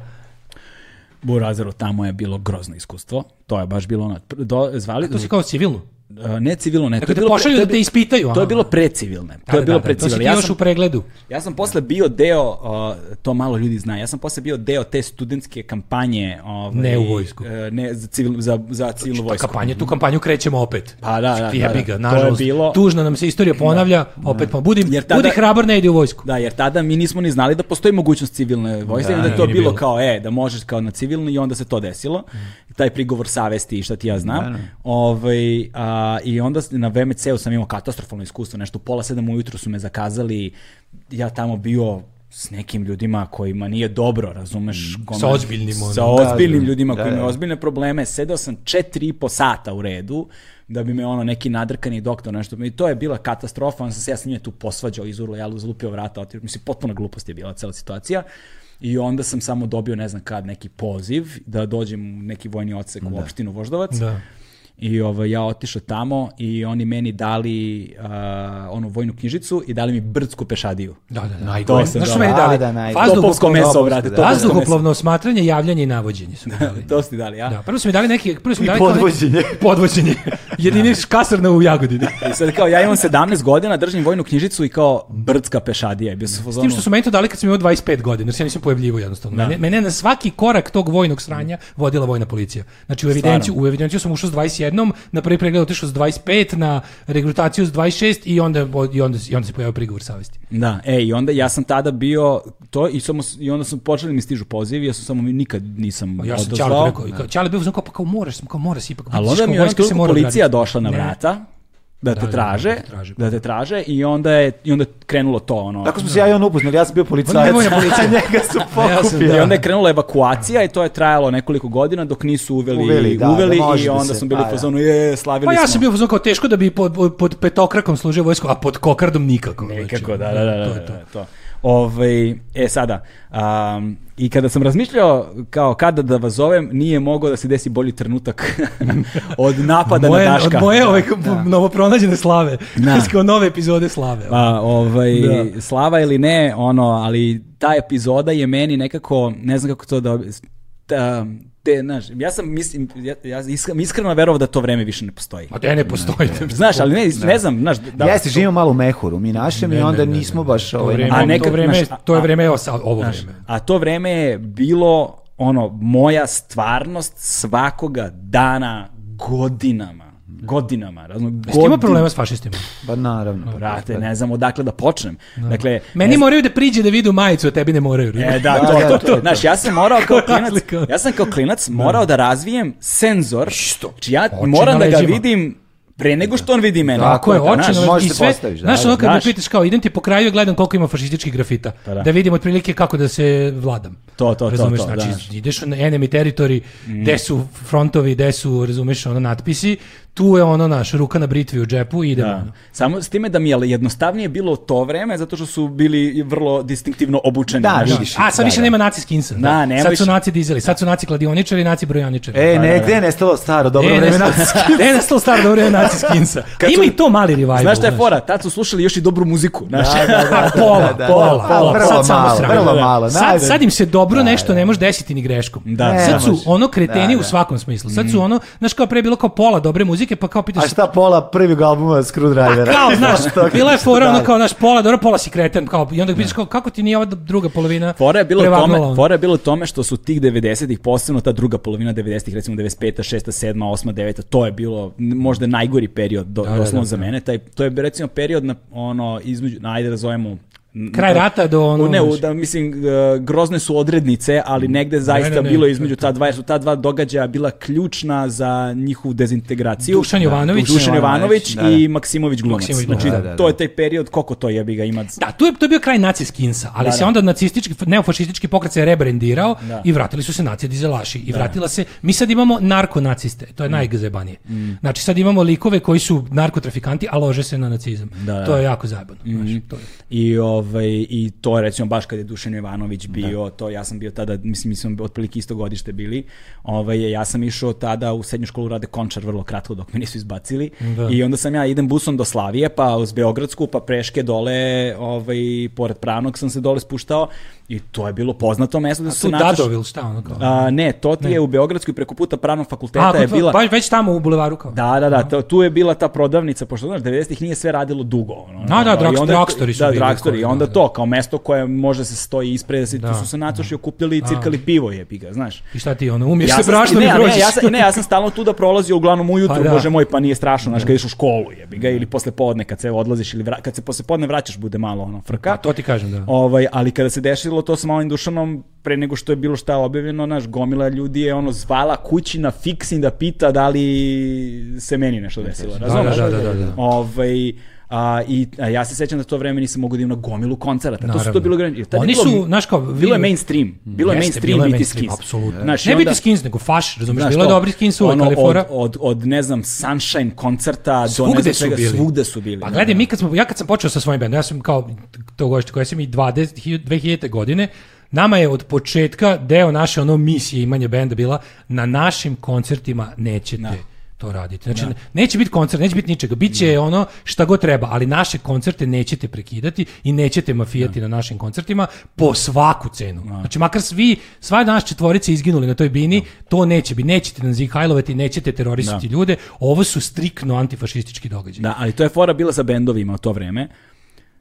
U Razaru tamo je bilo grozno iskustvo. To je baš bilo ono, pr- do, zvali, To si kao civilno. Uh, ne civilno, ne. To Dakle, je te bilo pre- pošalju to je da bi- te ispitaju. To je aha. bilo precivilne. To Da, je da, bilo da, da. To si ti precivilne. Ja još sam, u pregledu. ja sam posle bio deo, uh, to malo ljudi zna, ja sam posle bio deo te studentske kampanje. Ovaj, Ne u vojsku. e, ne, za, civil, za, za civilnu vojsku. Kampanju, tu kampanju krećemo opet. Pa da, da, da, Jebi da. ga, To je nažalost. bilo- Tužno nam se istorija ponavlja, opet pa budi, Jer tada- budi hrabar, ne ide u vojsku. Da, jer tada mi nismo ni znali da postoji mogućnost civilne vojske, da, da je ne, to nije bilo bilo. Mm. kao, e, da možeš kao na civilni i onda se to desilo. Taj prigovor savesti i šta ti ja znam. Ovaj, a, I onda s- na VMC-u sam imao katastrofalno iskustvo, nešto u pola sedam ujutru su me zakazali, ja tamo bio s nekim ljudima kojima nije dobro, razumeš? kome- Mm. Sa ozbiljnim, ono. Sa ozbiljnim ljudima Da, koji imaju da. ozbiljne probleme. Sedeo sam četiri i po sata u redu, da bi me ono neki nadrkani doktor nešto. I to je bila katastrofa, on sam se ja s njim tu posvađao, izurlo, ja zlupio vrata, otirio, mislim, potpuna glupost je bila cela situacija. I onda sam samo dobio, ne znam kad, neki poziv da dođem u neki vojni odsek u opštinu Voždovac. Da. I ovaj, ja otišao tamo i oni meni dali uh, onu vojnu knjižicu i dali mi brdsku pešadiju. Da, da, da. Najgore. To sam Znaš što dobro. meni dali? Pa Da, da, naj- Vazduhoplovno- Topovsko meso, brate, da. to- Vazduhoplovno osmatranje, javljanje i navođenje su mi dali. To ste dali, ja? Da, prvo su mi dali neki... Prvo su mi I dali kao neki- podvođenje. podvođenje. Jedini kasarna u Jagodini. I sad kao, ja imam 17 godina, držim vojnu knjižicu i kao brdska pešadija. I Bio sam u S tim fazonu, što su meni to dali kad sam imao 25 godina, jer se ja nisam pojavljivo jednostavno. Mene, mene je na svaki korak tog vojnog Mm. sranja vodila vojna policija. Znači u evidenciju, u evidenciju sam ušao s 21, na prvi pregled otišao s 25, na regrutaciju s 26 i onda, i onda, i onda se pojavio prigovor savesti. Da, e, i onda ja sam tada bio to i, samo, s- i onda su počeli mi stižu pozivi, ja sam samo nikad nisam Ja sam odazvao. Čale rekao, i kao, Čale bio uzmano kao, pa kao moraš, sam kao moraš ipak. Ali biti onda kao mi je u vojska, se trenutku mora policija odraditi. došla na Ne. vrata da te da, traže, da te traže. da te traže i onda je i onda je krenulo to ono. Tako smo se ja i on upoznali, ja sam Pa bio policajac. On je vojna policija. a njega su ja sam, pokupili. da. I onda je krenula evakuacija i to je trajalo nekoliko godina dok nisu uveli Uveli, da, uveli da može i da onda se- smo bili pa, u da. fazonu je slavili Pa ja sam smo. bio uzmano kao teško da bi pod, pod petokrakom služio vojsku, a pod kokardom nikako. znači. Nekako, da, da, da, da, To je to. da, to. Ovaj, e sada, um, i kada sam razmišljao kao kada da vas zovem, nije mogao da se desi bolji trenutak od napada moje, na Daška. Od moje ove novo pronađene slave. Da. Kao nove epizode slave. Pa, ovaj, Da. slava ili ne, ono, ali ta epizoda je meni nekako, ne znam kako to da... Ta, te, znaš, ja sam mislim, ja, ja iskren- iskreno verovao da to vreme više ne postoji. A Pa te ne postoji. Znaš, ali ne, ne znam, znaš, da, Jeste, živimo malo u mehuru, mi našem i onda nismo baš... To ovaj, vreme, na- A nekad, to vreme, znaš, a- to je a- vreme evo sad, ovo Znaš, vreme. a to vreme je bilo ono moja stvarnost svakoga dana godinama godinama razno Jeste ima problema s fašistima? Pa naravno. brate ne znam odakle da počnem dakle Meni ne- moraju da priđe da vidu majicu, a tebi ne moraju. E, da, Da, to, to, da, to je to. to. Znaš, ja sam morao kao Koja klinac, razlika? ja sam kao klinac morao da razvijem senzor, što? Či ja Oči moram na da ga leđima. vidim pre nego što on vidi mene. Tako je, Tako je, da, oči znaš, na možeš i da sve. postaviš, da, Znaš, da, ono kad me znaš. Pa pitaš kao, idem ti po kraju i gledam koliko ima fašističkih grafita. da. Da. vidim otprilike kako da se vladam. To, to, to, razumeš, to, znači, da. Mhm. ideš na enemy territory, gde su frontovi, gde su, razumeš, ono, natpisi, tu je ono, naš, ruka na britvi u džepu i idemo. Da. ono. Samo s time da mi je jednostavnije bilo to vreme zato što su bili vrlo distinktivno obučeni. Da, znaš. vidiš. A, sad Da, više da. nema naci skinsa. Da, nema sad više. su naci dizeli, sad su naci kladioničari, naci brojaničari. E, ne, gde je nestalo staro, dobro Pa E, vreme nestalo- E, nestalo staro dobro vreme naci skinsa. Kad Ima su- i to mali revival. Znaš šta je fora? Tad su slušali još i dobru muziku. Znaš, A, pola, da, da, pola, da, pola, vrlo sad samo malo, sranje. vrlo malo, Sad, najbolje. sad im se dobro nešto ne može desiti ni greškom. Da. E, Ne sad su može. ono kreteni Da, u da. svakom smislu. Sad su ono, znaš kao pre je bilo kao pola dobre muzike, pa kao pitaš A se, šta pola prvog albuma Screwdrivera? kao, znaš, To- bila je fora ono Da. kao, znaš, pola dobro, pola si kreten, kao, i onda pitaš kao, kako ti nije ova druga polovina Fora je bilo u prevagnula tome, ono? fora je bilo u tome što su tih 90-ih, posebno ta druga polovina 90-ih, recimo 95 6 7 8 9 to je bilo n- možda najgori period do, da, doslovno da. za mene, taj to je recimo period na ono između na, ajde da zovemo n- Kraj rata do ono, u- ne, u, znaš. da, mislim, g- grozne su odrednice, ali negde zaista ne, ne, bilo to- između ta dva, jer su ta dva događaja bila ključna za njihovu dezintegraciju. Dušan Jovanović. Dušan Jovanović Da, da. i Maksimović glumac. Maksimović, znači, da, da, da. to je taj period, koliko to jebi ga ima. Da, tu je, to je bio kraj naci skinsa, ali se onda nacistički, neofašistički pokret se rebrendirao i vratili su se nacije dizelaši. I vratila se, mi sad imamo narkonaciste, Mm. to je najgazebanije. Znači sad imamo likove koji su narkotrafikanti, a lože se na nacizam. da. Mhm. To je jako zajebano. znaš, to je. I, ovaj, I to je recimo baš kad je Dušan Jovanović bio, to ja sam bio tada, mislim, mi smo otprilike isto godište bili, ovaj, ja sam išao tada u srednju školu Rade Končar vrlo kratko dok me nisu izbacili Da. i onda sam ja idem busom do Slavije, pa uz Beogradsku, pa Preške dole, ovaj, pored Pranog sam se dole spuštao i to je bilo poznato mesto da Tu se nađeš. Dadovil, šta ono kao? A, ne, to ti je u Beogradskoj preko puta Pravnog fakulteta A, je kod- bila... pa već tamo u bulevaru kao. Da, da, da, to, tu je bila ta prodavnica, pošto znaš, 90-ih nije sve radilo dugo. Ono, Da, da, I drug- onda- drugstori su Da, bili drugstori, koji, i onda da, da. to, kao mesto koje može se stoji ispred, da se, tu Da, su se nacoši okupljali i cirkali pivo jebi ga, znaš. I šta ti ono, umiješ Ja se sam- brašnom ne, i a prođeš. ne, ja sam, ne, ja sam stalno tu da prolazio uglavnom ujutru, Pa da. bože moj, pa nije strašno, znaš, kad ideš u školu, jebi ga, ili posle podne kad se odlaziš, ili vra- Pa kad se posle podne vraćaš, bude malo ono frka. A to ti kažem, da. Ovaj, ali kada se dešilo to sa malim Dušanom, pre nego što je bilo šta objavljeno, naš gomila ljudi je ono zvala kući na fiksin da pita da li se meni nešto desilo. Da, Razumeš? da, da, da, da. Ovaj, a, i, a ja se sećam da to vreme nisam mogao da imam na gomilu koncerata. To su to Naravno. bilo granice. Tad je Oni bilo- su, znaš kao, Bilo je vi- mainstream. Bilo je Jeste, mainstream bilo je biti mainstream, skins. Apsolutno. Znaš, i ne onda- biti skins, nego faš, razumiješ, Znaš bilo je to, dobri skins u ono, Kalifora. Od, od, od, ne znam, Sunshine koncerta do ne Svugde znam su čega, bili. svugde su bili. Pa gledaj, mi kad smo, ja kad sam počeo sa svojim bendom, ja sam kao to gošte koje sam i 20, 2000. godine, nama je od početka deo naše ono misije imanja benda bila na našim koncertima nećete to raditi. Znači, neće biti koncert, neće biti ničega, bit će ono šta god treba, ali naše koncerte nećete prekidati i nećete mafijati na našim koncertima po svaku cenu. Znači, makar svi, sva naša četvorica izginuli na toj bini, to neće biti, nećete nas zihajlovati, nećete terorisati ljude, ovo su striktno antifašistički događaj. Da, ali to je fora bila sa bendovima u to vreme.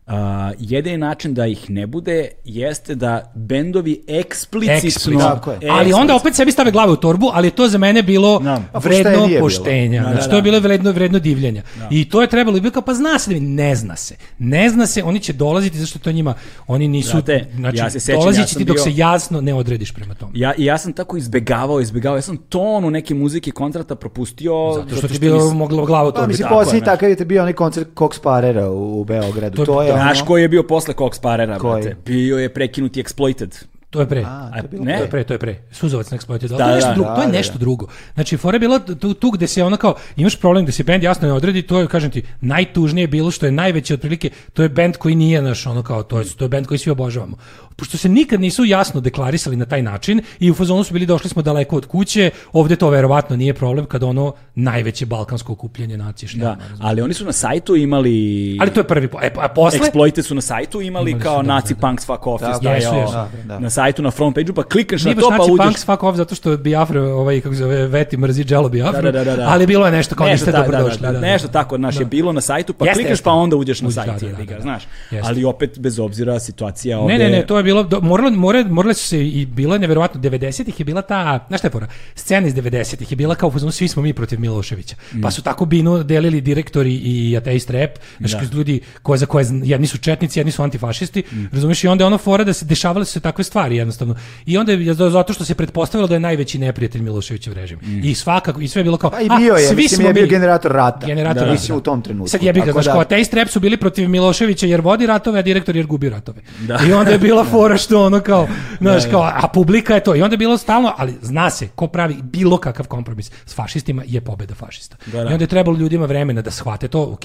Uh, jedini način da ih ne bude jeste da bendovi eksplicitno... eksplicitno. Tako je. eksplicitno- Ali onda opet sebi stave glave u torbu, ali je to za mene bilo Da. vredno A poštenije je bilo. poštenja. Da, da, znači, to je da. bilo vredno, vredno divljenja. I to je trebalo, i bilo kao, pa zna se, da mi- ne zna se. Ne zna se, oni će dolaziti, zašto to njima, oni nisu, Znate, znači, ja se sećam, dolazit ja će sam ti dok bio- se jasno ne odrediš prema tome. Ja, i ja sam tako izbegavao, izbegavao. Ja sam tonu neke muzike kontrata propustio. Zato što ti je bilo nisam- moglo glava u torbi. Pa mislim, tako je, posljednji znaš. takav je te bio onaj koncert Cox Parera u, u Beogradu. To, To- je ono... Znaš koji je bio posle Cox Parera, Koji? brate? Bio je prekinuti Exploited. To je pre. A, to je bilo ne? ne? To je pre, to je pre. Suzovac na eksploataciji. Da, to je nešto da, drugo, to je da, da. nešto drugo. Znači, fora je bila tu, tu gde se ono kao, imaš problem da se bend jasno ne odredi, to je, kažem ti, najtužnije bilo što je najveće otprilike, to je bend koji nije naš, ono kao, to je, to je bend koji svi obožavamo. Pošto se nikad nisu jasno deklarisali na taj način i u fazonu su bili došli smo daleko od kuće, ovde to verovatno nije problem kad ono najveće balkansko okupljanje nacije šta. Da, ima, razumeš? ali oni su na sajtu imali... Ali to je prvi, po, e, a posle, Exploited su na sajtu imali, Imali su, kao da, Nazi da, da. Punks Fuck Off je Da, stajao jesu, jesu, da, da. na sajtu, na front page-u, pa klikneš na Nije to baš pa naci uđeš... punks fuck off zato što Biafra, ovaj, kako se zove, Veti mrzi dželo Biafra, Da, da, da, da. ali bilo je nešto kao Nešto niste ta- da, dobrodošli. da, da, Nešto tako, znaš, je bilo na sajtu, pa Jeste, klikaš jeste. pa onda uđeš na Uđeš, sajt, da, da, jebi da, ga, da. znaš. Jeste. Ali opet, bez obzira, situacija ovde... Ne, ne, ne, to je bilo, do, moralo, more, morale su se i bila nevjerovatno, 90-ih je bila ta, znaš šta je fora, scena iz 90-ih je bila kao, u fazonu, svi smo mi protiv Miloševića, Mm. pa su tako binu delili direktori i ateist rap, znaš, Da. kroz ljudi koje, za koje, zna- jedni su četnici, jedni su antifašisti, Mm. razumiješ, i onda je ono fora da se dešavale su se takve stvari jednostavno, i onda je za- zato što se pretpostavilo da je najveći neprijatelj Miloševićev režim, i svakako, i sve je bilo kao, Mm. Pa i bio je, svi mislim, smo je bio mi." generator rata. Generator da, rata, da. Mislim, u tom trenutku. Sad jebi ga, Tako znaš, da- kao ateist rap su bili protiv Miloševića jer vodi ratove, a direktor jer gubi ratove. I onda je bila fora što ono kao, znaš, kao, a publika je to. I onda je bilo stalno, ali zna se, ko pravi bilo kakav kompromis s fašistima je pobeda fašista. da. Mm. I onda je trebalo ljudima vremena da shvate to, ok,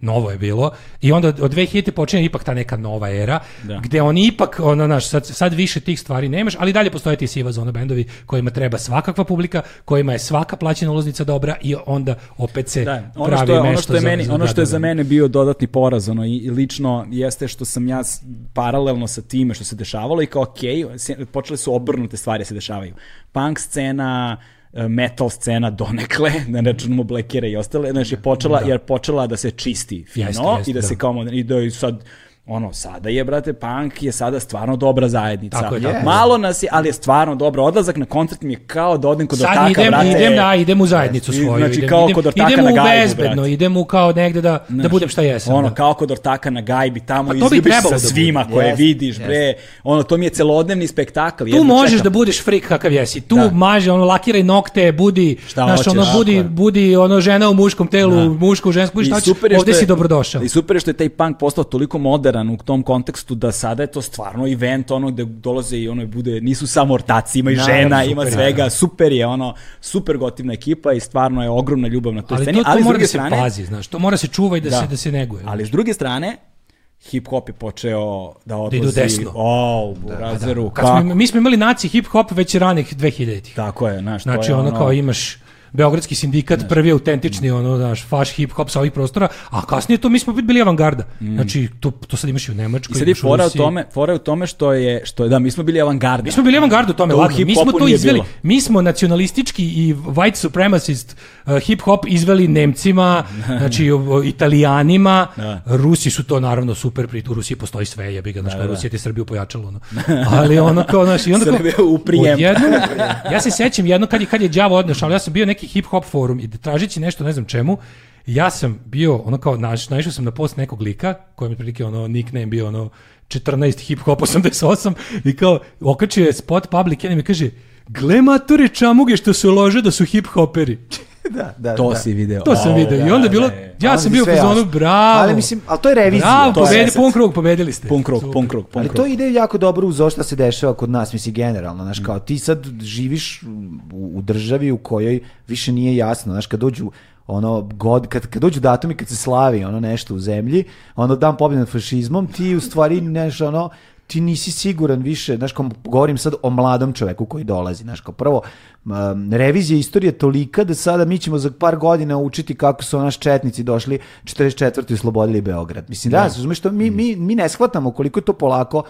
novo je bilo. I onda od 2000 počinje ipak ta neka nova era, gde oni ipak, ono, znaš, sad, sad više tih stvari nemaš, ali dalje postoje ti siva zona bendovi kojima treba svakakva publika, kojima je svaka plaćena ulaznica dobra i onda opet se Da, ono pravi što je, ono nešto što je za- meni, za- ono da, što je da, za da. mene bio dodatni poraz, ono i, i lično jeste što sam ja s- paralelno sa time što se dešavalo i kao okej, se- počele su obrnute stvari da se dešavaju. Punk scena, e, metal scena donekle, da ne računamo Blackere i ostale, znači je počela, jer počela da se čisti fino Jeste, jeste, i da, se da. kao moder- i da je sad ono, sada je, brate, punk je sada stvarno dobra zajednica. Tako je, tako je. Malo nas je, ali je stvarno dobro. Odlazak na koncert mi je kao da odem kod Sad otaka, idem, brate. idem, da, idem u zajednicu Jeste, i svoju. znači idem, kao idem, kod ortaka idem na u gajbu, bezbedno, brate. idem u kao negde da, da budem šta jesam. Ono, da. Pa kao kod ortaka na gajbi, tamo bi izgubiš trebalo sa da bude. svima koje Jest, vidiš, bre. Ono, to mi je celodnevni spektakl. Tu možeš da budeš frik kakav jesi. Tu Da. maži, ono, lakiraj nokte, budi, Šta znaš, hoćeš, ono, tako budi, je. budi, ono, žena u muškom telu, muško u ženskom, budi šta hoćeš, ovde si dobrodošao. I super je što je taj punk postao toliko modern u tom kontekstu da sada je to stvarno event, ono gde dolaze i ono i bude, nisu samo ortaci, ima i Naravno, žena, super ima je, svega, super je, ono, super gotivna ekipa i stvarno je ogromna ljubav na toj Ali sceni. to, to ali s mora druge da se strane, pazi, znaš, to mora se čuva i da, Da. se, da se neguje. Ali s druge strane, hip hop je počeo da odlazi desno. pa O, u razreru, Kad smo, kako- im- mi smo imali naci hip-hop već ranih 2000-ih. Tako je, znaš, to Znači, je ono, kao imaš Beogradski sindikat, prvi autentični, ono, znaš, faš hip-hop sa ovih prostora, a kasnije to mi smo opet bili avangarda. Znači, to, to sad imaš i u Nemačkoj, Mm. I sad je imaš u fora u Rusiji. tome, fora je u tome što je što je da mi smo bili avangarda. Mi smo bili avangarda u tome, To u ladno. Mi hip-hopu smo to nije izveli. bilo. Mi smo nacionalistički i white supremacist uh, hip-hop izveli Nemcima, znači o- o, Italijanima. Rusi su to naravno super, pri u Rusiji postoji sve, jebi ga, znači, Rusija ti je Srbiju pojačala, ono. Ali ono kao, znaš, i onda kao, Srbija u prijem. odjednom- ja se sećam jedno kad je, kad je đavo odnešao, ja sam bio neki hip-hop forum i tražeći nešto, ne znam čemu, Ja sam bio, ono kao, naš, naišao sam na post nekog lika, kojem je prilike ono, nickname bio ono, 14 hip hop 88, i kao, okačio je spot public enemy, kaže, gle matore čamuge što se lože da su hip hoperi. da, da, To da. si video. To sam O, video. I onda je bilo, da, da. ja Ali sam mi bio u sve fazonu, jasno. bravo. Ali mislim, ali to je revizija. bravo, to je pobedi, reset. pun krug, pobedili ste. Pun krug, pun krug, pun Ali krug. to ide jako dobro uz ovo što se dešava kod nas, mislim, generalno, znaš, kao ti sad živiš u, u državi u kojoj više nije jasno, znaš, kad dođu ono god kad kad dođu datumi kad se slavi ono nešto u zemlji, ono dan pobjede nad fašizmom, ti u stvari neš ono ti nisi siguran više, znaš, kao govorim sad o mladom čoveku koji dolazi, znaš, kao prvo, um, revizija istorije je tolika da sada mi ćemo za par godina učiti kako su naš četnici došli 44. i oslobodili Beograd. Mislim, da, razumeš, to Mhm. mi, mi, mi ne shvatamo koliko je to polako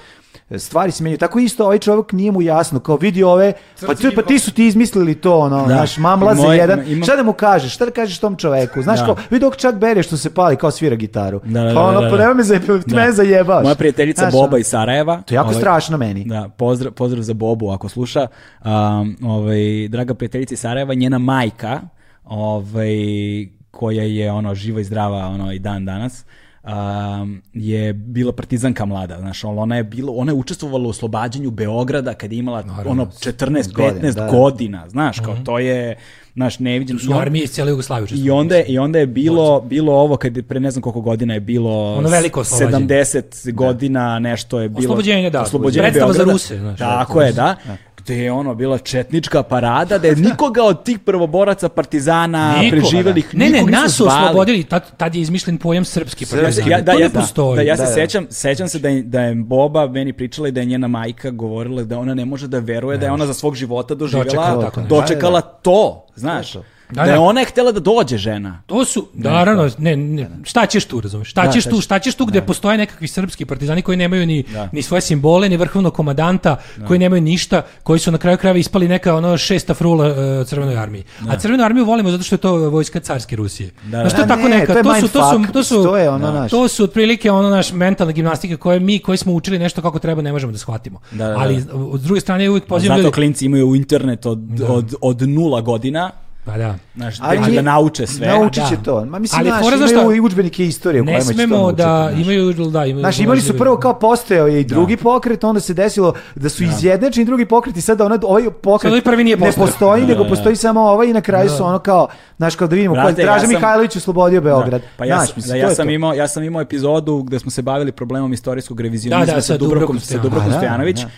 e, stvari se menjaju. Tako isto ovaj čovjek nije mu jasno, kao vidi ove, pa, ti, pa ti su ti izmislili to, ono, Da. naš mamlaze Moj- jedan, imam- šta da mu kažeš, šta da kažeš tom čoveku, znaš, Da. kao, vidi ovog Chuck Berry što se pali, kao svira gitaru. Da, da, pa da, ono, da, pa da. nemoj me zajebati, ti Da. mene zajebaš. Moja prijateljica Znaš, Boba ono, iz Sarajeva. To je jako ovaj, strašno meni. Da, pozdrav, pozdrav za Bobu ako sluša. Um, ovaj, draga prijateljica iz Sarajeva, njena majka, ovaj, koja je ono živa i zdrava ono, i dan danas, um, je bila partizanka mlada, znaš, ali ona je bila, ona je učestvovala u oslobađanju Beograd kad je imala ono 14 Godina, 15 da, da. godina, znaš, kao to je znaš neviđen Mhm. Su armije iz cijele Jugoslavije i učestvovali. onda je, i onda je bilo bilo ovo kad je pre ne znam koliko godina je bilo Ono veliko oslobađanje. 70 godina nešto je bilo Oslobođenje, da, oslobođenje predstava za Beograda. Ruse, znaš, ono, tako je da gde je ono bila četnička parada da je nikoga od tih prvoboraca partizana Nikoga. preživelih Ne, ne, nikog nisu nas su zvali. oslobodili, tad, tad je izmišljen pojam srpski Ja se- partizan. ja, da, to ja, ne postoji. Da, ja se Da, da. sećam, sećam se da je, da je Boba meni pričala i da je njena majka govorila da ona ne može da veruje da je ona za svog života doživjela, Dočekala dočekala, tako nešto. to, znaš. To je Da, Da, je da. ona je htjela da dođe žena. To su, naravno, ne, ne, šta ćeš tu, razumeš? Šta ćeš tu, šta ćeš tu gde postoje nekakvi srpski partizani koji nemaju ni, ni svoje simbole, ni vrhovnog komadanta, koji nemaju ništa, koji su na kraju krajeva ispali neka ono šesta frula e, crvenoj armiji. A crvenu armiju volimo zato što je to e, vojska carske Rusije. da. Znaš, to je Da, tako ne, neka, to je to su, to su, mindfuck, to su, to je ono naš. to su otprilike ono naš mentalna gimnastika koje mi, koji smo učili nešto kako treba, ne možemo da shvatimo. Da, da, da. Ali od druge strane ja uvijek pozivam Zato ljudi. klinci imaju internet od, od, od nula godina, Pa da. znaš, Ali tek će da nije- nauče sve. Naučit A, će da. to. Ma mislim, Ali znaš, fora imaju znaš šta? i udžbenike istorije u Ne kojima će to smemo naučiti, da znaš. imaju da imaju Znaš, imali su uložili- prvo kao postojao je i drugi pokret, onda se desilo da su izjednačeni drugi pokret i sada ona, ovaj Sad pokret ovaj prvi nije ne postojao. postoji, nego postoji samo ovaj i na kraju su ono kao, znaš, kao da vidimo, Brate, Brate, ja Draža sam- Mihajlović oslobodio Beograd. Da, pa ja, Znaš, sam- mislim, da, to ja, je sam to. imao, ja sam imao epizodu gde smo se bavili problemom istorijskog revizionizma Da, da, sa sa Dubrokom, Dubravkom sa Dubrokom A, da, Stojanović. da.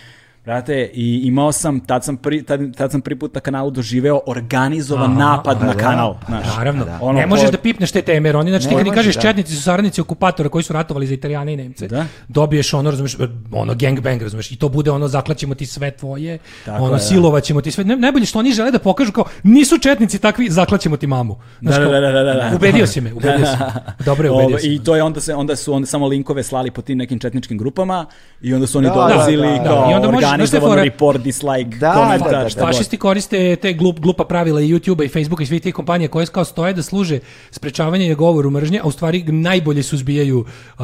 Brate, i imao sam, tad sam, pri, tad, tad sam prvi put na kanalu doživeo organizovan napad na kanal. znaš. Naravno, Ono, ne možeš pod- da pipneš te teme, jer oni, znači ti Ne kad im možeš, kažeš da. četnici su saradnici okupatora koji su ratovali za Italijane i Nemce, Da. dobiješ ono, razumeš, ono gangbang, razumeš, i to bude ono, zaklaćemo ti sve tvoje, Tako je, ono, da. silovaćemo ti sve, ne, najbolje što oni žele da pokažu kao, nisu četnici takvi, zaklaćemo ti mamu. Znaš, Da, kao, da, da, da, da, da. Ubedio si me, ubedio si me. Dobro je, ubedio Ove, si me. I to je onda se onda su onda samo linkove slali po tim nekim četničkim grupama i onda su oni Da, dolazili da, da, da. kao I onda možeš- znaš šta je organizovano fora? report dislike Da, komentar da, da, šta god. Fašisti koriste te glup, glupa pravila i YouTube-a i Facebooka i svih tih kompanija koje kao stoje da služe sprečavanje govoru mržnje, a u stvari najbolje suzbijaju uh,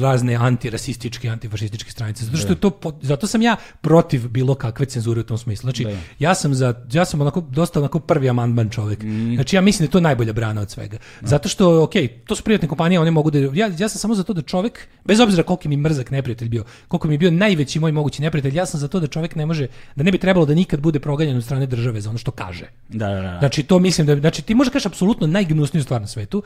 razne antirasističke, antifašističke stranice. Zato što je to po- zato sam ja protiv bilo kakve cenzure u tom smislu. Znači, ja sam za ja sam onako dosta onako prvi amandman čovjek. Znači ja mislim da je to najbolja brana od svega. Zato što ok, to su privatne kompanije, one mogu da ja, ja sam samo za to da čovjek bez obzira koliko mi mrzak neprijatelj bio, koliko mi je bio najveći moj mogući neprijatelj, ja sam za to da čovjek ne može da ne bi trebalo da nikad bude proganjan od strane države za ono što kaže. Da, da, da. Znači to mislim da znači ti možeš kažeš apsolutno najgnusniju stvar na svetu.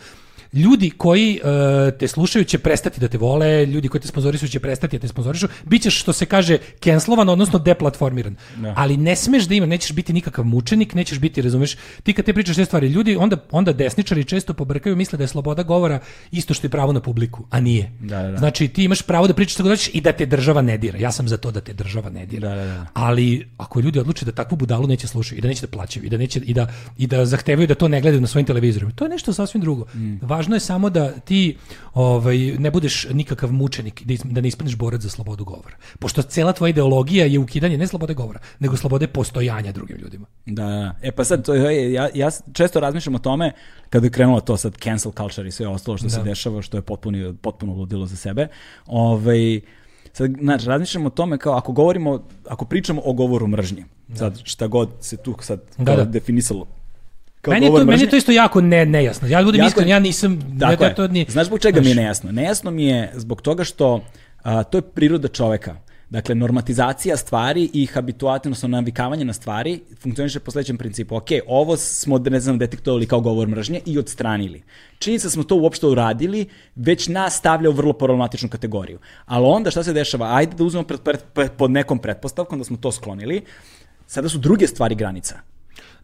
Ljudi koji e, te slušaju će prestati da te vole, ljudi koji te sponzorišu će prestati da te sponzorišu, bićeš što se kaže cancelovan, odnosno deplatformiran. Ali ne smeš da ima, nećeš biti nikakav mučenik, nećeš biti, razumeš, ti kad te pričaš te stvari, ljudi onda onda desničari često pobrkaju, misle da je sloboda govora isto što je pravo na publiku, a nije. Da, da, da. Znači ti imaš pravo da pričaš šta god hoćeš i da te država ne dira. Ja sam za to da te država ne dira. Da, da, da. Ali ako ljudi odluče da takvu budalu neće slušati i da neće da plaćaju i da neće i da i da zahtevaju da to ne gledaju na svojim televizorima, to je nešto sasvim drugo. Mm. Važno je samo da ti ovaj ne budeš nikakav mučenik, da, is- da ne ispadneš borac za slobodu govora. Pošto cela tvoja ideologija je ukidanje ne slobode govora, nego slobode postojanja drugim ljudima. Da, da, da. E pa sad, to je- ja, ja često razmišljam o tome kada je krenulo to sad cancel culture i sve ostalo što se dešava, što je potpuno, potpuno ludilo za sebe. Ovaj, sad, znači, razmišljam o tome kao ako govorimo, ako pričamo o govoru mržnje, sad šta god se tu sad Da, kao da. definisalo kao meni, je to, govor meni mržnje. je to isto jako ne, nejasno. Ja budem Jako iskren, je- ja nisam... Tako ja, je. to, to nije, Znaš zbog čega mi je nejasno? Nejasno mi je zbog toga što a, to je priroda čoveka. Dakle, normatizacija stvari i habituativno odnosno navikavanje na stvari funkcioniše po sledećem principu. Ok, ovo smo, ne znam, detektovali kao govor mržnje i odstranili. Činjenica da smo to uopšte uradili, već nas stavlja u vrlo problematičnu kategoriju. Ali onda šta se dešava? Ajde da uzmemo pred, pred, pred, pod nekom pretpostavkom da smo to sklonili. Sada su druge stvari granica.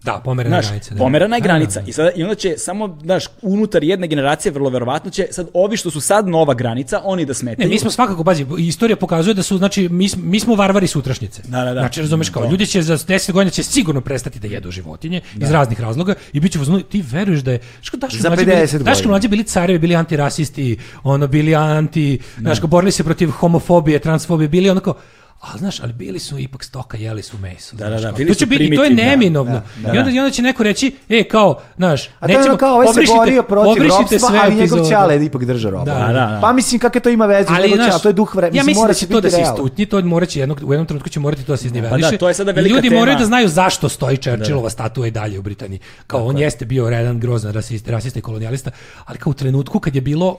Da, pomerena Znaš, granica. da. pomerana je Da, granica. da, da. I, sada, I onda će samo, znaš, unutar jedne generacije, vrlo verovatno će, sad ovi što su sad nova granica, oni da Ne, smetaju. E, mi smo svakako, pazi, istorija pokazuje da su, znači, mi, sm- mi smo varvari sutrašnjice. Da, da, da. Znači, razumeš kao, To. ljudi će za 10 godina će sigurno prestati da jedu životinje iz raznih razloga i bit će uzmano, ti veruješ da je, što Daško Za mlađe 50 bili, Daško godina. mlađe bili carevi, bili antirasisti, ono, bili anti, znaš, kao, borili se protiv homofobije, transfobije, bili onako, ali znaš, ali bili su ipak stoka, jeli su meso. Da, da, znaš, da, kao. bili to su će biti, to je primitivni, da, neminovno. da, da. I, onda, I onda će neko reći, e, kao, znaš, A to je nećemo, ono kao, ovaj se obrišite- borio protiv obrišite ropstva, sve ali njegov epizode. čale je ipak držao robu. Da, da, da. Pa mislim, kakve to ima veze, ali, znaš, čale, to je duh vremena. Ja mislim mora da se će to da biti se realan. istutni, to moraće jednog, u jednom trenutku će morati to da se izniveliše. Pa da, to je sada I velika Ljudi tema. moraju da znaju zašto stoji Churchillova statua i dalje u Britaniji. Kao on jeste bio redan grozan rasist, rasista i kolonijalista, ali kao u trenutku kad je bilo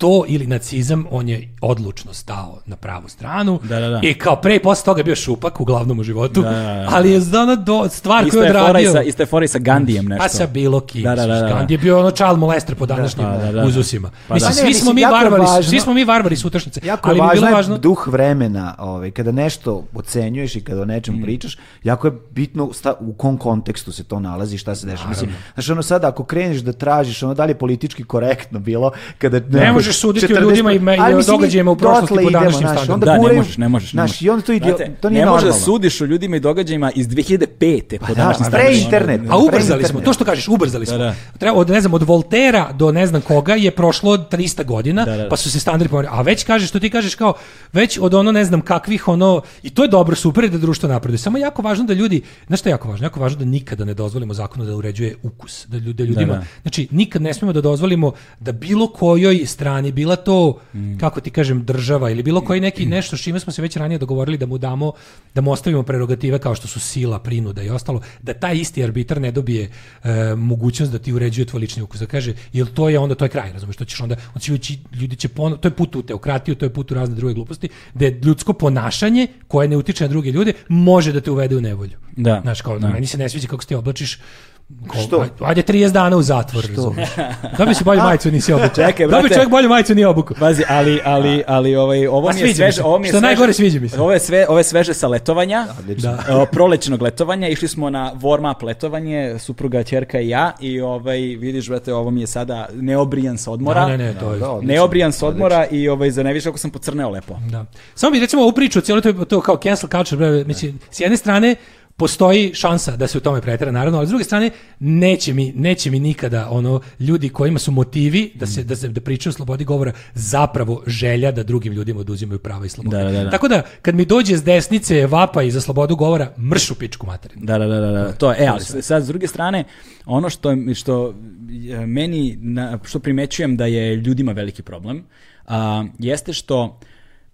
to ili nacizam, on je odlučno stao na pravu stranu. Da, da, da. I kao pre i posle toga je bio šupak u glavnom u životu, da, da. ali je znao do, stvar koju Isto je je fora i odradio. sa, isto je fora i sa Gandijem nešto. Pa sa bilo kim. Da, da, da, da. Gandhi je bio ono child molester po današnjim Da, da, da, da. uzusima. Pa mislim, da. Ne, svi, smo mislim, mi jako je varvari, važno- svi smo mi varvari s utršnice. Jako ali ali bi važno, bilo je važno... duh vremena, ovaj, kada nešto ocenjuješ i kada o nečem Mm. pričaš, jako je bitno sta, u kom kontekstu se to nalazi, šta se dešava. Mislim, znaš, ono sad, ako kreneš da tražiš, ono dalje politički korektno bilo, kada... neko- možeš suditi o 40 ljudima i me- i Ali o mislim, događajima u prošlosti dotle po idemo, današnjim znaš, standardima. onda Da, ne guraju- možeš, ne možeš. ne znaš, možeš. I onda to, ide, Znate, to nije ne normalno. možeš da sudiš o ljudima i događajima iz 2005. po da, današnjim a pre standardima. internet. A ubrzali Pre smo, internet. to što kažeš, ubrzali smo. da. Treba od ne znam od Voltera do ne znam koga je prošlo 300 godina, Da, da, da. pa su se standardi pomerili. A već kažeš što ti kažeš kao već od ono ne znam kakvih ono i to je dobro, super je da društvo napreduje. Samo je jako važno da ljudi, znaš šta je jako važno? Jako važno da nikada ne dozvolimo zakonu da uređuje ukus, da ljude ljudima. Da, da. Znači nikad ne smemo da dozvolimo da bilo kojoj strani, bila to Mm. kako ti kažem država ili bilo koji neki nešto s čime smo se već ranije dogovorili da mu damo da mu ostavimo prerogative kao što su sila, prinuda i ostalo, da taj isti arbitar ne dobije e, mogućnost da ti uređuje tvoj lični ukus, da kaže jel to je onda to je kraj, razumeš, to ćeš onda on će ući, ljudi će pono, to je put u teokratiju, to je put u razne druge gluposti, da je ljudsko ponašanje koje ne utiče na druge ljude može da te uvede u nevolju. Da. Znaš, kao, Da. meni se ne sviđa kako se ti oblačiš, Ko, Što? aj- Ajde 30 dana u zatvor, razumeš. Dobio si bolju majicu, nisi obukao. Čekaj, Dobio brate. čovjek bolju majicu, nije obukao. Pazi, ali, ali, ali ovaj, ovo A mi je sviđa mi se. sveže. Ovo mi je Što sveže, najgore, sviđa mi se. Ovo je, sve, ovo je sveže sa letovanja, Odlično. da. prolećnog letovanja. Išli smo na warm up letovanje, supruga, ćerka i ja. I ovaj, vidiš, brate, ovo mi je sada neobrijan sa odmora. Ne, ne, ne, to je. Da, da, odlično. Neobrijan s odmora i ovaj, za neviš ako sam pocrneo lepo. Da. Samo bi recimo ovu priču, cijelo to, to kao cancel culture, bre, mislim, s jedne strane postoji šansa da se u tome pretera naravno, ali s druge strane neće mi neće mi nikada ono ljudi kojima su motivi da Mm. se da se da pričaju o slobodi govora zapravo želja da drugim ljudima oduzimaju prava i slobode. Da, da, da, da. Tako da kad mi dođe s desnice vapaj za slobodu govora, mršu pičku materinu. Da, da, da, da, da. To je, e, ali sad s druge strane, ono što što e, meni na, što primećujem da je ljudima veliki problem, a, jeste što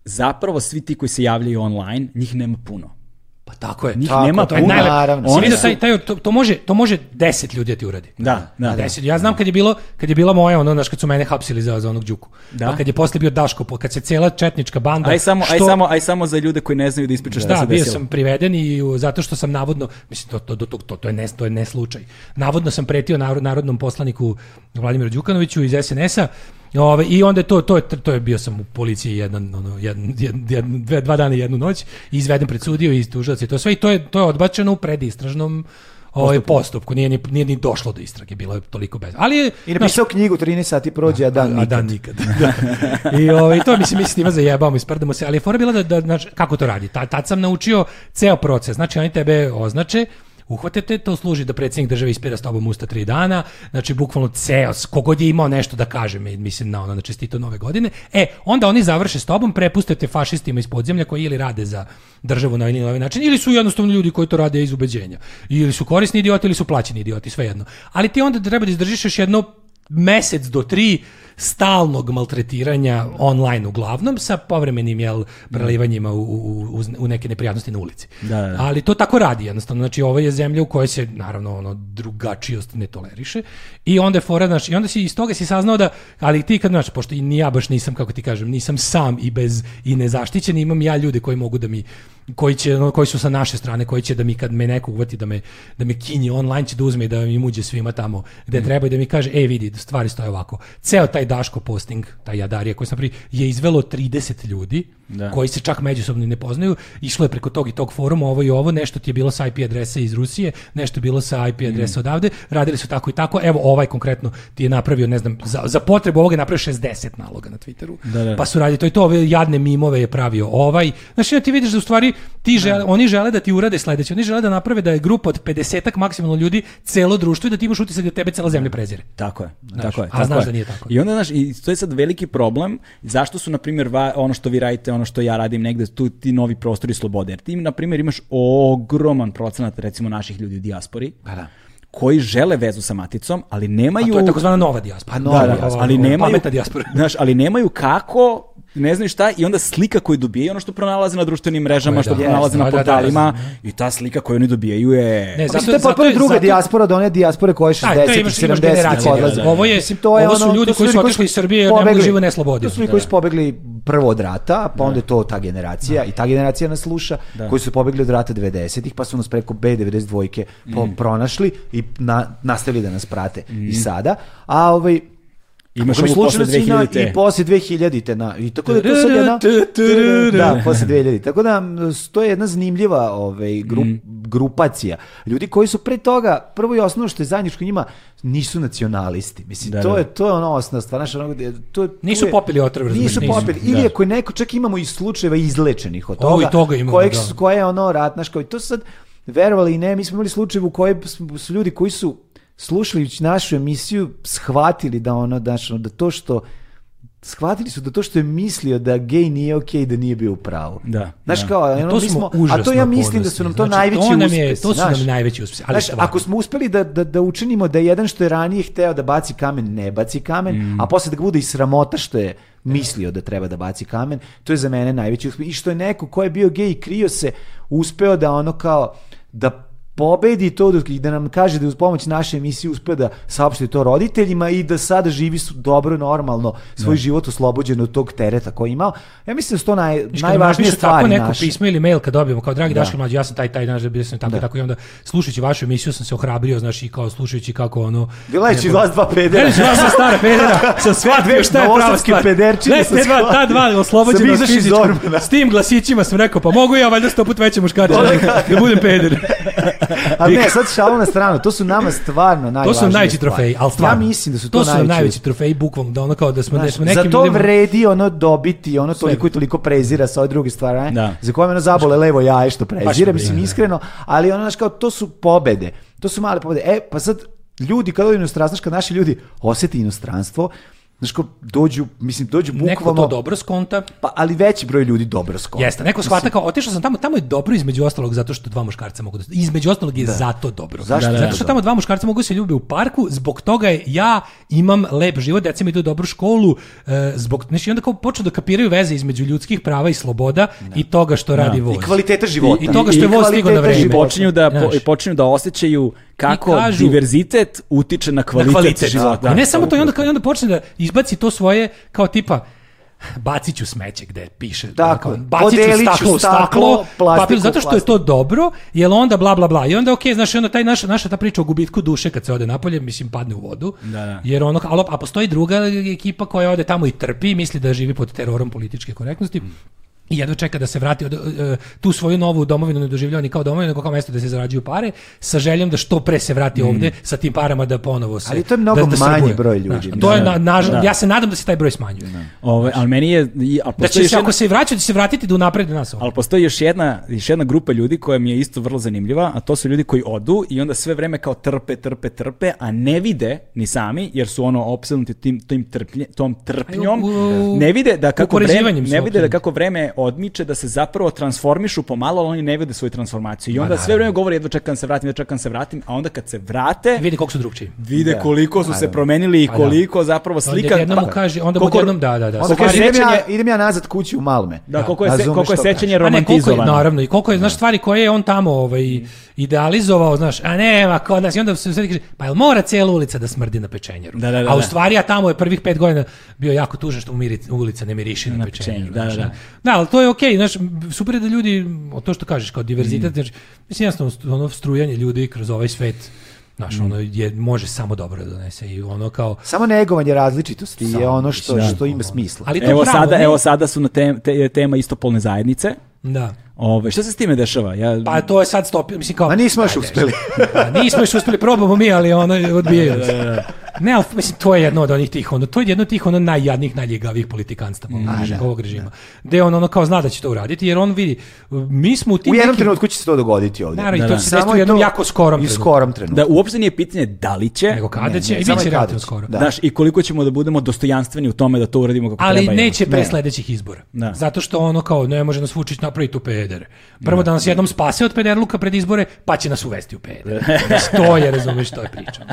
zapravo svi ti koji se javljaju online, njih nema puno. Pa tako je. Njih Tako, nema to Pa je puno. najlepše. Naravno. Si Oni vidio su- taj, taj, to, to, može, to može deset ljudi da ti uradi. Da, da, da. Deset. Ja znam kad je bilo, kad je bila moja, ono, znaš, kad su mene hapsili za, za onog Đuku. Da. Pa kad je posle bio Daško, po- kad se cela četnička banda... Aj samo, aj što- samo, aj samo za ljude koji ne znaju da ispričaš šta Da, se bio desilo. sam priveden i u- zato što sam navodno, mislim to to do tog- to to je ne to je ne slučaj. Navodno sam pretio narod, narodnom poslaniku Vladimiru Đukanoviću iz SNS-a. Ove, ovaj, i onda je to to je to je bio sam u policiji jedan ono jedan, jedan, jedan dve, dva dana i jednu noć i izveden pred sudiju i tužilac i to sve i to je to je odbačeno u predistražnom ovaj postupku. Nije ni nije ni došlo do istrage, bilo je toliko bez. Ali je- I napisao knjigu 13 sati prođe, a dan a nikad. dan nikad. da. I ovaj, to mislim, mi se njima zajebamo, isprdamo se, ali je fora bila da, da znaš, kako to radi. Ta, tad sam naučio ceo proces. Znači, oni tebe označe, uhvate te, to služi da predsjednik države ispira s tobom usta tri dana, znači bukvalno ceo, s- kogod je imao nešto da kaže, mi- mislim na ono, na čestito nove godine, e, onda oni završe s tobom, prepuste te fašistima iz podzemlja koji ili rade za državu na ovaj ili ovaj način, ili su jednostavno ljudi koji to rade iz ubeđenja, ili su korisni idioti ili su plaćeni idioti, svejedno. Ali ti onda treba da izdržiš još jedno mesec do tri stalnog maltretiranja online uglavnom sa povremenim jel, prelivanjima u, u, u, u neke neprijatnosti na ulici. Da, da, da. Ali to tako radi jednostavno. Znači, ovo je zemlja u kojoj se, naravno, ono, drugačijost ne toleriše. I onda je fora, znaš, i onda si iz toga si saznao da, ali ti kad, znaš, pošto i ni ja baš nisam, kako ti kažem, nisam sam i bez, i nezaštićen, imam ja ljude koji mogu da mi, koji će, ono, koji su sa naše strane, koji će da mi kad me neko uvati da me, da me kinje online će da uzme i da mi uđe svima tamo gde treba i da mi kaže, e vidi, stvari stoje ovako. Ceo taj Daško posting, taj Jadarija koji sam pri, je izvelo 30 ljudi, Da. koji se čak međusobno i ne poznaju, išlo je preko tog i tog foruma, ovo i ovo, nešto ti je bilo sa IP adrese iz Rusije, nešto je bilo sa IP adrese odavde, radili su tako i tako, evo ovaj konkretno ti je napravio, ne znam, za, za potrebu ovoga je napravio 60 naloga na Twitteru, Da, da. pa su radili to i to, ove jadne mimove je pravio ovaj, znači onda ti vidiš da u stvari ti žele, oni žele da ti urade sledeće, oni žele da naprave da je grupa od 50 maksimalno ljudi celo društvo i da ti imaš utisak da tebe cela zemlja prezire. Tako je, tako je. a tako znaš je. da nije tako. I onda, znaš, i to je sad veliki problem, zašto su, na primjer, va, ono što vi radite, ono što ja radim negde, tu ti novi prostori slobode. Jer ti, na primjer, imaš ogroman procenat, recimo, naših ljudi u dijaspori, da. koji žele vezu sa maticom, ali nemaju... Pa A to je takozvana nova dijaspora. Pa Da, nova da, dijaspora. ali nemaju, Pametna dijaspora. Znaš, ali nemaju kako, ne znaju šta, i onda slika koju dobijaju, ono što pronalaze na društvenim mrežama, je, što da. pronalaze Yes, na da, da, da, portalima, razumem, i ta slika koju oni dobijaju je... Ne, Zato, Pa Mislim, to je potpuno druga zato, dijaspora od one dijaspore koja je Aj, to 60 i imaš, imaš 70 generacije. koja Da, odlaze. da. Ovo, je, Mislim, to je ovo su ono- ljudi to koji su otišli iz Srbije jer ne mogu pobegli. žive na slobodi. To su ljudi koji su pobegli prvo od rata, pa onda je to ta generacija i ta generacija nas sluša, koji su pobegli od rata 90-ih, pa su nas preko B92 po, Mm. pronašli i na, nastavili da nas prate i sada. A ovaj, Imaš Kako mi ovu posle slučajno si na- 2000-te. I posle 2000-te. Na, I tako da je to sad jedna... Da, posle 2000 Tako da, m, to je jedna zanimljiva ovaj, gru, Mm. grupacija. Ljudi koji su pre toga, prvo i osnovno što je zajedničko njima, nisu nacionalisti. Mislim, Da, to, da. je, to je ono osnovna stvar. Znaš, ono, gde- to, je- Nisu tu je- popili otrov, razumeš, Nisu nisu. popili. Ili ako je neko, čak imamo i slučajeva izlečenih od O, toga. i toga imamo, kojeg da. su- koje je ono rat, znaš, kao i to sad, verovali i ne, mi smo imali slučaj u kojem smo- su ljudi koji su slušajući našu emisiju shvatili da ono, znaš, ono, da to što shvatili su da to što je mislio da gej nije okej da nije bio u pravu. Da, Znaš da. kao, ono, E, to mi smo smo, a to ja užasno mislim da su nam to ponosni. Znači, najveći to nam je- uspesi, to su znaš. nam najveći uspesi, ali Znaš, stvarno. ako smo uspeli da, da, da učinimo da jedan što je ranije hteo da baci kamen, ne baci kamen, Mm. a posle da ga bude i sramota što je mislio da treba da baci kamen, to je za mene najveći uspeh. I što je neko ko je bio gej i krio se, uspeo da ono kao, da pobedi to da- i da nam kaže da je uz pomoć naše emisije uspeo da saopšti to roditeljima i da sada živi su dobro, normalno, svoj život oslobođen od tog tereta koji je imao. Ja mislim da su to naj, Znaš, kad nam najvažnije napišu tako stvari neko naše. pismo ili mail kad dobijemo kao dragi Daško mlađi ja sam taj taj naš bio sam tako i tako i onda slušajući vašu emisiju sam se ohrabrio znači i kao slušajući kako ono Vilajući vas dva pedera. Gledajući vas sa stara pedera, sam shvatio Dve šta je prava novosadske stvar. pederčine Ne, sam te dva, ta shvatio. dva Sam oslobođena od izašao iz fizičkog. Orbana. S tim glasićima sam rekao, pa mogu ja valjda sto put veće muškarče da, da budem peder. Ali ne, sad šalu na stranu, to su nama stvarno To najvažnije su nam najveći stvari. trofeji, ali stvarno. Ja mislim da su to, su nam najveći. najveći trofeji, bukvalno, da ono kao da smo, da Znaš, smo nekim za to ljudima- vredi ono dobiti, ono toliko i toliko prezira sa ove druge stvari, ne? Da. Za koje me ono zabole levo jaje što prezira, me mislim briga, iskreno, ali ono, znaš, kao, to su pobede. To su male pobede. E, pa sad, ljudi, kada odu u inostranstvo, znaš, kad naši ljudi osjeti inostranstvo, znaš, kao, dođu, mislim, dođu Neko to bukvalno, dobro skonta. pa, ali veći broj ljudi dobro skonta. Jeste, neko shvata kao, otišao sam tamo, tamo je dobro između ostalog zato što dva muškarca mogu da... Između ostalog je zato dobro. Zašto? Zato što Dobro. tamo dva muškarca mogu da se ljube u parku, zbog toga je ja imam lep život, deca mi idu u dobru školu, e, zbog, znači i onda kao počnu da kapiraju veze između ljudskih prava i sloboda i toga što radi voz. I kvaliteta života. I toga što je I voz stigao na kvaliteta vreme. I života. počinju da, po, Znaš. i počinju da osjećaju kako I kažu- diverzitet utiče na kvalitet, na kvalitet života. života. I ne samo to, i onda, i onda počne da izbaci to svoje, kao tipa, bacit ću smeće gde piše. Tako Ono, je. bacit ću Podelit ću staklo, u staklo, staklo, plastiku papir, u zato što je to dobro, jer onda bla bla bla. I onda, okej, znaš, i onda taj naš, naša ta priča o gubitku duše kad se ode napolje, mislim, padne u vodu. Da, da. Jer ono, a, a postoji druga ekipa koja ode tamo i trpi, misli da živi pod terorom političke korektnosti. I jedno čeka da se vrati od, e, e, tu svoju novu domovinu ne doživljava ni kao domovinu, nego kao mesto da se zarađuju pare, sa željom da što pre se vrati ovde sa tim parama da ponovo se... Ali to je mnogo da, da manji srbuje. broj ljudi. Znaš, to je, na, nažal- Da. ja se nadam da se taj broj smanjuje. Ove, ali meni je... i- A Da postoji još će se, jedna, Znači, ako se vraćaju, da će se vratiti da unaprede nas ovo. ali postoji još jedna, još jedna grupa ljudi koja mi je isto vrlo zanimljiva, a to su ljudi koji odu i onda sve vreme kao trpe, trpe, trpe, a ne vide ni sami, jer su ono opsednuti tim, tim trplje, tom trpnjom, Aj, u- u- ne vide da kako vreme, upoređivanjem su ne vide da opsednuti. kako vreme odmiče da se zapravo transformišu pomalo, ali oni ne vide svoju transformaciju. I onda sve naravno. vreme govore jedva čekam da se vratim, jedva čekam da se vratim, a onda kad se vrate, Vidi koliko su drugčiji. vide Da. koliko su se promenili i Pa da. koliko zapravo slika... Onda jednom mu pa- kaže, onda mu koliko- jednom, da, da, da. Onda Koliko kaže, je idem ja, sećanje- idem ja nazad kući u Malme. Da, koliko je, se, Razumeš koliko je što kaže. sećanje A ne, koliko je, romantizovano. naravno, i koliko je, znaš, stvari koje je on tamo ovaj, idealizovao, znaš, a nema, kod nas, i onda se sve kaže, pa jel mora cijela ulica da smrdi na pečenjeru? Da, da, da, a u da. stvari, a tamo je prvih pet godina bio jako tužan što mu miri, ulica ne miriši na, Na pečenjeru. pečenjeru, da, znaš, da, da. Da, ali to je okej, znaš, super je da ljudi, o to što kažeš, kao Mm. diverzitet, znači, mislim, jednostavno, st- ono strujanje ljudi kroz ovaj svet, Mm. znaš, ono, je, može samo dobro da donese i ono kao, Samo negovanje različitosti je ono što, da. što ima smisla. ali to Evo pravo, sada, ne- evo sada su na tem, te, tema istopolne zajednice. Da. Ove, šta se s time dešava? Ja, Pa to je sad stopio, mislim kao... Ma nismo još Ajde, uspeli. Da, nismo još uspeli, probamo mi, ali ono, odbijaju nas. Ne, ali mislim, to je jedno od onih tih, ono, to je jedno od tih ono najjadnijih, najljegavijih politikanstava Mm. ovog režima- ovog režima. Gde on ono kao zna da će to uraditi, jer on vidi, mi smo u tim U jednom nekim- trenutku će se to dogoditi ovdje. Naravno, Da, i to da. će se desiti u jednom jako skorom I trenutku. skorom trenutku. da uopšte nije pitanje da li će, Nego kada Ne, će, ne, i bit samo će i kada relativno će. skoro. Da. Znaš, i koliko ćemo da budemo dostojanstveni u tome da to uradimo kako Ali treba. jel? neće pre Ne. sledećih izbora. Da. Zato što ono kao ne može nas Vučić napraviti u peder. Prvo da nas jednom spase od pederluka pred izbore, pa će nas uvesti u peder. to je, razumeš, to je priča.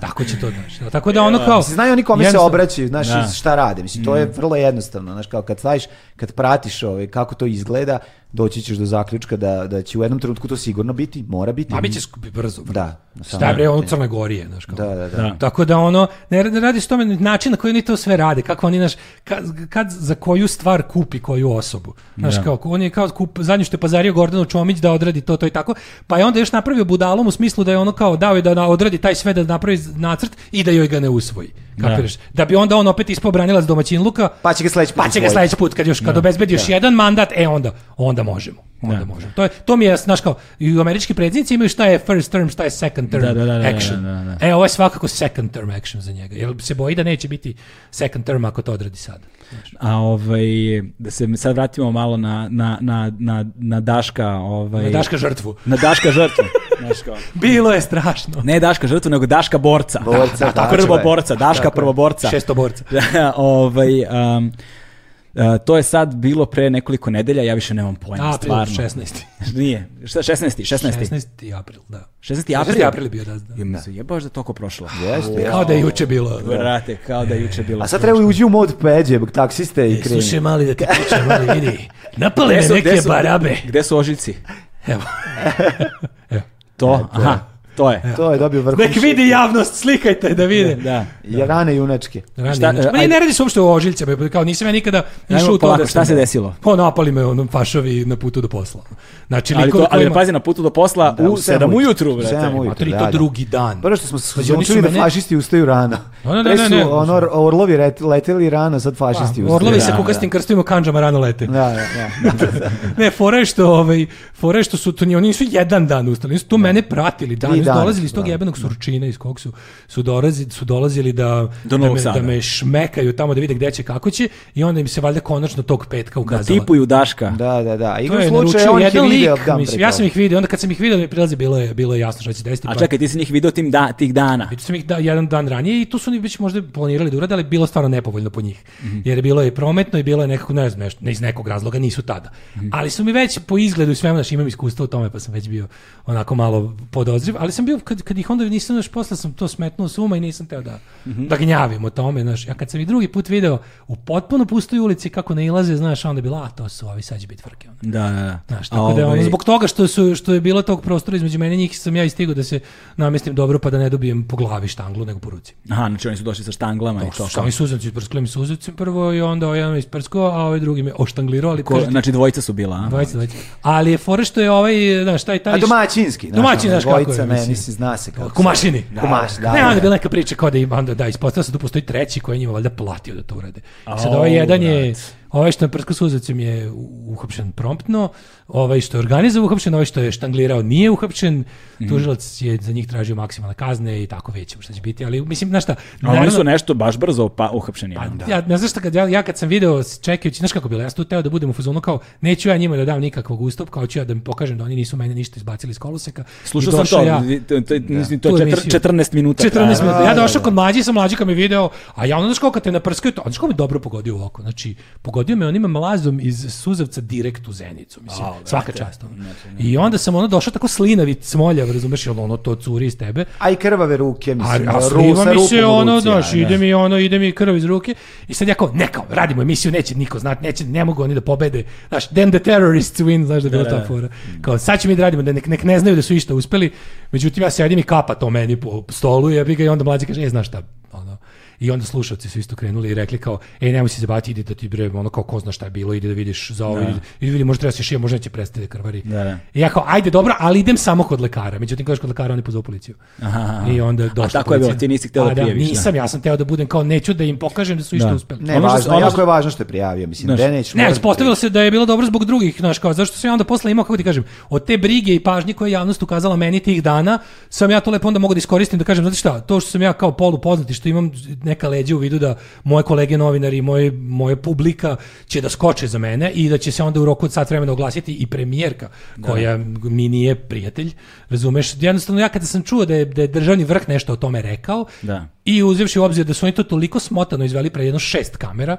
Tako će to znači. Tako da ono kao... Mislim, znaju oni kome se jednostavno- Mm. obraćaju, znaš, Da. šta rade. Mislim, to je vrlo jednostavno, znaš, kao kad staviš, kad pratiš ovaj, kako to izgleda, doći ćeš do zaključka da, da će u jednom trenutku to sigurno biti, mora biti. A Pa bit će skupi brzo. brzo. Da. Šta je bre, ono u Crnoj Gori je, znaš kao. Da, da, da. Da. Tako da ono, ne, ne radi se o tome način na koji oni to sve rade, kako oni, znaš, kad, kad za koju stvar kupi koju osobu. Znaš, kao, on je kao kup, zadnje što je pazario Gordanu Čomić da odradi to, to i tako, pa je onda još napravio budalom u smislu da je ono kao dao je da na- odradi taj sve da napravi nacrt i da joj ga ne usvoji. Kapiraš? Da. bi onda on opet ispao branilac domaćin Luka, Pa će ga sledeći pa put će ga usvojiti. sledeći put kad još kad obezbedi još jedan mandat, e onda onda možemo. Onda Da. možemo. To je to mi je znaš kao i američki predsjednici imaju šta je first term, šta je second term Da, da, da, da, action. da, da, E ovo je svakako second term action za njega. Jer se boji da neće biti second term ako to odradi sad. A ovaj, da se sad vratimo malo na, na, na, na, na Daška. Ovaj, Na Daška žrtvu. na Daška žrtvu. Znaš kao. Bilo je strašno. Ne Daška žrtvu, nego Daška borca. Borca, da, tako prvo je. borca, Daška prvo borca. Šesto borca. ovaj, um, uh, to je sad bilo pre nekoliko nedelja, ja više nemam pojma, April stvarno. 16. Nije, šta, 16. 16. 16. april, da. 16. april. 16. april je bio, da. da. Jel se jebaš da je toliko prošlo. Jeste, Kao da je juče bilo. Vrate, kao da je juče bilo. A sad treba uđi u mod peđe, taksiste i E, kreni. Slušaj mali da ti pričam, mali vidi. Napale Gde me su- neke gde su- barabe. Gde su ožiljci? Evo. To, aha, to je. To je dobio vrhu. Nek vidi javnost, slikajte da vide. Da. Ja rane junačke. Rani Šta, inače. e, Ma ne, ajde. ne radi se uopšte o ožiljcama, pa kao nisam ja nikada Ajmo išao u to polako, da šta sam- se desilo? Pa napali me onom fašovi na putu do posla. Znači, Ali, likovi to, ali kojima- pazi, na putu do posla Da, u 7 ujutru, brate. Sedam ujutru, A Pa to je da, to da. drugi dan. Prvo što Pa smo se Pazi, oni su odlučili da mene- fašisti ustaju rano. Da, da, Pre da, su ne, ne. ono, or- orlovi ret- leteli rano, sad Pa, fašisti ustaju. Orlovi sa Da, kukastim krstovima kandžama rano lete. Da, da, da. Ne, fora je što, ovaj, fora je što su to, ni- oni nisu jedan dan ustali, oni su tu mene pratili, dan, Tri oni su dana, dolazili iz tog da. jebenog Surčina, iz kog su, su, dolazi, su dolazili da, Do da, Novog me, Sada. da me šmekaju tamo da vide gde će, kako će, i onda im se valjda konačno tog petka Da ukazala. tipuju Daška. Da, da, da. To Igrom je slučaja naručio on ih je jedan video lik, dan pre mislim, ja sam toga. ih video, onda kad sam ih video da mi prilaze, bilo je, bilo je jasno šta će se desiti. A pa- čekaj, ti si njih video tim da, tih dana. Vidio sam ih da, jedan dan ranije i tu su oni već možda planirali da urade, ali bilo je stvarno nepovoljno po njih. Jer je bilo je prometno i bilo je nekako, ne znam, nešto, ne iz nekog razloga nisu tada. Ali su mi već po izgledu i svemu, znaš, imam iskustva u tome, pa sam već bio onako malo podozriv, ali sam bio, kad, kad ih onda nisam, znaš, posle sam to smetnuo s uma i nisam teo da, da gnjavim o tome, znaš. Ja kad sam ih drugi put video u potpuno pustoj ulici kako ne ilaze, znaš, onda je bilo, a to su ovi, sad će biti frke, ono. Da, da, da. Znaš, A tako da je ono, ovaj, zbog toga što, su, što je bilo tog prostora između mene i njih sam ja istigao da se namestim dobro pa da ne dobijem po glavi štanglu nego po ruci. Aha, znači oni su došli sa štanglama i to. Šta mi suzavci isprskali mi suzavci prvo i onda ovaj jedan me isprskao, a ovaj drugi me oštanglirao, ali Ko, kažete, znači dvojica su bila, a? dvajica, dvajica. Ali je fora što je ovaj, znaš, taj, taj... A domaćinski, znaš, Domaćin, ono, znaš kako je, dvojica, ne, mislim. mislim, zna se kako. se- Kumašini. Kumaš, da, ne, da, onda je da. bila neka priča kao da im, onda da, ispostavilo se da tu postoji treći koji je njima valjda platio da to urade. I sad Au, ovaj jedan je, ovaj što je prskao suzavcem je u- uhapšen promptno, ovaj što je organizovao uhapšen, ovaj što je štanglirao nije uhapšen, Mhm. tužilac je za njih tražio maksimalne kazne i tako većemo šta će biti, ali mislim, znaš šta, A oni naravno- su nešto baš brzo pa, uhapšeni. Pa, ono. ja, ne znaš šta, kad ja, ja kad sam video s- čekajući, znaš kako je bilo, ja sam tu teo da budem u fazonu kao, neću ja njima da dam nikakvog ustupka, hoću ja da im pokažem da oni nisu mene ništa izbacili iz koloseka. Slušao I sam došao to, ja- vi- to, to, mislim, to Tu je emisiju. četr- 14 minuta. 14 trajalo. minuta. Ja došao kod mlađi, sam mlađi kad me video, a ja ono znaš kako kad te naprskaju to, znaš kako mi dobro pogodio u oko. Znači, pogodio me onim mlazom iz Suzavca direkt u Zenicu, mislim, svaka čast. ono. Znači, I onda sam ono došao tako slinavi, smoljav, razumeš, jel ono to curi iz tebe. A i krvave ruke, A, mislim. a ru- sliva sa mi se rupom u ono, ruci, znaš, a, ide mi ono, ide mi krv iz ruke. I sad ja kao, ne kao, radimo emisiju, neće niko znati, neće, ne mogu oni da pobede. Znaš, then the terrorists win, znaš da je bila ta fora. Kao, sad ćemo mi da radimo, da nek, nek ne znaju da su išta uspeli. Međutim, ja sedim i kapa to meni po stolu i ja bi ga i onda mlađi kaže, e, znaš šta, ono, I onda slušalci su isto krenuli i rekli kao, ej, nemoj se zabaviti, idi da ti bre, ono kao ko zna šta je bilo, idi da vidiš za ovo, idi, idi vidi, možda treba se šije, možda neće prestati da krvari. Da, da. I ja kao, ajde, dobro, ali idem samo kod lekara. Međutim, kažeš kod lekara, oni pozovu policiju. Aha. I onda je došla A tako je bilo, policija. ti nisi hteo da A prijaviš, da. nisam, ja sam teo da budem kao, neću da im pokažem da su išta Da. uspeli. Ne, Ono što- važno, ono jako što- je važno što je prijavio, mislim, Znaš, Denić. Ne, mora- ispostavilo se da je bilo dobro zbog drugih, znaš, kao, zašto sam ja onda posle imao, kako ti kažem, od te brige i pažnje koje je javnost ukazala meni tih dana, sam ja to lepo onda mogu da iskoristim, da kažem, znate šta, to što sam ja kao polupoznati, što imam neka leđa u vidu da moje kolege novinari, moje, moje publika će da skoče za mene i da će se onda u roku od sat vremena oglasiti i premijerka, koja mi nije prijatelj, razumeš, jednostavno ja kada sam čuo da je, da je državni vrh nešto o tome rekao, Da. I uzevši u obzir da su oni to toliko smotano izveli pre jedno šest kamera,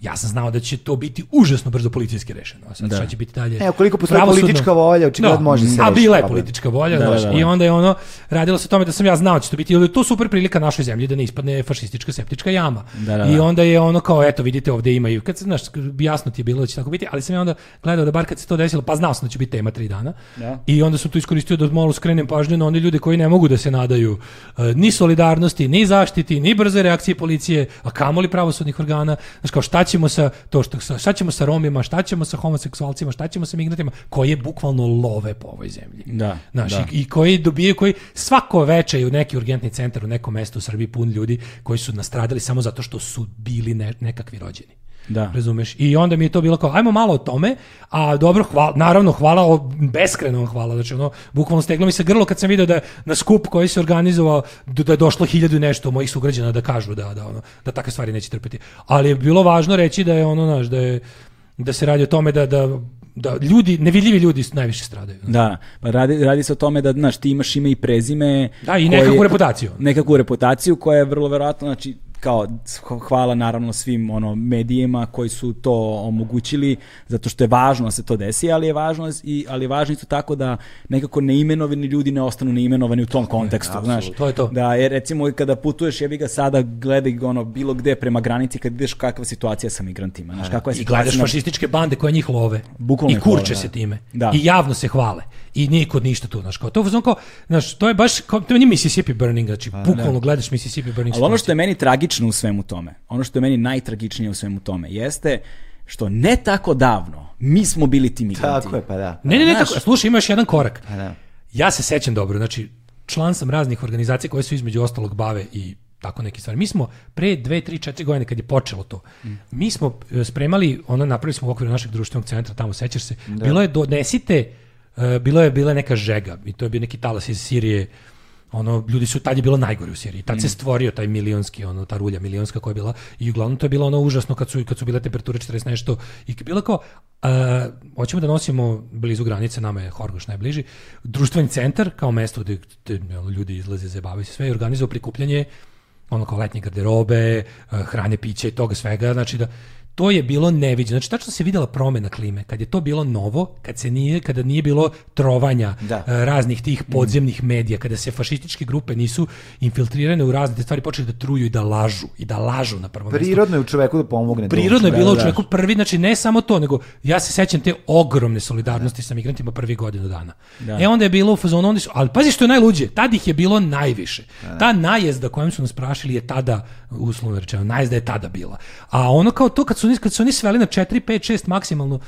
ja sam znao da će to biti užasno brzo policijski rešeno. A sad šta će biti dalje? E, ukoliko postoji Pravosudno. politička volja, očigledno može se A rešiti bila je problem. politička volja, Da, znaš, da, da. i onda je ono, radilo se o tome da sam ja znao da će to biti, jer je to super prilika našoj zemlji da ne ispadne fašistička septička jama. Da, da, I da. onda je ono kao, eto, vidite, ovde ima i, kad se, znaš, jasno ti je bilo da će tako biti, ali sam ja onda gledao da bar kad se to desilo, pa znao sam da će biti tema tri dana. I onda sam to iskoristio da malo skrenem pažnju na one ljude koji ne mogu da se nadaju e, ni solidarnosti, ni zaštiti, ni brze reakcije policije, a kamoli pravosudnih organa. Znaš, kao šta ćemo sa to što sa- šta ćemo sa Romima, šta ćemo sa homoseksualcima, šta ćemo sa migrantima koje bukvalno love po ovoj zemlji. Da, Znaš, da. I, i koji dobijaju, koji svako veče je u neki urgentni centar u nekom mestu u Srbiji pun ljudi koji su nastradali samo zato što su bili ne- nekakvi rođeni. Da. Razumeš? I onda mi je to bilo kao, ajmo malo o tome, a dobro, hvala, naravno, hvala, o, beskreno vam hvala, znači ono, bukvalno steglo mi se grlo kad sam video da je na skup koji se organizovao, d- da je došlo hiljadu i nešto mojih sugrađana da kažu da, da, ono, da takve stvari neće trpeti. Ali je bilo važno reći da je ono, znaš, da je, da se radi o tome da, da, da ljudi, nevidljivi ljudi najviše stradaju. znaš. Da, pa radi, radi se o tome da, znaš, ti imaš ime i prezime. Da, i koje- nekakvu reputaciju. Nekakvu reputaciju koja je vrlo verovatno, znači, kao h- hvala naravno svim ono medijima koji su to omogućili zato što je važno da se to desi, ali je važno i ali je važno isto tako da nekako neimenovani ljudi ne ostanu neimenovani u tom kontekstu, znaš. to je to. Da, jer recimo i kada putuješ, jebi ga sada gledaj ono bilo gde prema granici kad ideš kakva je situacija sa migrantima, znaš, kakva je E, I situacija. gledaš na- fašističke bande koje njih love. Bukvalno I ih love, kurče da. se time. Da. I javno se hvale. I niko ništa tu, znaš, kao to, znaš, kao, znaš, to je baš, kao, to nije Mississippi Burning, znači, bukvalno gledaš Mississippi Burning. Ali ono što je meni tragično u svemu tome, ono što je meni najtragičnije u svemu tome, jeste što ne tako davno mi smo bili ti migranti. Tako je, pa da. Pa Ne, ne, ne, Znaš- tako, slušaj, ima još jedan korak. da. Ja se sećam dobro, znači, član sam raznih organizacija koje su između ostalog bave i tako neke stvari. Mi smo pre dve, tri, četiri godine kad je počelo to, Mm. mi smo e, spremali, ono napravili smo u okviru našeg društvenog centra, tamo sećaš se, bilo je donesite, e, bilo je bila neka žega i to je bio neki talas iz Sirije, ono, ljudi su, tad je bilo najgore u Siriji, tad se stvorio taj milionski, ono, ta rulja milionska koja je bila i uglavnom to je bilo ono užasno kad su, kad su bile temperature 40 nešto i bilo je kao, a, hoćemo da nosimo blizu granice, nama je Horgoš najbliži, društveni centar kao mesto gde, gde, ono, ljudi izlaze, zabavaju se sve i organizuju prikupljanje ono kao letnje garderobe, eh, hrane, piće i toga svega, znači da to je bilo neviđeno. Znači tačno se videla promena klime, kad je to bilo novo, kad se nije kada nije bilo trovanja Da. eh, raznih tih podzemnih medija, kada se fašističke grupe nisu infiltrirane u razne te stvari, počeli da truju i da lažu i da lažu na prvom mestu. Prirodno je u čoveku da pomogne. Prirodno je Da, bilo u da. čoveku prvi, znači ne samo to, nego ja se sećam te ogromne solidarnosti sa migrantima prvi godinu dana. E onda je bilo u fazonu, oni su, ali pazi što je najluđe, tad ih je bilo najviše. Ta najezda kojom su nas prašili je tada, uslovno rečeno, najezda je tada bila. A ono kao to kad su, oni- kad su oni sveli na 4, 5, 6 maksimalno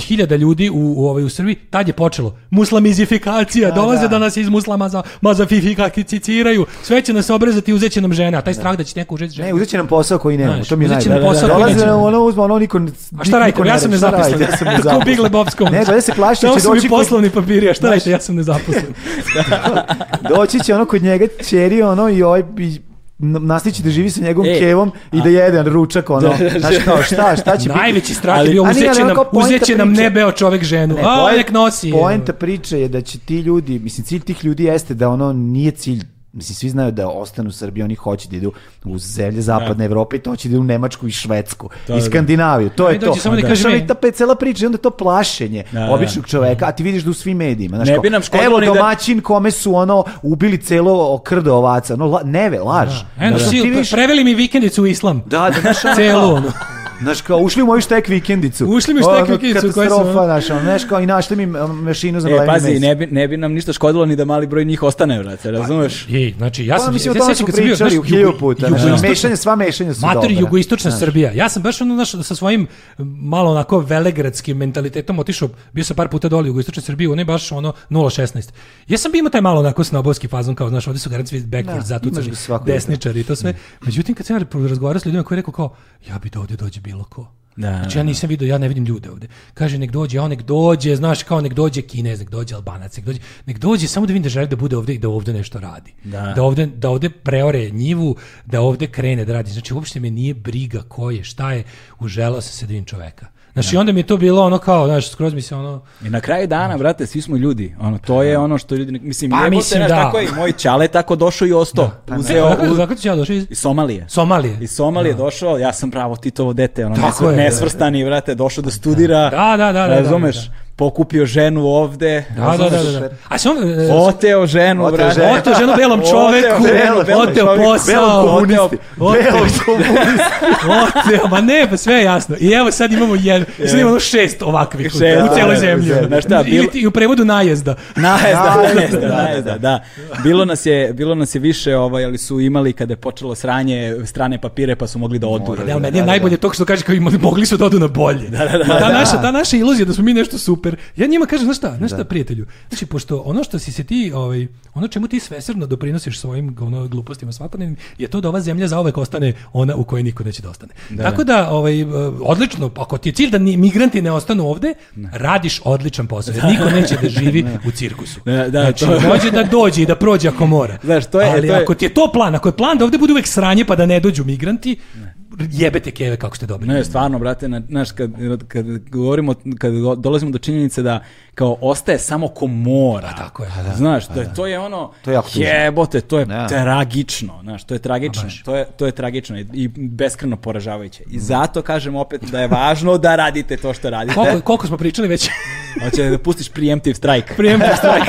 hiljada ljudi u, u, ovaj, u Srbiji, tad je počelo. Muslamizifikacija, dolaze da. nas iz muslama za, mazafifikacificiraju, sve će nas obrezati i uzet će nam žene, a taj strah da će neko uzeti žene. Ne, uzet će nam posao koji nemamo, Znaš, to mi je uzet će nam najbolje. posao koji Dolaze nam nećemo. ono, uzme ono, niko... A Pa šta radite? Ja sam nezaposlen. Ja sam Kao u Big nezaposlen. Lebowskom. Ne, da se plaši, Dao će su mi doći kod- poslovni papiri, a šta radite? Ja sam nezaposlen. Doći će ono kod njega čeri ono i ovaj bi nastići da živi sa njegovom E, kevom i da jede ručak ono. Da, da, Znaš kao šta, šta će biti? Najveći strah je Ali- bio A nije, uzeće Znači, ali ono nam, kao poenta uzeće nam priče. nebeo čovek ženu. Ne, a, poen- nek nosi. Poenta priče je da će ti ljudi, mislim cilj tih ljudi jeste da ono nije cilj Mislim, svi znaju da ostanu u Srbiji, oni hoće da idu u zemlje zapadne Evrope i to hoće da idu u Nemačku i Švedsku i Skandinaviju. To Oni je dođu to. samo da Znaš, kažu, ono "E." i ta pe- cela priča i onda to plašenje da. običnog čoveka, a ti vidiš da u svim medijima. Znaš, Ne kao, bi nam škodilo evo ni da- domaćin kome su ono ubili celo krdo ovaca. No, la, neve, laž. Eno, Znaš, sil, ti vidiš- preveli mi vikendicu u islam. Da, da, znaš, ono, Celu, kao- ono. Znaš, kao, ušli u moju štek vikendicu. Ušli mi u štek Ono, vikendicu, koja sam, Katastrofa, ono- znaš, ono, znaš, kao, i našli mi um, mašinu za E, mlevni pazi, mes. ne bi, ne bi nam ništa škodilo ni da mali broj njih ostane, Pa- vrate, razumeš? Ej, znači, ja Pa, sam... mislim, o se tome sećam smo kad sam bio, pričali znaš, u hilju jugo- ono, puta. jugoistočna- Znaš, mešanje, sva mešanja su Mater dobra. jugoistočna Srbija. Ja sam baš ono znaš, sa svojim m, malo onako velegradskim mentalitetom otišao, bio sam par puta dole u jugoistočnoj Srbiji, ono je baš ono 016. Ja sam bio imao taj malo onako snobovski fazon kao, znaš, ovde su garant svi backwards Da, zatucani imaš ga svako Mm. desničari i to sve. Međutim, kad sam ja razgovarao s ljudima koji je rekao kao, ja bi da ovde dođe bilo ko. Da, znači ja nisam video, ja ne vidim ljude ovde. Kaže nek dođe, a nek dođe, znaš kao nek dođe Kinez, nek dođe Albanac, nek dođe, nek dođe samo da vidim da želi da bude ovde i da ovde nešto radi. Da. da ovde, da ovde preore njivu, da ovde krene da radi. Znači, uopšte me nije briga ko je, šta je, uželao sam se da vidim čoveka. Znači, onda mi je to bilo ono kao, znaš, skroz mi se ono... I na kraju dana, brate, svi smo ljudi. Ono, to je ono što ljudi, mislim, Pa, jebote, mislim, znaš, da. pa tako je i moj čale tako došao i ostao. Uzeo, Odakle- u- odakle e, ću ja došao iz... iz Somalije. Somalije. Iz Somalije došao, ja sam pravo Titovo dete, ono, Tako nesvr- je, da. nesvrstani, vrate, došao da studira, Da, da, da, da, razumeš, da, da. pokupio ženu ovde, Da, da, da, da, da. Razumeš? A se on... e, oteo ženu, Oteo brate. ženu. Oteo ženu belom čoveku, Oteo ženu belom oteo čoveku, posao, belom oteo- komunisti. oteo, oteo, ma ne, pa sve je jasno. I evo sad imamo jedan, sad imamo ono šest ovakvih u- Šest, u cijeloj da, zemlji. da, znaš šta, Ili bilo- ti u prevodu najezda. Najezda, Najezda, najezda, da, najezda, da. Bilo nas je, bilo nas je više, ovaj, ali su imali kada je počelo sranje strane papire, pa su mogli da odure. Ne, ali meni je najbolje to što kaže kao imali, mogli su da odu na bolje. Ma ta, naša, ta naša iluzija da smo mi nešto super. Ja njima kažem, znaš šta, znaš šta, prijatelju. Znači, pošto ono što si se ti, ovaj, ono čemu ti svesrdno doprinosiš svojim ono, glupostima svakodnevnim, je to da ova zemlja zaovek ostane ona u kojoj niko neće da ostane. Tako da, ovaj, eh, odlično, pa ako ti je cilj da ni, migranti ne ostanu ovde, radiš odličan posao. jer Niko neće da živi u cirkusu. Da, da, znači, to je- može da dođe i da prođe ako mora. Znaš, to je- Ali to je- ako ti je to plan, ako je plan da ovde bude uvek sranje pa da ne dođu migranti, jebete keve kako ste dobri. Ne, stvarno, brate, na- znaš, kad, kad govorimo, kad do- dolazimo do činjenice da kao ostaje samo ko Pa mora. tako je. Znaš, to je, to je ono, To je jako tužno. jebote, to je Da. tragično, znaš, to je tragično, baš. to je, to je tragično i, i beskreno poražavajuće. I zato kažem opet da je važno da radite to što radite. Koliko, koliko smo pričali već Hoće da pustiš preemptive strike. prijem strajk.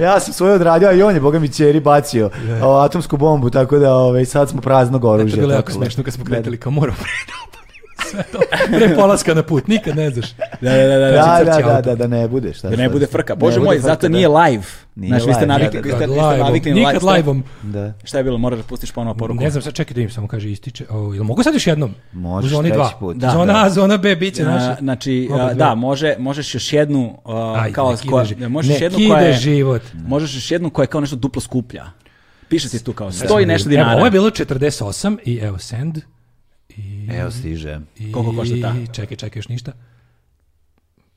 Ja sam svoje odradio, a i on je, boga mi, čeri bacio o, atomsku bombu, tako da ovaj, sad smo praznog oružja. To je bilo jako tako da. smešno kad smo kretali kao moramo pre da obalimo sve to. Pre polaska na put, nikad ne znaš. Da, da, da, da. Znači, Da, da, crće da, auto. da, da ne bude. Šta, Da ne sad. bude frka. Ne Bože bude moj, frka, zato da. nije live. Nije Znaš, vi ste live, navikli, da, vi ste, vi ste Live-om. navikli na live. Nikad stream. live-om. Da. Šta je bilo, moraš da pustiš ponovo poruku. Ne znam, sad čekaj da im samo kaže ističe. O, jel mogu sad još jednom? Možeš U zoni treći dva. put. Da, zona da. A, zona B, bit će A, naša. znači, Opet a, dve. da, može, možeš još jednu, a, Ajde, kao, ne kide koja, ži- ne, možeš ne jednu koja kide je, život. možeš još jednu koja je kao nešto duplo skuplja. Piše ti tu kao, Evo, stoji nešto dinara. Ovo je bilo 48 i evo send. Evo stiže. I... Koliko košta ta? Čekaj, čekaj, još ništa.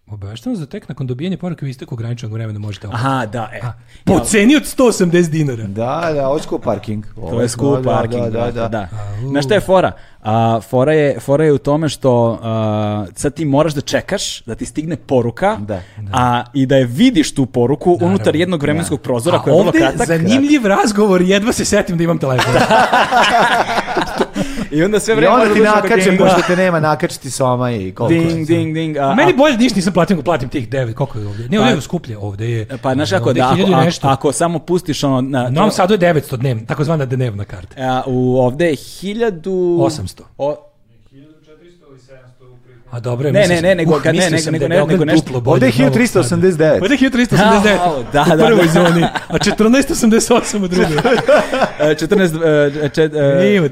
Obavešteno za tek nakon dobijanja poruke u isteku ograničenog vremena možete ovo. Aha, da, e. Po ceni od 180 dinara. Da, da, ovo je skup parking. To je skup parking. Da, da, da. da. Na šta je fora? A, fora, je, fora je u tome što a, sad ti moraš da čekaš da ti stigne poruka Da. A, i da je vidiš tu poruku unutar jednog vremenskog prozora A koji je vrlo ovde kratak. zanimljiv razgovor, jedva se setim da imam telefon. I onda sve I vreme onda ti možeš da nakače, ding, pošto te nema, nakačiti soma i koliko. je. Ding, ding, ding. A, A, a- Meni bolje da ništa nisam platio, nego platim tih 9, koliko je ovde? Ne, Pa- ovde je skuplje, ovde je... pa znaš kako, ovde je da, ako, hiljadu i ako- nešto. ako samo pustiš ono... Na, U Novom Sadu je 900 dnevna, takozvana dnevna karta. a, u, ovde je hiljadu... 800. O, A dobro, je, Ne, mislio ne, sam- ne, nego kad- ne, mislio nego- sam nego- da je nego- Beograd nego nešto- duplo bolji Ovde je od Novog Sada. 1389. Ovde je 1389, Au, da, u da, prvoj da. zoni, a 1488 u drugoj. e, 14... e, čet- e, Nije, od-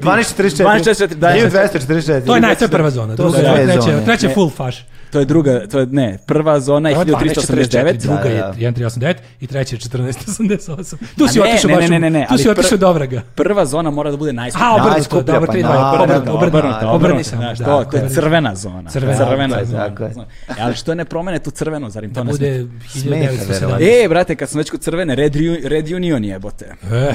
12.44, 1244. da. znači, 1244. To je naj, to je prva zona, To su druga, je dve treća, zone. treća je Ne. full faš. To je druga, to je, ne, prva zona E. je Prva je 1389. 12.44, druga je Da, da. 1389 i treća je 1488. Tu A si ne, otišao ne, baš, ne, u- ne, ne, tu si ali pr- otišao do vraga. Prva zona mora da bude najskuplja. A, obrnuto, Najskuplja, dobro, pa tri, dva, naravno, obrnuto, obrnuto, naravno, obrnuto, sam, da, to, to je obrnuto. crvena zona. Crvena, crvena tako je, zona. tako je. zona. E, ali što ne promene tu crvenu, zar im to Da ne smeta? bude verovatno. 1917. E, brate, kad smo već kod crvene, Red, Ru- Red Union jebote. E. E,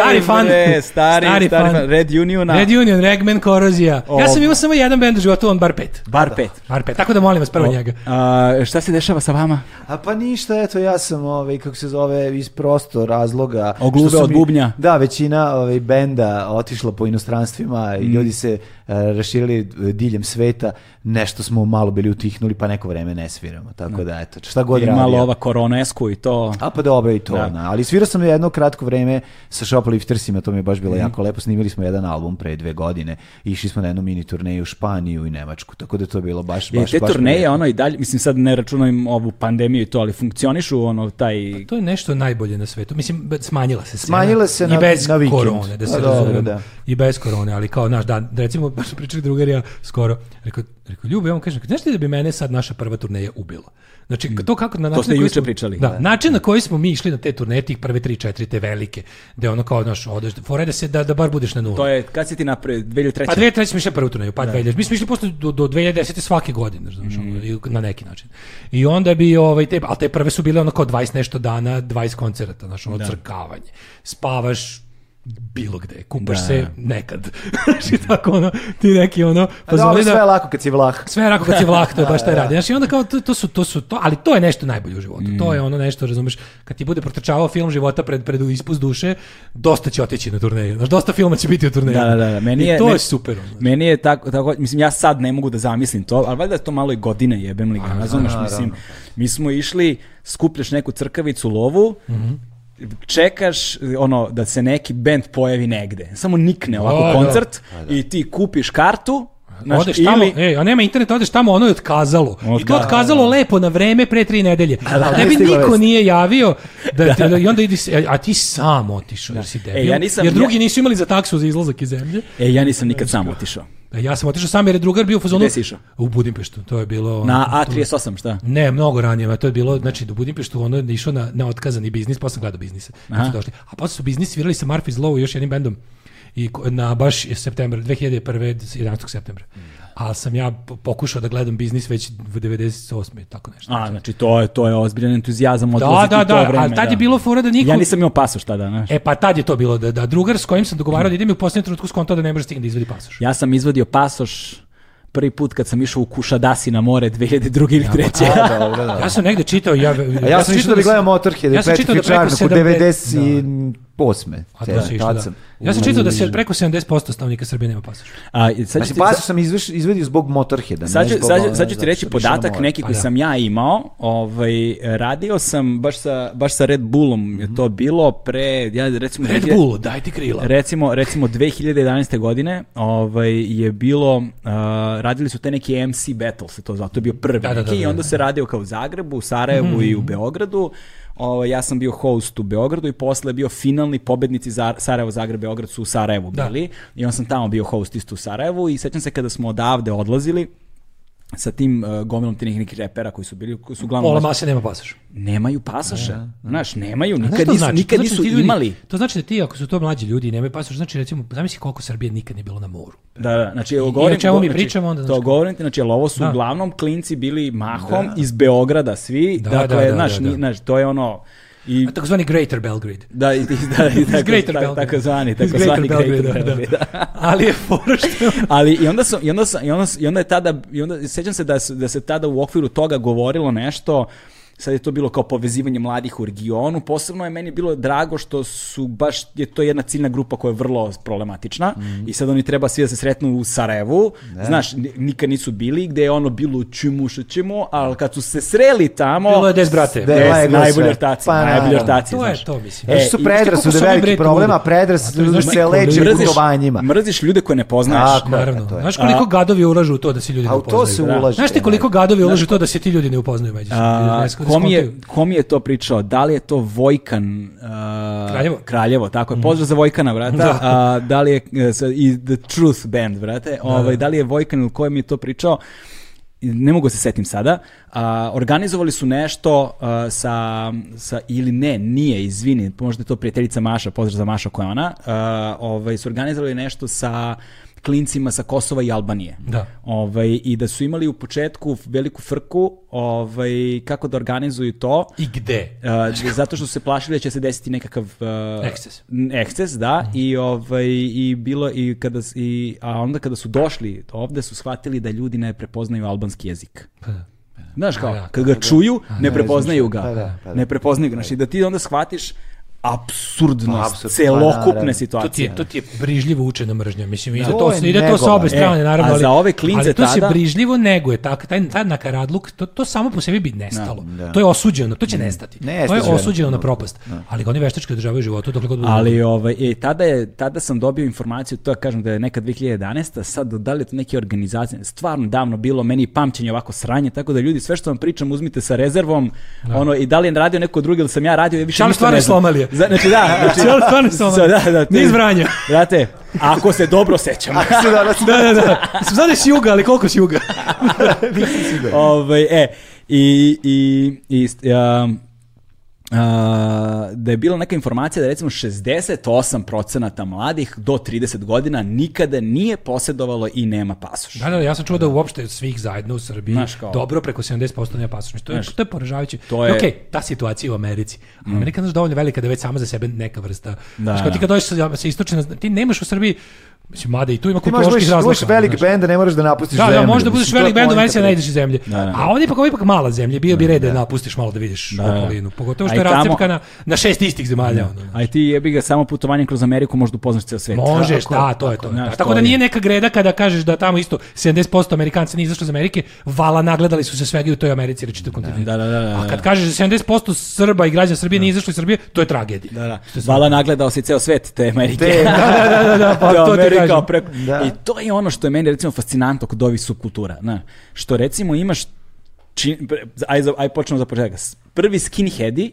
Stari fan. bre, stari, Stari stari, fan. fan. Red Uniona. Red Union, Ragman, Korozija. Ja O. sam imao samo jedan band u životu, on bar pet. Bar pet. Bar pet. Tako Tako da molim vas prvo njega. A, šta se dešava sa vama? A pa ništa, eto ja sam ovaj kako se zove iz prosto razloga Oglube što su od mi- bubnja. Da, većina ovaj benda otišla po inostranstvima Mm. i ljudi se eh, raširili eh, diljem sveta. Nešto smo malo bili utihnuli pa neko vreme ne sviramo. Tako da eto, šta god I radio. malo ova koronesku i to. A pa dobro i to, na. ali svirao sam jedno kratko vreme sa Shopliftersima, to mi je baš bilo jako lepo, snimili smo jedan album pre dve godine, išli smo na jednu mini turneju u Španiju i Nemačku, tako da to je bilo baš, Je, baš, te baš turneje, prijetno. ono i dalje, mislim sad ne računam ovu pandemiju i to, ali funkcionišu ono taj... To je nešto najbolje na svetu. Mislim, be- smanjila se scena. Smanjila se na- I bez na vikend. korone, da se Pa dobro, razumemo. da. I bez korone, ali kao, znaš, da, da recimo, baš smo pričali drugarija skoro. Rekao, rekao Ljubo, ja vam kažem, znaš ti da bi mene sad naša prva turneja ubila? Znači, Mm. to kako na način... ste na koji juče smo- pričali. Da, način na koji smo mi išli na te turneje, tih prve tri, četiri, te velike, gde ono kao, znaš, odeš, fora je da se, da, da bar budeš na nuli. To je, kad si ti napravio, 2003. Pa 2003 smo išli prvu turneju, pa 2000. Mi smo išli posle do, do 2010 svake godine, znaš, Mhm. ono, i na neki način. I onda bi ovaj te, al te prve su bile ono kao 20 nešto dana, 20 koncerata, znaš, ono crkavanje. Spavaš bilo gde, kupaš se nekad. Znaš, i tako ono, ti neki ono, A Pa Dobro, zove sve je lako kad si vlah. sve je rako kad si vlah, to je baš taj radi. Znaš, i onda kao, to, to su, to su, to, ali to je nešto najbolje u životu. To je Mhm. ono nešto, razumeš, kad ti bude protrčavao film života pred, pred ispust duše, dosta će otići na turneju. Znaš, dosta filma će biti u turneju. Da, da, da, da. Meni I je, to ne- je super. ono. Meni je tako, tako, mislim, ja sad ne mogu da zamislim to, ali valjda je to malo i godine jebem li ga, razumeš, mislim, mi smo išli, skupljaš neku crkavicu lovu, Mhm. čekaš ono da se neki bend pojavi negde. Samo nikne ovako Da, da. koncert i ti kupiš kartu, znaš, odeš tamo, ili- ej, a nema interneta, odeš tamo, ono je otkazalo. I to Otkazalo. otkazalo lepo na vreme pre tri nedelje. da, Ali tebi nije stigla niko vest. nije javio da, te- i onda idi, se- a ti sam otišao, jer si debil. E, ja nisam- jer drugi ja- nisu imali za taksu za izlazak iz zemlje. E, ja nisam nikad sam otišao. E, Ja sam otišao sam jer je drugar bio u fazonu. Gde si išao? U Budimpeštu, to je bilo... Na ono, tu- A38, šta? Ne, mnogo ranije, ma to je bilo, znači do Budimpeštu ono je išao na, na otkazani biznis, pa sam gledao biznise. kad su došli. A posle su biznis svirali sa Murphy's Law i još jednim bendom. I ko- na baš septembar 2001. 11. septembra. A sam ja po- pokušao da gledam biznis već v 98. tako nešto. A, znači, to je, to je ozbiljan entuzijazam Da, odlaziti da, u to da, vreme, ali tad je bilo fora da niko... Ja nisam imao pasoš tada, znaš. E pa tad je to bilo, da, da drugar s kojim sam dogovarao da idem je u posljednjem trenutku skontao da ne može stigni da izvedi pasoš. Ja sam izvadio pasoš prvi put kad sam išao u Kušadasi na more 2002. ili pa- 2003. A, dobro, da. Ja sam negde čitao, ja, A ja, sam išao da gledam Motorhead, ja sam Patrick čitao da preko Richards, u 70 98. A to se išlo, da. Ja sam čitao da se preko 70% stanovnika Srbije nema pasoš. A, i sad ću Znači, ti- pasu sam izveš, izvedio zbog Motorheada. Sad ne ću, zbog sad, ono, ću- sad ću ti znaš, reći što bi išao na podatak more. neki Pa koji da. sam ja imao. Ovaj, radio sam baš sa, baš sa Red Bullom. Je to bilo pre... Ja, recimo, Red 2000 Bull, daj ti krila. Recimo, recimo 2011. godine ovaj, je bilo, uh, radili su te neki MC battle, se to zvao, to je bio prvi Da, da, neki da, Mhm. da, i onda se radio kao u Zagrebu, u Sarajevu i u Beogradu. Ovaj, ja sam bio host u Beogradu i posle je bio finalni pobednici Zar- Sarajevo, Zagreb, Beograd su u Sarajevu Da. bili i on sam tamo bio host isto u Sarajevu i sećam se kada smo odavde odlazili sa tim uh, gomilom tih nekih repera koji su bili, koji su uglavnom Pola mase nema pasoš. nemaju pasoša, znaš, nemaju, E, A znaš nikad što nisu, znači? nikad To znači nisu da ti ljudi- imali. To znači da ti, ako su to mlađi ljudi i nemaju pasoš, znači recimo, zamisli koliko Srbije nikad nije bilo na moru. Da, da, znači ovo govorim, o čemu mi znači, pričamo onda, To znaš, govorim ti, znači ali ovo su Da. uglavnom klinci bili mahom iz Beograda svi, Da, dakle, da, da, znaš, da, da. ni- znaš, to je ono i A takozvani Greater Belgrade. da i i- da i tako- Greater tak- Belgrade. takozvani, Iz Greater takozvani Belgrade, Greater da, da. Belgrade, da. Ali je ono fora što... Ali i onda su i onda su- i onda, su- i onda je tada i onda sećam se da su- da se tada u okviru toga govorilo nešto sad je to bilo kao povezivanje mladih u regionu. Posebno je meni bilo drago što su baš, je to jedna ciljna grupa koja je vrlo problematična Mhm. i sad oni treba svi da se sretnu u Sarajevu. Znaš, ni- nikad nišu bili gde je ono bilo čemu što ćemo, ali kad su se sreli tamo... Bilo je des, brate. Des, Da, lego najbolji sve. ortaci, Pa, najbolji naravno. ortaci, To je znaš. to, mislim. E, E, što i- su predrasude su oni veliki bre problem, ljudi? a predrasude A to je se majko leče ljudi. gudovanjima. mrziš ljude koje ne poznaješ. Tako je, Naravno. to je. Znaš koliko gadovi ulažu u to da se ljudi ne A u upoznaju? to se Da. ulaže. Znaš ti koliko gadovi ulažu u to da se ti ljudi ne upoznaju međusobno? A, Da skontaju- kom, je, kom je to pričao? Da li je to Vojkan a, Kraljevo? Mhm. Kraljevo, tako je. Pozdrav za Vojkana, brate. Da. Da. A, da li je e, sa- i The Truth Band, brate. Ovaj, da li je Vojkan ili ko mi je to pričao? I Ne mogu se setim sada. A, organizovali su nešto a, sa, sa, ili ne, nije, izvini, E, možda je to prijateljica Maša, pozdrav za Maša koja je ona. A, ovaj, su organizovali nešto sa klincima sa Kosova i Albanije. Da. Ovaj, I da su imali u početku veliku frku ovaj, kako da organizuju to. I gde? Uh, zato što su se plašili da će se desiti nekakav uh, Eksces. n- eksces, da, i ovaj i bilo i kada s- i a onda kada su došli ovde su shvatili da ljudi ne prepoznaju albanski jezik. Pa da. Znaš kao, da, kad ga čuju, ne ne prepoznaju znaš, pa ga. da, pa da. Ne prepoznaju ga, znači da ti onda shvatiš apsurdnost Apsurd, pa celokupne naravno. situacije. To ti je, to ti je brižljivo učena mržnja. Mislim, ide, To to, je ide to sa negovanje. obe strane, E, naravno. a za ove klince ali to tada- se brižljivo neguje. Tak, taj, taj nakaradluk, to, to samo po sebi bi nestalo. To je osuđeno, to će Mm. nestati. Ne, to je osuđeno. osuđeno na propast. Ali ga oni veštački održavaju u životu dok god budu. Ali ovaj, e, tada, je, tada sam dobio informaciju, to ja kažem da je neka 2011. Sad, da li je to neke organizacije, stvarno davno bilo, meni je pamćenje ovako sranje, tako da ljudi, sve što vam pričam uzmite sa rezervom, ono, i da li je radio neko drugi ili sam ja radio, ja više Šalim ništa stvarno ne znam. Somalije. Za- Znači, da, znači, Šalim stvarno Somalije. Da, da, te- Niz Vranja. Brate, ako se dobro sećam. Ako se dobro Da, da, da. Mislim, Znaš da si juga, ali koliko si juga? nisam siguran. ovaj, e, i, i, i um, a, da je bila neka informacija da recimo 68% mladih do 30 godina nikada nije posjedovalo i nema pasoš. Da, da, ja sam čuo da uopšte svih zajedno u Srbiji Znaš kao- dobro preko 70% nema pasoš. Mislim, To je, to je poražavajuće. to je- I okej, ta situacija u Americi. Amerika je znaš, dovoljno velika da je već sama za sebe neka vrsta. Da, znaš, kao da. ti kad dođeš sa, sa istočne, ti nemaš u Srbiji, mislim, mada i tu ima Ti možeš kulturoloških budeš- razloga. budeš velik znaš. bend, a ne moraš da napustiš Da, zemlju. da, možda budeš Mislim, to je velik bend u poenta verziji, a ne priče. ideš iz zemlje. A ovdje ipak, ovo je ipak mala zemlja, bio bi red da je napustiš malo da vidiš okolinu. Pogotovo što A je i tamo- rascepkana na šest istih zemalja. ono. A i ti jebi ga samo putovanjem kroz Ameriku možda upoznaš ceo svet. Možeš, E, Tako, da, to je to. znaš, da. Tako da nije neka greda kada kažeš da tamo isto 70% Amerikanca nije izašlo iz Amerike, vala nagledali su se svega i u toj Americi ili čitav kontinent. Da, da, da, da. A kad kažeš da 70% Srba i građana Srbije nije izašlo iz Srbije, to je tragedija. Da, da. Vala nagledao si ceo svet te Amerike. Te- da, da, da, da, pa Da, to ti Amerika kažem. preko- Da. I to je ono što je meni recimo fascinantno kod ovih subkultura. Na, što recimo imaš, čin, pre- aj, za- aj počnemo za početak. S- Prvi skinheadi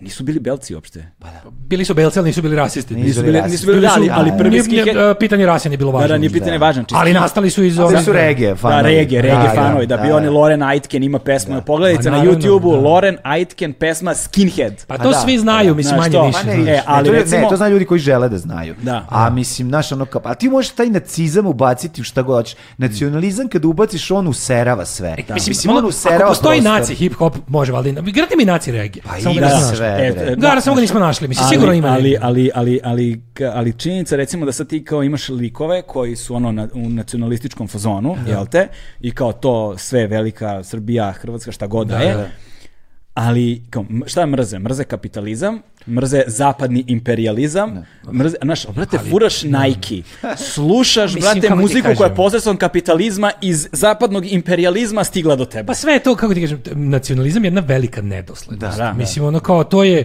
nisu bili belci uopšte. Bili su belci, ali nisu bili rasisti. Nisu Nisu bili bili, rasi. nisu bili Bili rasi, su- ali da. prvi Nije- nije, skinhead... e, pitanje rasa nije bilo Da, važno. da, nije pitanje da. važan. čisto- Ali nastali su iz... Bili onih- su regije Da, fanovi. regije, regije Da, da, fanovi, da, bi da. oni Loren Aitken ima pesmu, pogledajte Ma, na Pa naravno, YouTubeu, da. Loren Aitken pesma Skinhead. Pa A to da, svi znaju, mislim, Znaš manje to, više. pa ne, znaš. e, Ne, ali to, je- recimo- ne, to znaju ljudi koji žele da znaju. Da. A mislim, znaš, ono, kao, a ti možeš taj nacizam ubaciti u šta god hoćeš. Nacionalizam kad ubaciš, on userava sve. E, Mislim, ono, ako userava postoji prostor. naci hip-hop, može, valjda. i- Igrate mi naci regije. Pa Samo ga ima nismo sve. našli. E, bre. e, Da, ali samo ga nismo našli. Mislim, sigurno ima. ali, negdje. ali, ali, ali, ali, ali činjenica recimo da sad ti kao imaš likove koji su ono na, u nacionalističkom fazonu, jel te? I kao to sve velika Srbija, Hrvatska, šta god da, je. da. Ali kao, m- šta mrze? Mrze kapitalizam, mrze zapadni imperializam, mrze, znaš, brate, furaš Nike, slušaš, Mislim, brate, kako ti muziku koja je kažem? posredstvom kapitalizma iz zapadnog imperializma stigla do tebe. Pa sve je to, kako ti kažem, t- nacionalizam je jedna velika nedoslednost. Da, da. Mislim, ono kao, to je,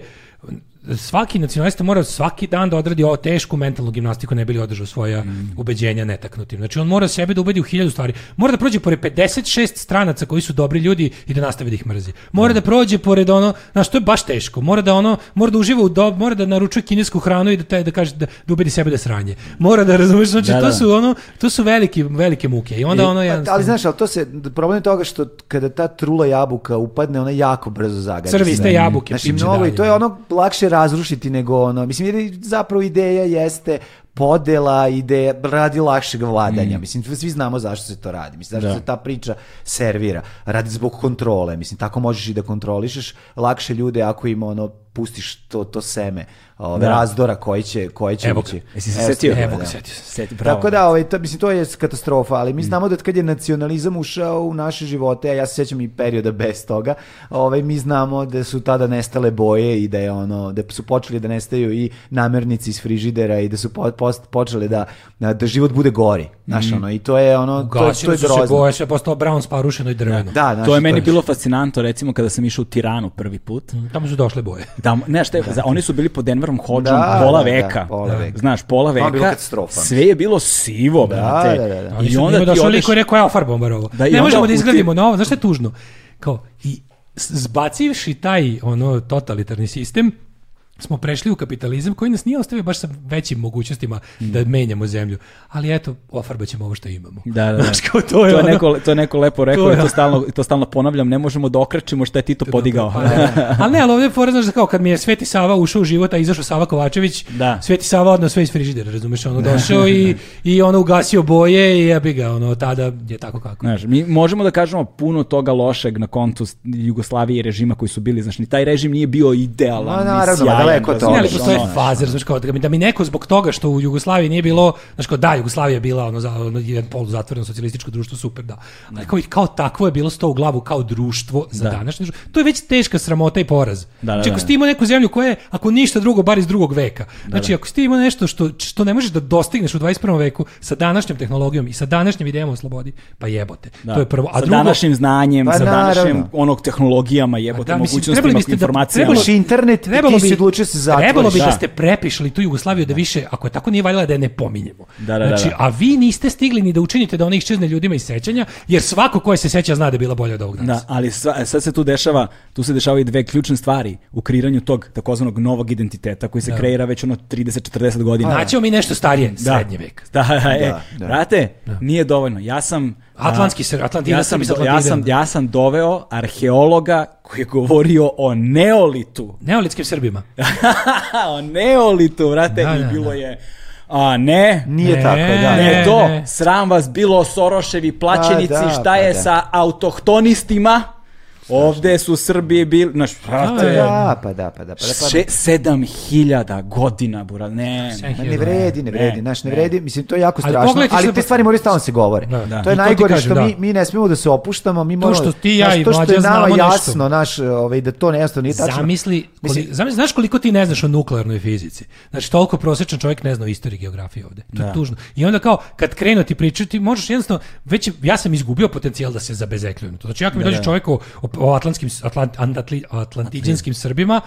svaki nacionalista mora svaki dan da odradi ovo tešku mentalnu gimnastiku ne bi li održao svoja Mm. ubeđenja netaknutim. Znači on mora sebe da ubedi u hiljadu stvari. Mora da prođe pored 56 stranaca koji su dobri ljudi i da nastave da ih mrzi. Mora da prođe pored ono, znaš, to je baš teško. Mora da ono, mora da uživa u dob, mora da naručuje kinesku hranu i da taj- da kaže da, da ubedi sebe da je sranje. Mora da razumeš, znači Da, da. to su ono, to su veliki velike muke. I onda ono Pa, jednostavno- ali znaš, ali to se, problem je toga što kada ta trula jabuka upadne, ona jako brzo zagađa. Crviste sve. jabuke Znači, piče mnogo, dalje. i to je ono lakše razrušiti nego ono, mislim, jer je zapravo ideja jeste podela, ideja, radi lakšeg Mm. vladanja. Mislim, svi znamo zašto se to radi. Mislim, zašto Da. se ta priča servira. Radi zbog kontrole. Mislim, tako možeš i da kontrolišeš lakše ljude ako im ono, pustiš to, to seme ove, Da. razdora koji će, koji će Evo ući. ga. Jesi se Evo, setio? Evo ga, Da. setio sam se. Seti- bravo. Mm. tako da, ovaj, to, mislim, to je katastrofa, ali mi znamo da od kad je nacionalizam ušao u naše živote, a ja se sjećam i perioda bez toga, ovaj, mi znamo da su tada nestale boje i da je ono, da su počeli da nestaju i namernici iz frižidera i da su po, post, počeli da, da život bude gori, znaš, Mm. ono, i to je ono, to, to Gasili je su se grozno. boje, sve je postao brown sparušeno i drveno. Da, znaš, to je meni je- bilo fascinantno recimo kada sam išao u Tiranu prvi put. Tamo su došle boje. Da, ne, šta je, za, oni su bili pod Denverom hodžom Da, pola da, da, veka. pola veka. Znaš, pola je veka. bila katastrofa. Sve je bilo sivo, brate. da, da, da. I onda onda ti došao odeš... liko i rekao, evo farbobar ovo. Da, i ne onda možemo u da ti- izgradimo novo, znaš što je tužno? Kao, i s- zbacivši taj ono totalitarni sistem, smo prešli u kapitalizam koji nas nije ostavio baš sa većim mogućnostima da menjamo zemlju. Ali eto, ofarbaćemo ovo što imamo. Mm. Da, da, da. Znaš, kao to je, to, je ono- neko, to je neko lepo rekao To je i to ono. stalno, to stalno ponavljam, ne možemo da okrećemo šta je Tito podigao. Pa da. ali ne, ali ovdje je fora, znaš, da kao kad mi je Sveti Sava ušao u život, a izašao Sava Kovačević, Da. Sveti Sava odno sve iz frižidera, razumeš, ono došao i, i ono ugasio boje i jebi ga, ono, tada je tako kako. Znaš, mi možemo da kažemo puno toga lošeg na kontu s- Jugoslavije i režima koji su bili, znaš, ni taj režim nije bio idealan, Ma, ni naravno, sjajan, daleko je to. razumeš, Ne, ali ono, postoje ono, znaš. faze, znaš, kao da mi, da mi neko zbog toga što u Jugoslaviji nije bilo, znaš, kao da, Jugoslavija je bila ono, za, ono jedan poluzatvoreno socijalističko društvo, super, da. Ali kao, i kao takvo je bilo sto u glavu kao društvo za Da. današnje društvo. To je već teška sramota i poraz. Da, da, Znači, da. ako si ti imao neku zemlju koja je, ako ništa drugo, bar iz drugog veka. Znači, ako si ti imao nešto što, što ne možeš da dostigneš u 21. veku sa današnjom tehnologijom i sa današnjim idejama o slobodi, pa jebote. Da. To je prvo. A sa drugo, današnjim znanjem, Pa sa današnjim naravno. onog tehnologijama, jebote, da, mislim, mogućnostima, trebali biste da- informacijama. Imaš internet, trebalo Trebalo ti si bi, odlučio da se zatvoriš. trebalo bi Da. da ste prepišli tu Jugoslaviju da više, ako je tako nije valjala da je ne pominjemo. Da, da, da, znači, da. a vi niste stigli ni da učinite da ona iščezne ljudima iz sećanja, jer svako ko je se seća zna da je bila bolja od ovog danas. Da, ali sva- sad se tu dešava, tu se dešavaju dve ključne stvari u kreiranju tog takozvanog novog identiteta koji se kreira već ono 30-40 godina. Naćemo Znači, mi nešto starije, srednji vek. Da, e, da. brate, nije dovoljno. Ja sam... a, Atlantski ser- Atlantida ja sam, sam iz ja, sam, Atlantide. ja sam doveo arheologa koji je govorio o neolitu. Neolitskim Srbima. o neolitu, brate, Da, i da, bilo da. je... A ne, Nije Ne, tako, ne, da. ne, to, ne. sram vas bilo Soroševi plaćenici, Pa da, šta pa je da. sa autohtonistima? Ovde su Srbi bili, znaš, brate, je. Da, pa da, pa da. Pa da, pa da. še- sedam hiljada godina, bura, ne. Sedam Ma ne vredi, ne vredi, Ne, znaš, ne vredi, mislim, to je jako Ali strašno, ali, pogledajte sad- pa- te stvari moraju stalno se govore. Da, da. To je I to ti najgore kažem, što da. mi, mi ne smijemo da se opuštamo, mi moramo, što ti i ja znaš, i to što je mlađa znamo nama nešto. jasno, naš, ovaj, da to jednostavno nije tačno. Zamisli, koli, Mislim- zamisli, znaš koliko ti ne znaš o nuklearnoj fizici. Znači, toliko prosječan čovjek ne zna o istoriji geografije ovde. To je tužno. I onda kao, kad krenu ti priču, ti možeš jednostavno, već je- ja sam izgubio potencijal da se zabezekljujem. na To znači, ako mi dođe čovjek o, o, o atlantskim, atlant, andatli- atlantiđanskim Srbima,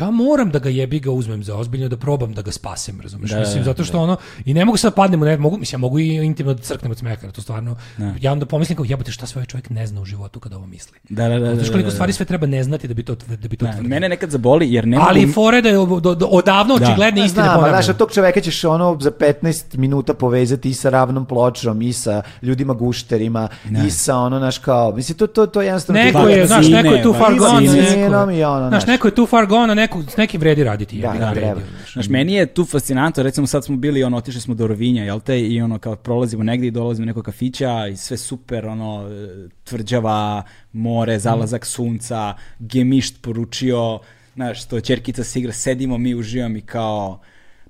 ja moram da ga jebi ga uzmem za ozbiljno da probam da ga spasem, razumeš? mislim zato što ono i ne mogu sad padnem u ne mogu mislim ja mogu i intimno da crknem od smeha, jer to stvarno. Ja onda pomislim kako jebote šta sve ovaj čovjek ne zna u životu kada ovo misli. Da, da, da, da, Znaš da, koliko da. stvari sve treba ne znati da bi to da bi to Ne, tvrdio. Mene nekad zaboli, jer ne Ali mogu... fore da je od- od- odavno očigledne Ne istine znam, ali ponavljam. znaš, od tog čoveka ćeš ono za 15 minuta povezati i sa ravnom pločom, i sa ljudima gušterima, i sa ono, naš kao, mislim, to, to, to je jednostavno... Neko ti- vakcine, je, znaš, neko je tu far vakcine. gone, Vakcinom neko, i ono, znaš. znaš, neko je tu far gone, a neko, s nekim vredi raditi. jebi Da, ga, da, vredi, treba. znaš. Znaš, meni je tu fascinantno, recimo sad smo bili, ono, otišli smo do Rovinja, jel te, i ono, kao prolazimo negdje i dolazimo do nekog kafića i sve super, ono, e, tvrđava, more, zalazak sunca, gemišt poručio, znaš, što čerkica se igra, sedimo mi, uživam i kao,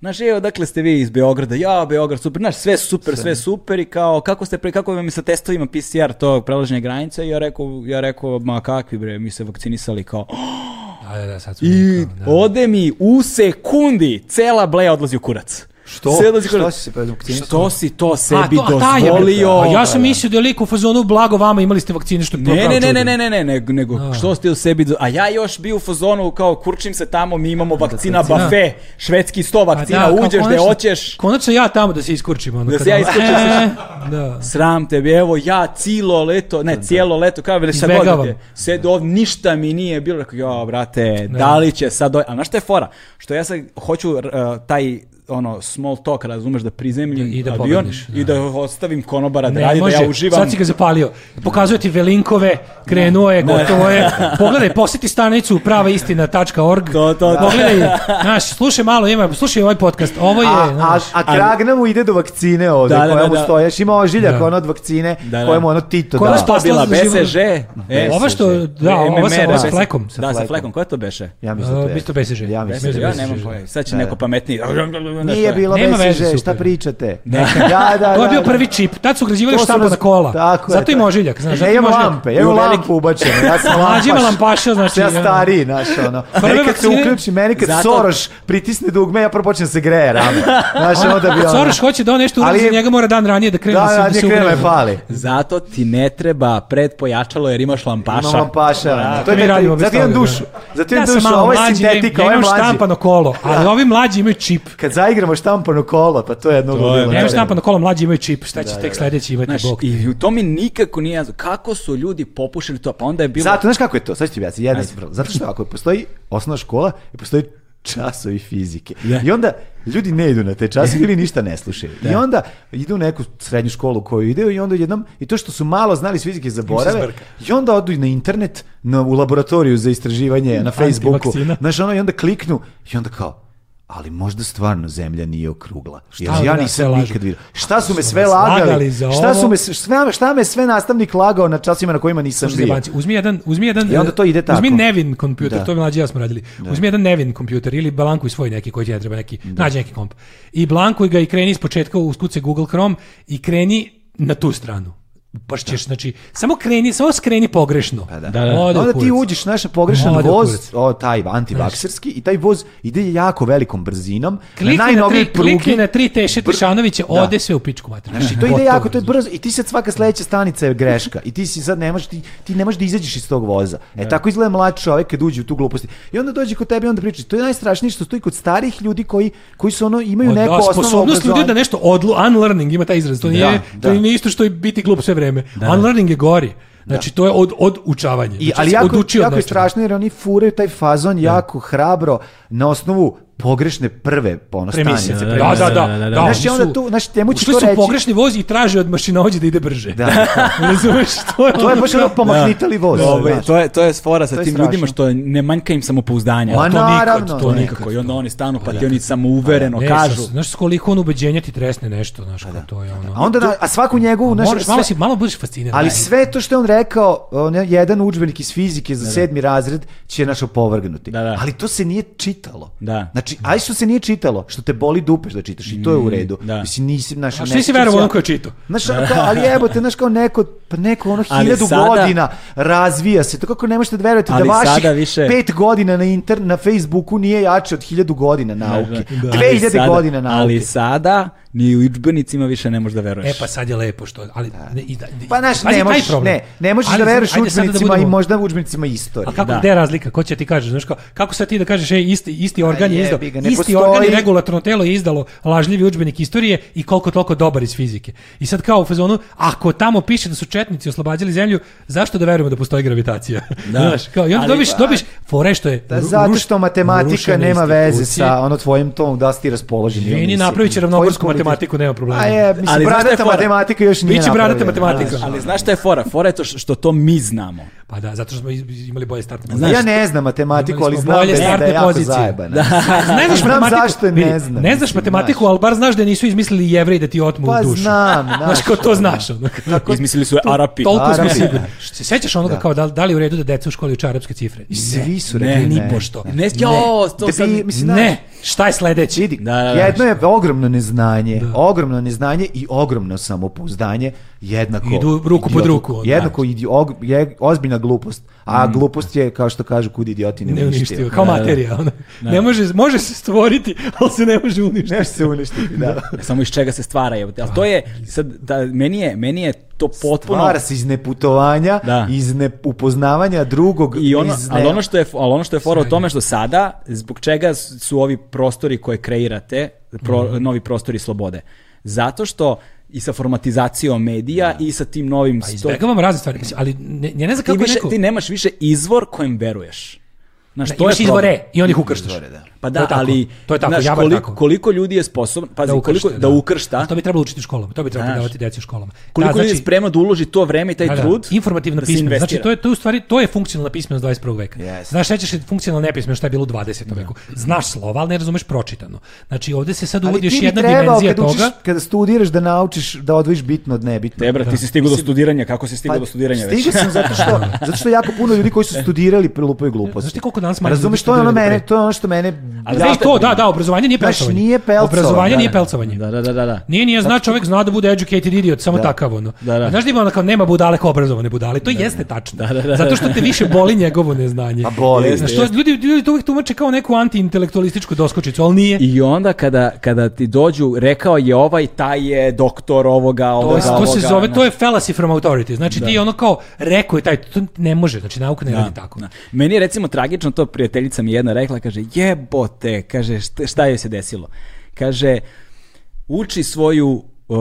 Znaš, evo, dakle ste vi iz Beograda, ja, Beograd, super, znaš, sve super, sve super i kao, kako ste, pre, kako vam je sa testovima PCR tog prelaženja granice, I ja rekao, ja rekao, ma kakvi bre, mi se vakcinisali kao, Da, da, da, sad su i kao, da. ode mi u sekundi cela bleja odlazi u kurac. Što? Sve odlazi u Što kurac. si se predvakcinisao? Što si to A, sebi to, a taj je dozvolio? bio- a ja sam mislio da je lik u fazonu blago vama imali ste vakcine što je Ne, pravo ne, ne, čudo. ne, ne, ne, ne, ne, nego što ste u sebi, do- a ja još bio u fazonu kao kurčim se tamo, mi imamo vakcina bafe, švedski 100 Pa da, vakcina, kao uđeš gde konačno- hoćeš, Konačno ja tamo da se iskurčim. Ono, Da se kad ja ono, iskurčim, e, slušaj. da. sram tebi, evo ja cijelo leto, ne, cijelo leto, kao veli sad Izbegavam. odete, sed ovdje, ništa mi nije bilo, rekao, jo, brate, da li će sad, doj-" a znaš šta je fora? Što ja sad hoću r- e, taj ono small talk, razumeš, da prizemljim I da avion pobegneš, i da ostavim konobara da Ne radi, može, da ja uživam. sad si ga zapalio. Pokazuje ti velinkove, krenuo je, gotovo je. Pogledaj, posjeti stanicu pravaistina.org. To, to, to. Pogledaj, znaš, slušaj malo, ima, slušaj ovaj podcast. Ovo je, A, a, znaš, a Kragna mu ide do vakcine ovde, Da, da, koja mu da, da. stojaš, ima ožiljak Da. pa- ono od vakcine, Da, da. koja mu ono Tito Koja dao. šta- To je bila Slasla za život. BSŽ. E, Ova što, da, ova sa, MMR, ova sa BSŽ. flekom. Sa da, sa flekom. flekom. Koja to beše? Ja mislim da Uh, to je. Bisto BSŽ. Ja mislim da Ja je. nemam pojma. Sad će Da, neko da. pametniji. Nije bilo Nema veze, BSŽ, šta super. pričate? Da, da, To je da, bio da. prvi čip, tad su ugrađivali To su štampa raz- na kola. Tako je, Zato ima tako. ožiljak, znaš. zato Ja ima imam ožiljak. lampe, I ja imam u veliki- lampu ubačenu, ja sam lampaš. Mlađi ima lampaša, znači. Ja ono. stariji, znaš, ono. Prve Meni kad se vakcine- uključi, meni kad Zato- Soroš pritisne dugme, ja prvo počnem da se greje rame. Znaš, ono da bi ono... Soroš hoće da on nešto Ali uradi, je- za njega mora dan ranije da krene Da, se- se da, nije krene ugradi. me pali. Zato ti ne treba predpojačalo jer imaš lampaša. Imam lampaša. To je mi meni- radimo bez Zato imam toga, dušu. da. Zato imam sam dušu, malo ovo je mlađi, sintetika, ja ovo je imam mlađi. štampano kolo, ali ovi mlađi imaju čip. Kad zaigramo štampano kolo, pa to je jedno je ludilo. Da, Ja da. imam štampano kolo, mlađi imaju čip, šta će tek sledeći imati Znaš, bog. i to mi nikako nije jasno. Kako su ljudi popušili to? Pa onda je bilo... Zato, znaš kako je to? Sad ću ti objasniti, jedna stvar. Zato što ako postoji osnovna škola i postoji časovi fizike. I onda ljudi ne idu na te časove ili ništa ne slušaju. I onda idu u neku srednju školu koju ide i onda jednom, i to što su malo znali iz fizike zaborave, zbrka. i onda odu i na internet, na, u laboratoriju za istraživanje, na Facebooku, Antivakcina. znaš ono, i onda kliknu i onda kao, ali možda stvarno zemlja nije okrugla. Jer onda ja sve nisam lažu? nikad vidio. Šta su me su sve nas lagali? lagali za šta, su ovo? me, s- šta, šta me sve nastavnik lagao na časima na kojima nisam Slušaj, bio? Zebanci, uzmi jedan, uzmi jedan, e, I onda to ide tako. uzmi Nevin kompjuter, Da. to bi mlađi i ja smo radili. Uzmi jedan Nevin kompjuter ili Blanku i svoj neki koji ti ne treba neki, nađi neki komp. I Blanku ga i kreni iz početka uskuce Google Chrome i kreni na tu stranu. Baš ćeš, znači, samo kreni, samo skreni pogrešno. Pa da. Da, da. Ode u onda ti kurac. uđeš naš pogrešan Ode u voz, kurac. o, taj antivakserski, i taj voz ide jako velikom brzinom, Klikni na, na najnovijoj tri, prugi. klikni na tri teše Tešanovića, Da. ode sve u pičku vatru. Znači, to ide jako, to je brzo i ti sad svaka sledeća stanica je greška i ti si sad ne možeš, ti, ti ne možeš da izađeš iz tog voza. E tako izgleda mlad čovjek kad uđe u tu gluposti. I onda dođe kod tebe i onda priča. To je najstrašnije što stoji kod starih ljudi koji, koji su ono, imaju Od- neko Pa da, osnovno sposobnost ljudi obrazovanje. da nešto odlu, unlearning ima taj izraz, to nije, da. to nije isto što je biti glup sve vreme. Unlearning je gori. Znači, to je od, od učavanja. I, Znači, ali si jako, odučio od jako je nečega. strašno jer oni furaju taj fazon jako hrabro na osnovu pogrešne prve ono, Premise. stanice. Da, da, da. da, da. Znaš, i Oni su- onda tu, znaš, njemu ćeš Ušli to su reći. u pogrešni voz i traže od mašinovođe da ide brže. Da. Razumeš, to je, To je baš ono kao- pomahnitali voz. Ovaj, znaš. to je to je sfora sa To je tim strašno. ljudima što ne manjka im samopouzdanja. Ma to naravno, nikad, to to nikako. I onda oni stanu pa ti oni ono, samouvereno Ne, kažu. sa- Znaš s koliko on ubeđenja ti tresne nešto, znaš, kao to je ono. Pa A onda, na- a svaku njegovu, znaš, Moraš, malo, sve- si, malo budeš fasciniran. Ali Da. sve to što je on rekao, on je jedan udžbenik iz fizike za sedmi razred će naš opovrgnuti. Da, da. Ali to se nije čitalo. Da. Znači, aj što se nije čitalo, što te boli dupeš da čitaš i to je u redu. da. Mislim, nisi naš... A što nisi verovao ono ko je čitao? Znaš, ono kao, ali jebo te, znaš, kao neko, pa neko ono Ali hiljadu sada- godina razvija se. To kako ne možete da verujete da Ali vaših sada više- pet godina na, inter, na Facebooku nije jače od hiljadu godina nauke. Da. Dve Ali hiljade sada- godina nauke. Ali sada ni u udžbenicima više ne možeš da veruješ. E pa sad je lepo što, ali ne, i da, i- Pa znaš, pazi, ne taj možeš, problem. ne, ne možeš Ali, da veruješ ajde sada da učbenicima i budemo- možda učbenicima istorije. A Pa kako, Da. gde je razlika? Ko će ti kaže? Znaš, kao, kako sad ti da kažeš, ej, isti, isti organ je Pa jebi izdao, ga, ne isti postoji. organ je regulatorno telo je izdalo lažljivi udžbenik istorije i koliko toliko dobar iz fizike. I sad kao u fazonu, ako tamo piše da su četnici oslobađali zemlju, zašto da verujemo da postoji gravitacija? Da. Znaš, kao, i onda Ali- dobiš, dobiš fore što je... pa- Da, ru- zato ruš- što matematika rušene nema veze institucije. sa ono tvojim tom da si ti raspoložen. ili Izvini, nisi. napraviće Tvojim ravnogorsku kvalitet- matematiku, nema problema. A je, mislim, Ali znaš šta je bradata fora? matematika još nije Biće bradata napravljena, matematika. znaš. Ali znaš šta je fora? Fora je to š- što to mi znamo. Pa da, zato što smo iz- imali bolje startne Znaš- ja ne znam matematiku, Imali ali smo znam da bolje je, da je startne jako pozicije. zajebana. Ne znaš Znam matematiku. zašto je vidi, ne znam, Ne znaš mislim, matematiku, znaš. ali bar znaš da nisu izmislili jevreji da ti otmu Pa dušu. znam, znaš. Znaš, kao to znaš. Ono, Tako, Izmislili su je Arapi. toliko smo Arapi, sigurni. da. Se sećaš onoga kao da, da li je u redu da deca u školi uče arapske cifre? I svi su Ne, rekli ni ne. pošto. Ne, jo, to Da sad... bi, mislim, znaš, Ne, šta je sledeći? Vidi, Da, da, da. jedno je ogromno neznanje, ogromno neznanje i ogromno samopouzdanje, jednako... Idu ruku pod idiot- ruku, onda. Jednako idi, og- je ozbiljna glupost, a glupost je, kao što kažu, kud idioti Ne ne uništio, uništio. kao Da, da. materija. ono. Ne može, može se stvoriti, ali se ne može uništiti. Nešto se uništiti, da. Samo iz čega se stvara. jebote. Ali to je, sad, da, meni, je, meni je to potpuno... Stvara se iz neputovanja, Da. iz neupoznavanja drugog. I ono, iz ne- ali ono što je, ali ono što je fora u tome što sada, zbog čega su ovi prostori koje kreirate, pro, Mhm. novi prostori slobode? Zato što i sa formatizacijom medija i sa tim novim... Pa sto- izbegavam razne stvari, mislim, ali ne, ja ne znam ti, kako je više- neko... ti nemaš više izvor kojem veruješ. Znaš, Da, to je imaš problem. izvore i on ih ukrštaš. Izvore, da. Pa To da, je tako. ali to je tako, znaš, ja bar koliko, tako. koliko ljudi je sposobno, pazi, da ukršta, koliko, da, ukršta, A To bi trebalo učiti u školama, to bi trebalo Znaš. predavati deci u školama. koliko da, znači- ljudi je spremno da uloži to vreme i taj da, da, trud informativna da se pismenost. Znači investira. to je to je u stvari to je funkcionalna pismenost 21. veka. Jeste. Znaš šta ćeš funkcionalna nepismenost šta je bilo u 20. veku. Znaš slova, ali ne razumeš pročitano. Znači ovde se sad Ali uvodi još ti bi jedna trebao dimenzija kad učiš- toga. kada studiraš da naučiš da odvojiš bitno od nebitno. Ne, brate, ti si stigao do studiranja, kako si Pa, stigao do studiranja već? Pa, stigao sam zato što, zato što jako puno ljudi koji su studirali prelupaju gluposti. Znaš ti koliko danas manje Razumeš, ljudi to je ono studiraju mene, pre? to je ono što mene... Ali Da, znaš i to, da, da, obrazovanje nije Znaš, pelcovanje. nije pelcovanje, Obrazovanje da, nije da. Znači- pelcovanje. Da, da, da, da. da. Nije, nije, zna čovjek zna da bude educated idiot, samo takav ono. Da, da. Znaš da ima ono kao nema budale kao obrazovane budale, to jeste tačno. Zato što te više boli njegovo neznanje. Pa boli, Znaš, to ljudi, ljudi to uvijek tumače kao neku antiintelektualističku doskočicu, ali nije. I onda kada, kada ti dođu, rekao je ovaj, taj je doktor ovoga, To, ovoga, je- to se ovoga, zove, znaš. to je fallacy from authority. Znači ti ono kao rekao je taj, to ne može, znači nauka ne radi tako. Da. Meni je recimo tragično to, prijateljica mi je jedna rekla, kaže, jebote, kaže, šta, šta joj se desilo? Kaže, uči svoju uh,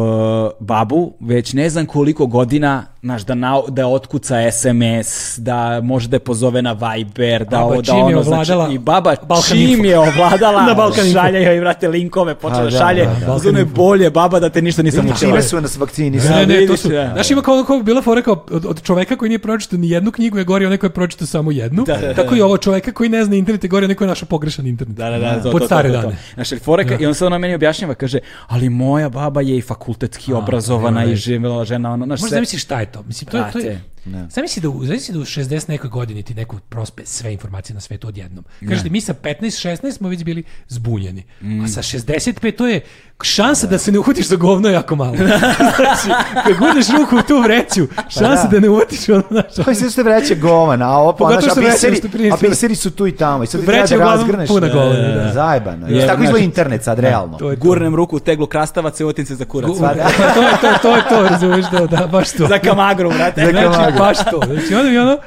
babu već ne znam koliko godina Znaš, da, na, da otkuca SMS, da može da je pozove na Viber, da, Baba ovo, da čim je ono, ovladala znači, i baba Balkan čim Info. je ovladala, Na Balkan Info. šalje joj, vrate, linkove, počela A, da, šalje, da, da. da, Balkan Info. bolje, baba, da te ništa nisam Znači, učila. Čime su nas vakcinisali? Ne, ne, to vidiš, su, da. znaš ima kao, kao bila fora kao od, od čoveka koji nije pročitao ni jednu knjigu je gori onaj koji je pročitao samo jednu, Da, da, da. tako i ovo čoveka koji ne zna internet je gori onaj koji je našao pogrešan internet. Da, da, da, to, Pod to, stare to, to, to. dane. Znaš, jer fora ka- i on se ona meni objašnjava, kaže, ali moja baba je i fakultetski obrazovana nema i veze. živjela žena, ono, znaš, Možeš sve- zamisliti šta je to. Mislim, to, je- to je... Ne. Zamisli da, u- zamisli da u 60 nekoj godini ti neko prospe sve informacije na svetu odjednom. Kažete, mi sa 15-16 smo već bili zbunjeni. Mm. A sa 65 to je šansa da, se ne uhutiš za govno je jako malo. znači, kad budeš ruku u tu vreću, šansa da. Pa da. ne uhutiš ono, znaš, To je sve što vreće govan, a ovo pa Pogotovo znaš, a što vreće biseri, što prije- a biseri su tu i tamo. I sad ti Vreće treba da uglavnom razgrneš. puna govana, E, da. Zajebano. Je, Je, tako znaš- izgleda internet sad, realno. E, to je to. gurnem ruku u teglu krastava, cevotim se za kurac. Gu- to je to, to je to, razumeš, da, da, baš to. za kamagru, vrate. Za Znači, Kamagu. baš to. Znači, onda mi ono,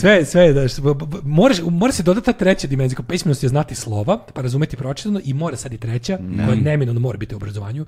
sve, sve, da, što- b- b- moraš, mora se dodati ta treća dimenzija, kao pismenost je znati slova, pa razumeti pročitano i mora sad i treća, koja neminovno mora biti u obrazovanju,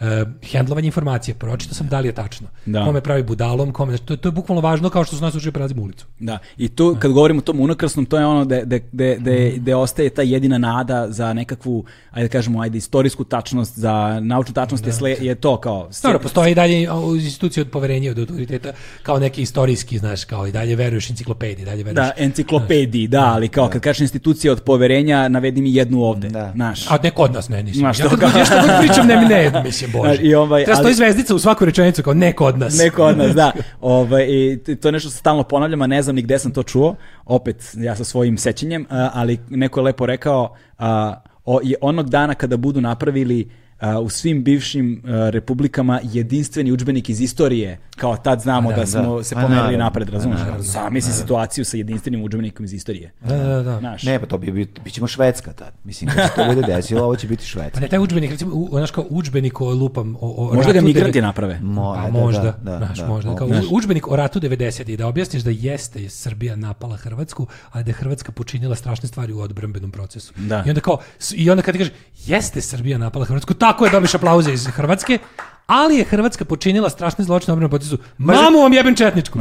uh, hendlovanje informacije, pročitao sam da li je tačno, Da. kome pravi budalom, kome, znači, to, to je bukvalno važno kao što su nas učili prelazimo ulicu. Da, i tu kad govorimo o tom unakrasnom, to je ono da, da, da, da, Mhm. da ostaje ta jedina nada za nekakvu, ajde da kažemo, ajde, istorijsku tačnost, za naučnu tačnost, je, sle- je to kao... Dobro, postoji i dalje a, u- institucije od poverenja, od autoriteta, kao neki istorijski, znaš, kao i dalje veruješ enciklopediji, dalje veruješ. Da, enciklopediji, da, ali kao kad kažeš institucija od poverenja, navedi mi jednu ovde, Da. znaš. A neko od nas ne, nisam. Znaš, ja to kad god, kao- ja šta god pričam, ne mi ne, mislim, bože. Znaš, i ovaj, Treba stoji ali- zvezdica u svaku rečenicu, kao neko od nas. Neko od nas, da. Ovaj, i t- to je nešto što stalno ponavljam, a ne znam ni gde sam to čuo. Opet, ja sa svojim sećanjem, a, ali neko je lepo rekao, a, o, je onog dana kada budu napravili a, u svim bivšim a, republikama jedinstveni udžbenik iz istorije, kao tad znamo da, da, smo da. se Pa pomerili naravno, napred, pa razumiješ? naravno, Zamisli situaciju sa jedinstvenim udžbenikom iz istorije. Da, da, da. Znaš, Ne, pa to bi, bi, bit ćemo Švedska tad. Mislim, kad se to bude desilo, ovo će biti Švedska. Pa ne, taj udžbenik, recimo, u, znaš kao udžbenik o lupam, o, o Možda ga ratu migranti devet- naprave. Mo- Pa da, možda, da, da, znaš, da. možda. O, Kao u- udžbenik o ratu 90 i da objasniš da jeste Srbija napala Hrvatsku, ali da je Hrvatska počinila strašne stvari u odbrambenom procesu. Da. I onda kao, s- i onda kad ti kažeš, jeste Srbija napala Hrvatsku, tako je, dobiš aplauze iz Hrvatske, ali je Hrvatska počinila strašne zločine u odbrambenom procesu. Mamu vam jebem četničku.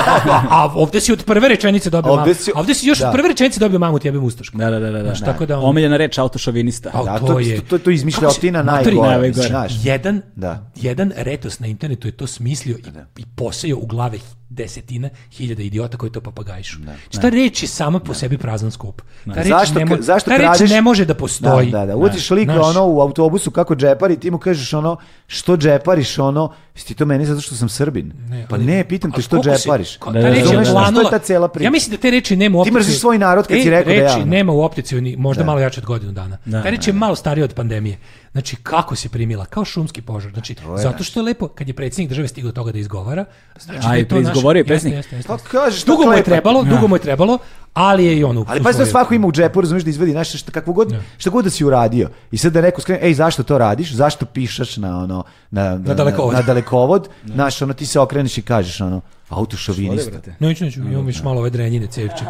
a ovde si od prve rečenice dobio Ovde mamu. si- A ovde si još da. od prve rečenice dobio mamu, ti jebem ustašku. Da, da, da, da. da. Znaš, tako da ono- on- Omiljena reč autošovinista. A, Da, to, to- je... to- to- to je izmišljotina Kako se- Matori, najgora, mislim, najgora. znaš. Jedan, Da. jedan retos na internetu je to smislio i, i posejao u glave desetine hiljada idiota koji to papagajišu. Znači, ta reč je sama po sebi prazan skup. Ta reč, Zašto, ne, ka- mo- zašto ta reč kradeš- ne može da postoji. Da, da, da. Uđeš lik Znaš. ono u autobusu kako džepari, ti mu kažeš ono što džepariš ono, jesi ti to meni zato što sam Srbin. pa ali- ne, pitam te ali što koliko si- džepariš. ko- Da, ta da, reč je da, da. planula- Što je ta cela priča? Ja mislim da te reči nema u opticiju. mrziš svoj narod kad Te si rekao da je reči ono. nema u opticiju, ni, možda malo jače od godinu dana. Da, ta reč je malo starija od pandemije. Znači, kako se primila? Kao šumski požar. Znači, zato što je lepo, kad je predsjednik države stigao do toga da izgovara, znači A, da i je to naš- izgovorio je jeste, predsjednik. jeste, jeste, Pa jeste. kažeš to Dugo mu je klepa. trebalo, dugo mu je trebalo, ali je i ono... Ali pazi da svako ima u džepu, razumiješ da izvedi nešto što kakvo god, šta god da si uradio. I sad da neko skrene, ej, zašto to radiš? Zašto pišaš na ono na na, dalekovod. na dalekovod? Znaš, ono ti se okreneš i kažeš ono autošovinista. Neću, neću, imam još malo ove drenjine, cevče.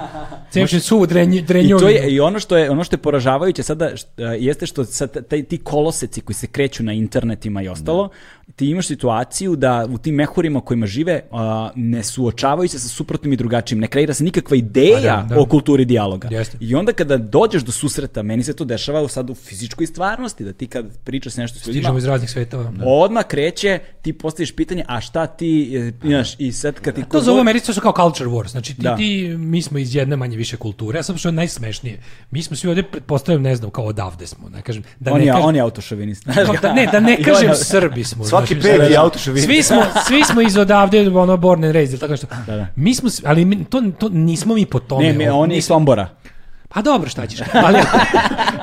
Cevče, suvo drenje, I drenjovine. to je i ono što je ono što je poražavajuće sada št- e, jeste što sad taj ti koloseci koji se kreću na internetima i ostalo, ti imaš situaciju da u tim mehurima u kojima žive a, ne suočavaju se sa suprotnim i drugačijim, ne kreira se nikakva ideja Pa da. o kulturi dijaloga. Jeste. I onda kada dođeš do susreta, meni se to dešava sad u fizičkoj stvarnosti, da ti kad pričaš sa nešto s Stižemo ljudima, iz raznih svetova. odmah kreće, ti postaviš pitanje, a šta ti, e, znaš, i sad kad ti... To za ovo Americi su kao culture wars. Znači ti, Da. ti, mi smo iz jedne manje više kulture, a sam što je najsmešnije. Mi smo svi ovdje, pretpostavljam, ne znam, kao odavde smo. Ne kažem, da On ne je, kažem, on je autošovinist. kao da, ne, da ne I on kažem je- Srbi smo. Svaki znači, peti sad- autošovinista. Svi smo, svi smo iz odavde, ono, born and raised, ili tako nešto. da. Mi smo, svi- ali mi, to, to nismo mi po tome. Ne, mi- on je iz Sombora. Pa dobro, šta ćeš. Ali,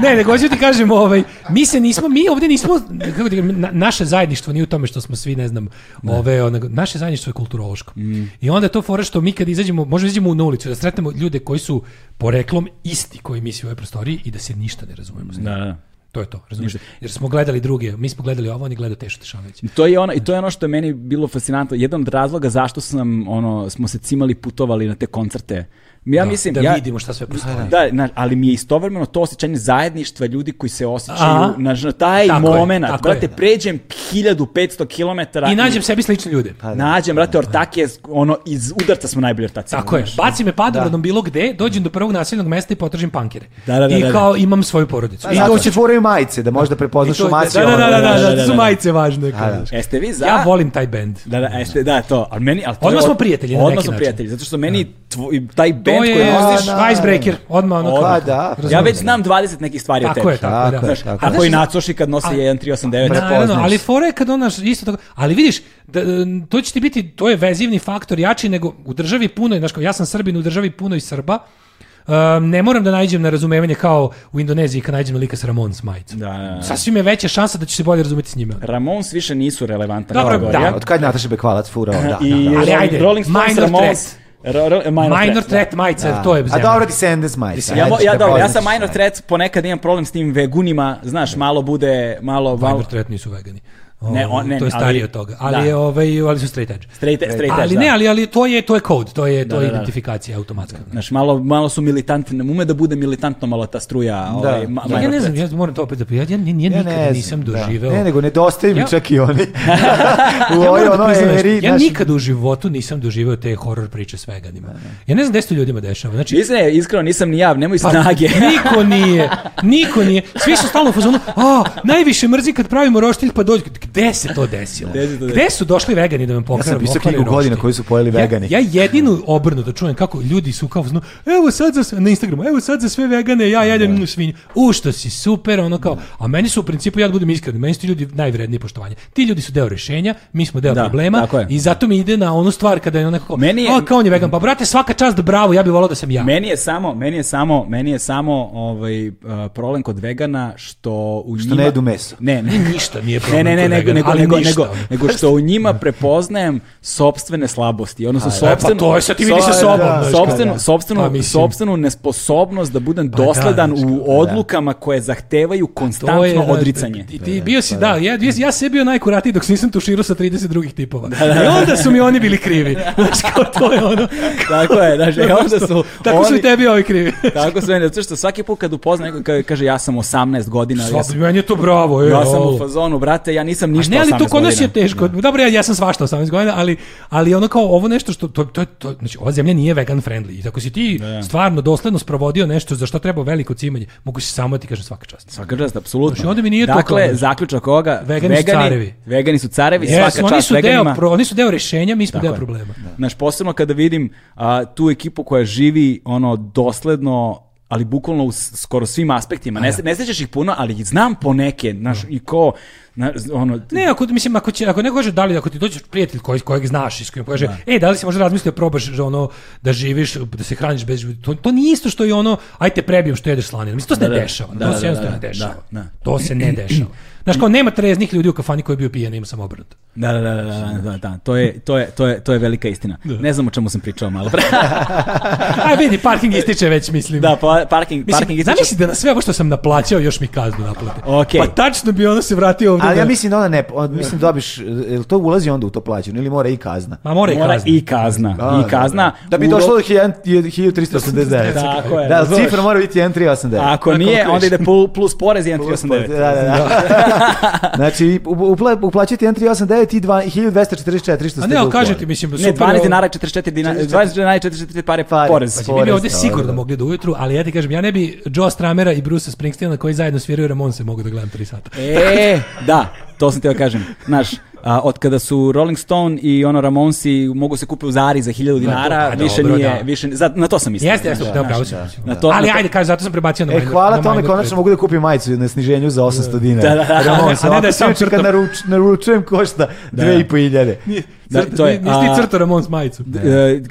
ne, nego hoću ti kažem, ovaj, mi se nismo, mi ovdje nismo, kako ti kažem, na, naše zajedništvo nije u tome što smo svi, ne znam, ove, onog, naše zajedništvo je kulturološko. Mm. I onda je to fora što mi kad izađemo, možemo izađemo na ulicu, da sretnemo ljude koji su poreklom isti koji mi svi u ovoj prostoriji i da se ništa ne razumemo. s njima. Da, da. To je to, razumiješ? Jer smo gledali druge, mi smo gledali ovo, oni gledaju Tešu Tešanović. I to je ono i to je ono što je meni bilo fascinantno. Jedan od razloga zašto sam ono smo se cimali putovali na te koncerte Ja mislim, da ja, vidimo šta sve postoji. Da, na, ali mi je istovremeno to osjećanje zajedništva ljudi koji se osjećaju Aha. na, na taj Tako je, moment. tako brate, je. pređem 1500 km I nađem sebi slične ljude. Pa, Nađem, brate, ortake, ono, iz udarca smo najbolji ortaci. Tako je. znaš. Baci me padorodom bilo gde, dođem do prvog naseljenog mesta i potražim pankere. Da, da, da, I da, Pa da. kao imam svoju porodicu. I Zato to će se furaju majice, da možda prepoznaš ono, u da, masi. da, da, da, da, da, da, da, da, su da. majice važne. kao, da. znaš. Jeste vi E, za... Ja volim taj bend. Da, da, jeste, da, to. Ali meni, ali to je Odmah od- smo prijatelji na neki Odmah smo način. prijatelji, zato što meni tvoj, taj band To koji je nosiš- znaš, da. Icebreaker, odmah ono Odmah. kao. Pa da, Razumem. Ja već znam 20 nekih stvari o tebi. Tako je, tako, Tako je, je, da. Znaš, tako a je. koji znaš- nacoši kad nose A- 1389. prepoznaš. Naravno, ali fora je kad ona isto tako, ali vidiš, da, em, to će ti biti, to je vezivni faktor jači nego u državi puno, je, znaš, kao ja sam Srbin, u državi puno i Srba, em, ne moram da nađem na razumevanje kao u Indoneziji kad nađem lika sa Ramon Smajc. Da, da, da. Sasvim je veća šansa da ću se bolje razumeti s njima. Ramons više nisu relevantna Dobro, kategorija. da. Od kad je Nataša Bekvalac furao, da, da, da. I Ali Rolling- ajde, Rolling Stones, Minor Ramons, Ro- ro- Minor, Minor Threat, da. threat majice, to je A zemlja. dobro ti se endes majice. Ja, mo, ajde, ja, dobro, ja prepoznaš. sam Minor Threat, ponekad imam problem s tim vegunima, znaš, malo bude, malo... malo Minor threat nisu vegani. Pa, Ne, Ovo, on- ne, to je ali- starije od toga. Ali, da. je, ovaj, ali su straight edge. straight, straight edge, ali da. ne, ali, ali to je to je kod, to je to je da, da. identifikacija automatska. Znaš, malo, malo su militantni, ne ume da bude militantno malo ta struja. Ovaj, ma, Ja, ja Minor ne Threat. znam, ja moram to opet da ja, ja, ja, ja Ja nikad ne znam, nisam da. doživeo. Ne, nego nedostaju mi Ja- čak i oni. U Ja ovoj moram da ono priznam nešto. eri, Ja znaš, nikad u životu nisam doživeo te horor priče s veganima. Ja ne znam gde se to ljudima dešava. Znači, Mislim, ne, iskreno, nisam ni ja, Pa, nemoj snage. niko nije, niko nije. Svi su stalno u fazonu, a, najviše mrzim kad pravimo roštilj pa dođe. Gde se to desilo? Gde se to Gde su došli vegani da me Ja sam pokrenu? pisao knjigu godina koju su pojeli vegani. Ja, ja jedinu obrnuto čujem kako ljudi su kao u fazonu, evo sad za sve, na Instagramu, evo sad za sve vegane, ja jedem svinju. U što si super, ono kao. A meni su u principu ja da budem iskren, meni su ti ljudi najvrednije poštovanje. Ti ljudi su deo rešenja, mi smo deo Da, problema tako je. i zato mi ide na onu stvar kada je onako kao, Meni je- a kao on je vegan, pa brate svaka čast, bravo, ja bih volao da sam ja. Meni je samo, meni je samo, meni je samo ovaj uh, problem kod vegana što u Što njima ne jedu meso. Ne, ne. ništa nije Ne, problem. ne, ne, kod nego, vegana, nego, ali nego, ništa. nego, nego što u njima prepoznajem sopstvene slabosti, odnosno E, pa sopstvenu... to je sad ti vidi sa so- sobom. da, znaš, Sopstvenu, kao. sopstvenu, Pa mislim, sopstvenu nesposobnost da budem Pa da, dosledan znaš u odlukama koje zahtevaju to je, konstantno da, odricanje. Ti, ti bio si, da, ja, ja, ja sebi bio najkuratiji dok se nisam tuširao sa 30 drugih tipova. I onda su mi oni bili krivi. Znaš, kao to je ono. Tako je, znaš, i onda su Tako su oni- i tebi ovi krivi. Tako su meni, zato što svaki put kad upozna nekog ka- kaže ja sam 18 godina, ja sam, Sva, meni je to bravo. ja sam u olo. fazonu, brate, ja nisam E, A ništa ne, ali 18 to kod nas je godina. teško. Dobro, ja, ja sam svašta 18 godina, ali, ali ono kao ovo nešto što, to, to, to, znači, ova zemlja nije vegan friendly. I ako si ti stvarno dosledno sprovodio nešto za što treba veliko cimanje, mogu si samo da ti kažem svaka čast. Svaka čast, apsolutno. Znači, onda mi nije to dakle, kao- zaključak ovoga, Vegani su carevi. Vegani su carevi, Yes, svaka oni čast su deo veganima. pro, oni su deo rešenja, mi smo Tako deo je. problema. Znaš, posebno kada vidim a, tu ekipu koja živi ono dosledno ali bukvalno u s- skoro svim aspektima. Ne, se- ne sećaš ih puno, ali ih znam poneke, znaš, i ko, na, z- ono, Ne, ako mislim ako će ako neko kaže da li ako ti dođe prijatelj koji kojeg znaš i s kojim kaže ej da li si možda razmislio da probaš da ono da živiš da se hraniš bez to, to nije isto što i ono aj te prebijem što jedeš slaninu. Mislim to se Da, ne da. dešava. Da, to da, se da, jednostavno da, ne dešava. da, da. To se ne dešava. Znaš kao nema treznih ljudi u kafani koji je bio pijan, ima samo obrat. da, da, da, da, da, da, da, to je, to je, to je, to je velika istina. Ne znam o čemu sam pričao malo pre. Aj vidi parking ističe već mislim. da, pa, parking, parking Mislim, ističe- zamisli da na sve ovo što sam naplaćao još mi kaznu naplate. Okej. Pa tačno bi ono se vratio ovdje. Ali ja da- mislim da ona ne, on, mislim dobiš, jel to ulazi onda u to plaćeno ili mora i kazna? Ma mora i Mora kazna. i kazna. A, I kazna. Da bi u došlo roku- do 1000 1389. Tako je, Da, razumeš? cifra mora biti 1389. Ako nije, onda ide plu- plus porez 1.39. Da, da, da. znači, upla- upla- uplaćujete 1389 i dva- 1244 što A ste ne, ali duplo. kažete, mislim, super. Ne, 12 ovo- Znači, dinara i 44 dinara, 20 dinara i 44 pare Pare. porez. Pa Mi bi Porez, ovde da, sigurno da. mogli do ujutru, ali ja ti kažem, ja ne bi Joe Stramera i Bruce Springsteena koji zajedno sviraju Ramonse mogu da gledam 3 sata. E, da, to sam teo kažem. Znaš, a, od kada su Rolling Stone i ono Ramonsi mogu se kupiti u Zari za 1000 dinara, da, više dobro, nije, da. više, ni- za, na to sam mislio. Jeste, jeste, znaš, da, znaš. pravo si. Na to- ali na to- ajde, kažem, zato sam prebacio na E, minor. na hvala tome, minor konačno threat. mogu da kupim majicu na sniženju za 800 dinara. Da, da, da. Ramonsa. A ne da je Ovako, sam sinoć Kad crtam. naruč, naručujem košta 2500. Da, Crta- to je, ni- Nisi a- ti crto Ramons majicu.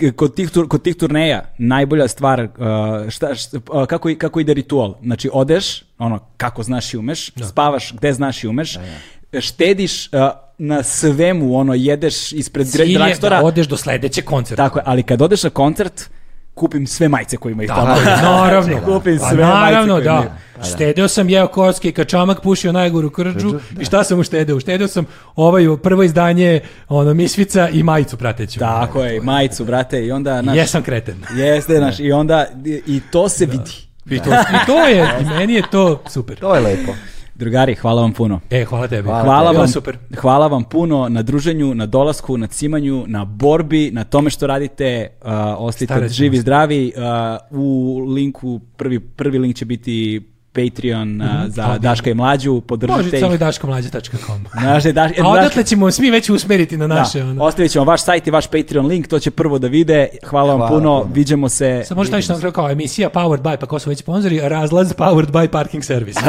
E, kod tih, tur, kod tih turneja najbolja stvar uh, šta, šta, uh, kako, i- kako ide ritual. Znači, odeš, ono, kako znaš i umeš, spavaš gde znaš i umeš, štediš uh, na svemu, ono, jedeš ispred Cilj je dragstora, da odeš do sledećeg koncerta. tako je, ali kad odeš na koncert, kupim sve majice koje imaju tamo. Tako je, naravno. Kupim Pa sve majice naravno, koje da. imaju. Štedeo sam jeo kocke, kačamak pušio najgoru krđu i šta sam uštedeo? Uštedeo sam ovaj prvo izdanje ono Misvica i majicu prateću. Tako je, majicu, brate, i onda... Naš, Jesam kreten. Jeste, znaš, i onda, i to se vidi. I to, i to je, i meni je to super. To je lepo. Drugari, hvala vam puno. E, hvala tebi. Hvala tebi. vam, Super. hvala vam puno na druženju, na dolasku, na cimanju, na borbi, na tome što radite. Uh, ostajte Staraćemo živi, se. zdravi. Uh, u linku, prvi, prvi link će biti Patreon uh, za Daška i Mlađu. Podržite Možete ih. samo i daškomlađa.com. Znaš, da- Daš- e, A Daško- odatle ćemo svi već usmeriti na Da, naše. ono. ostavit ćemo vaš sajt i vaš Patreon link, to će prvo da vide. Hvala, vam Hvala puno, puno. viđemo se. Sad možeš staviti na kraju kao emisija Powered by, pa ko su već sponzori, razlaz Powered by Parking Service.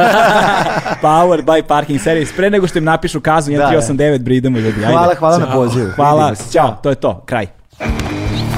Powered by Parking Service. Pre nego što im napišu kaznu, 1389, bre idemo ljudi. ajde. Hvala, hvala na pozivu. Hvala, Vidimo se. ćao, to je to, kraj.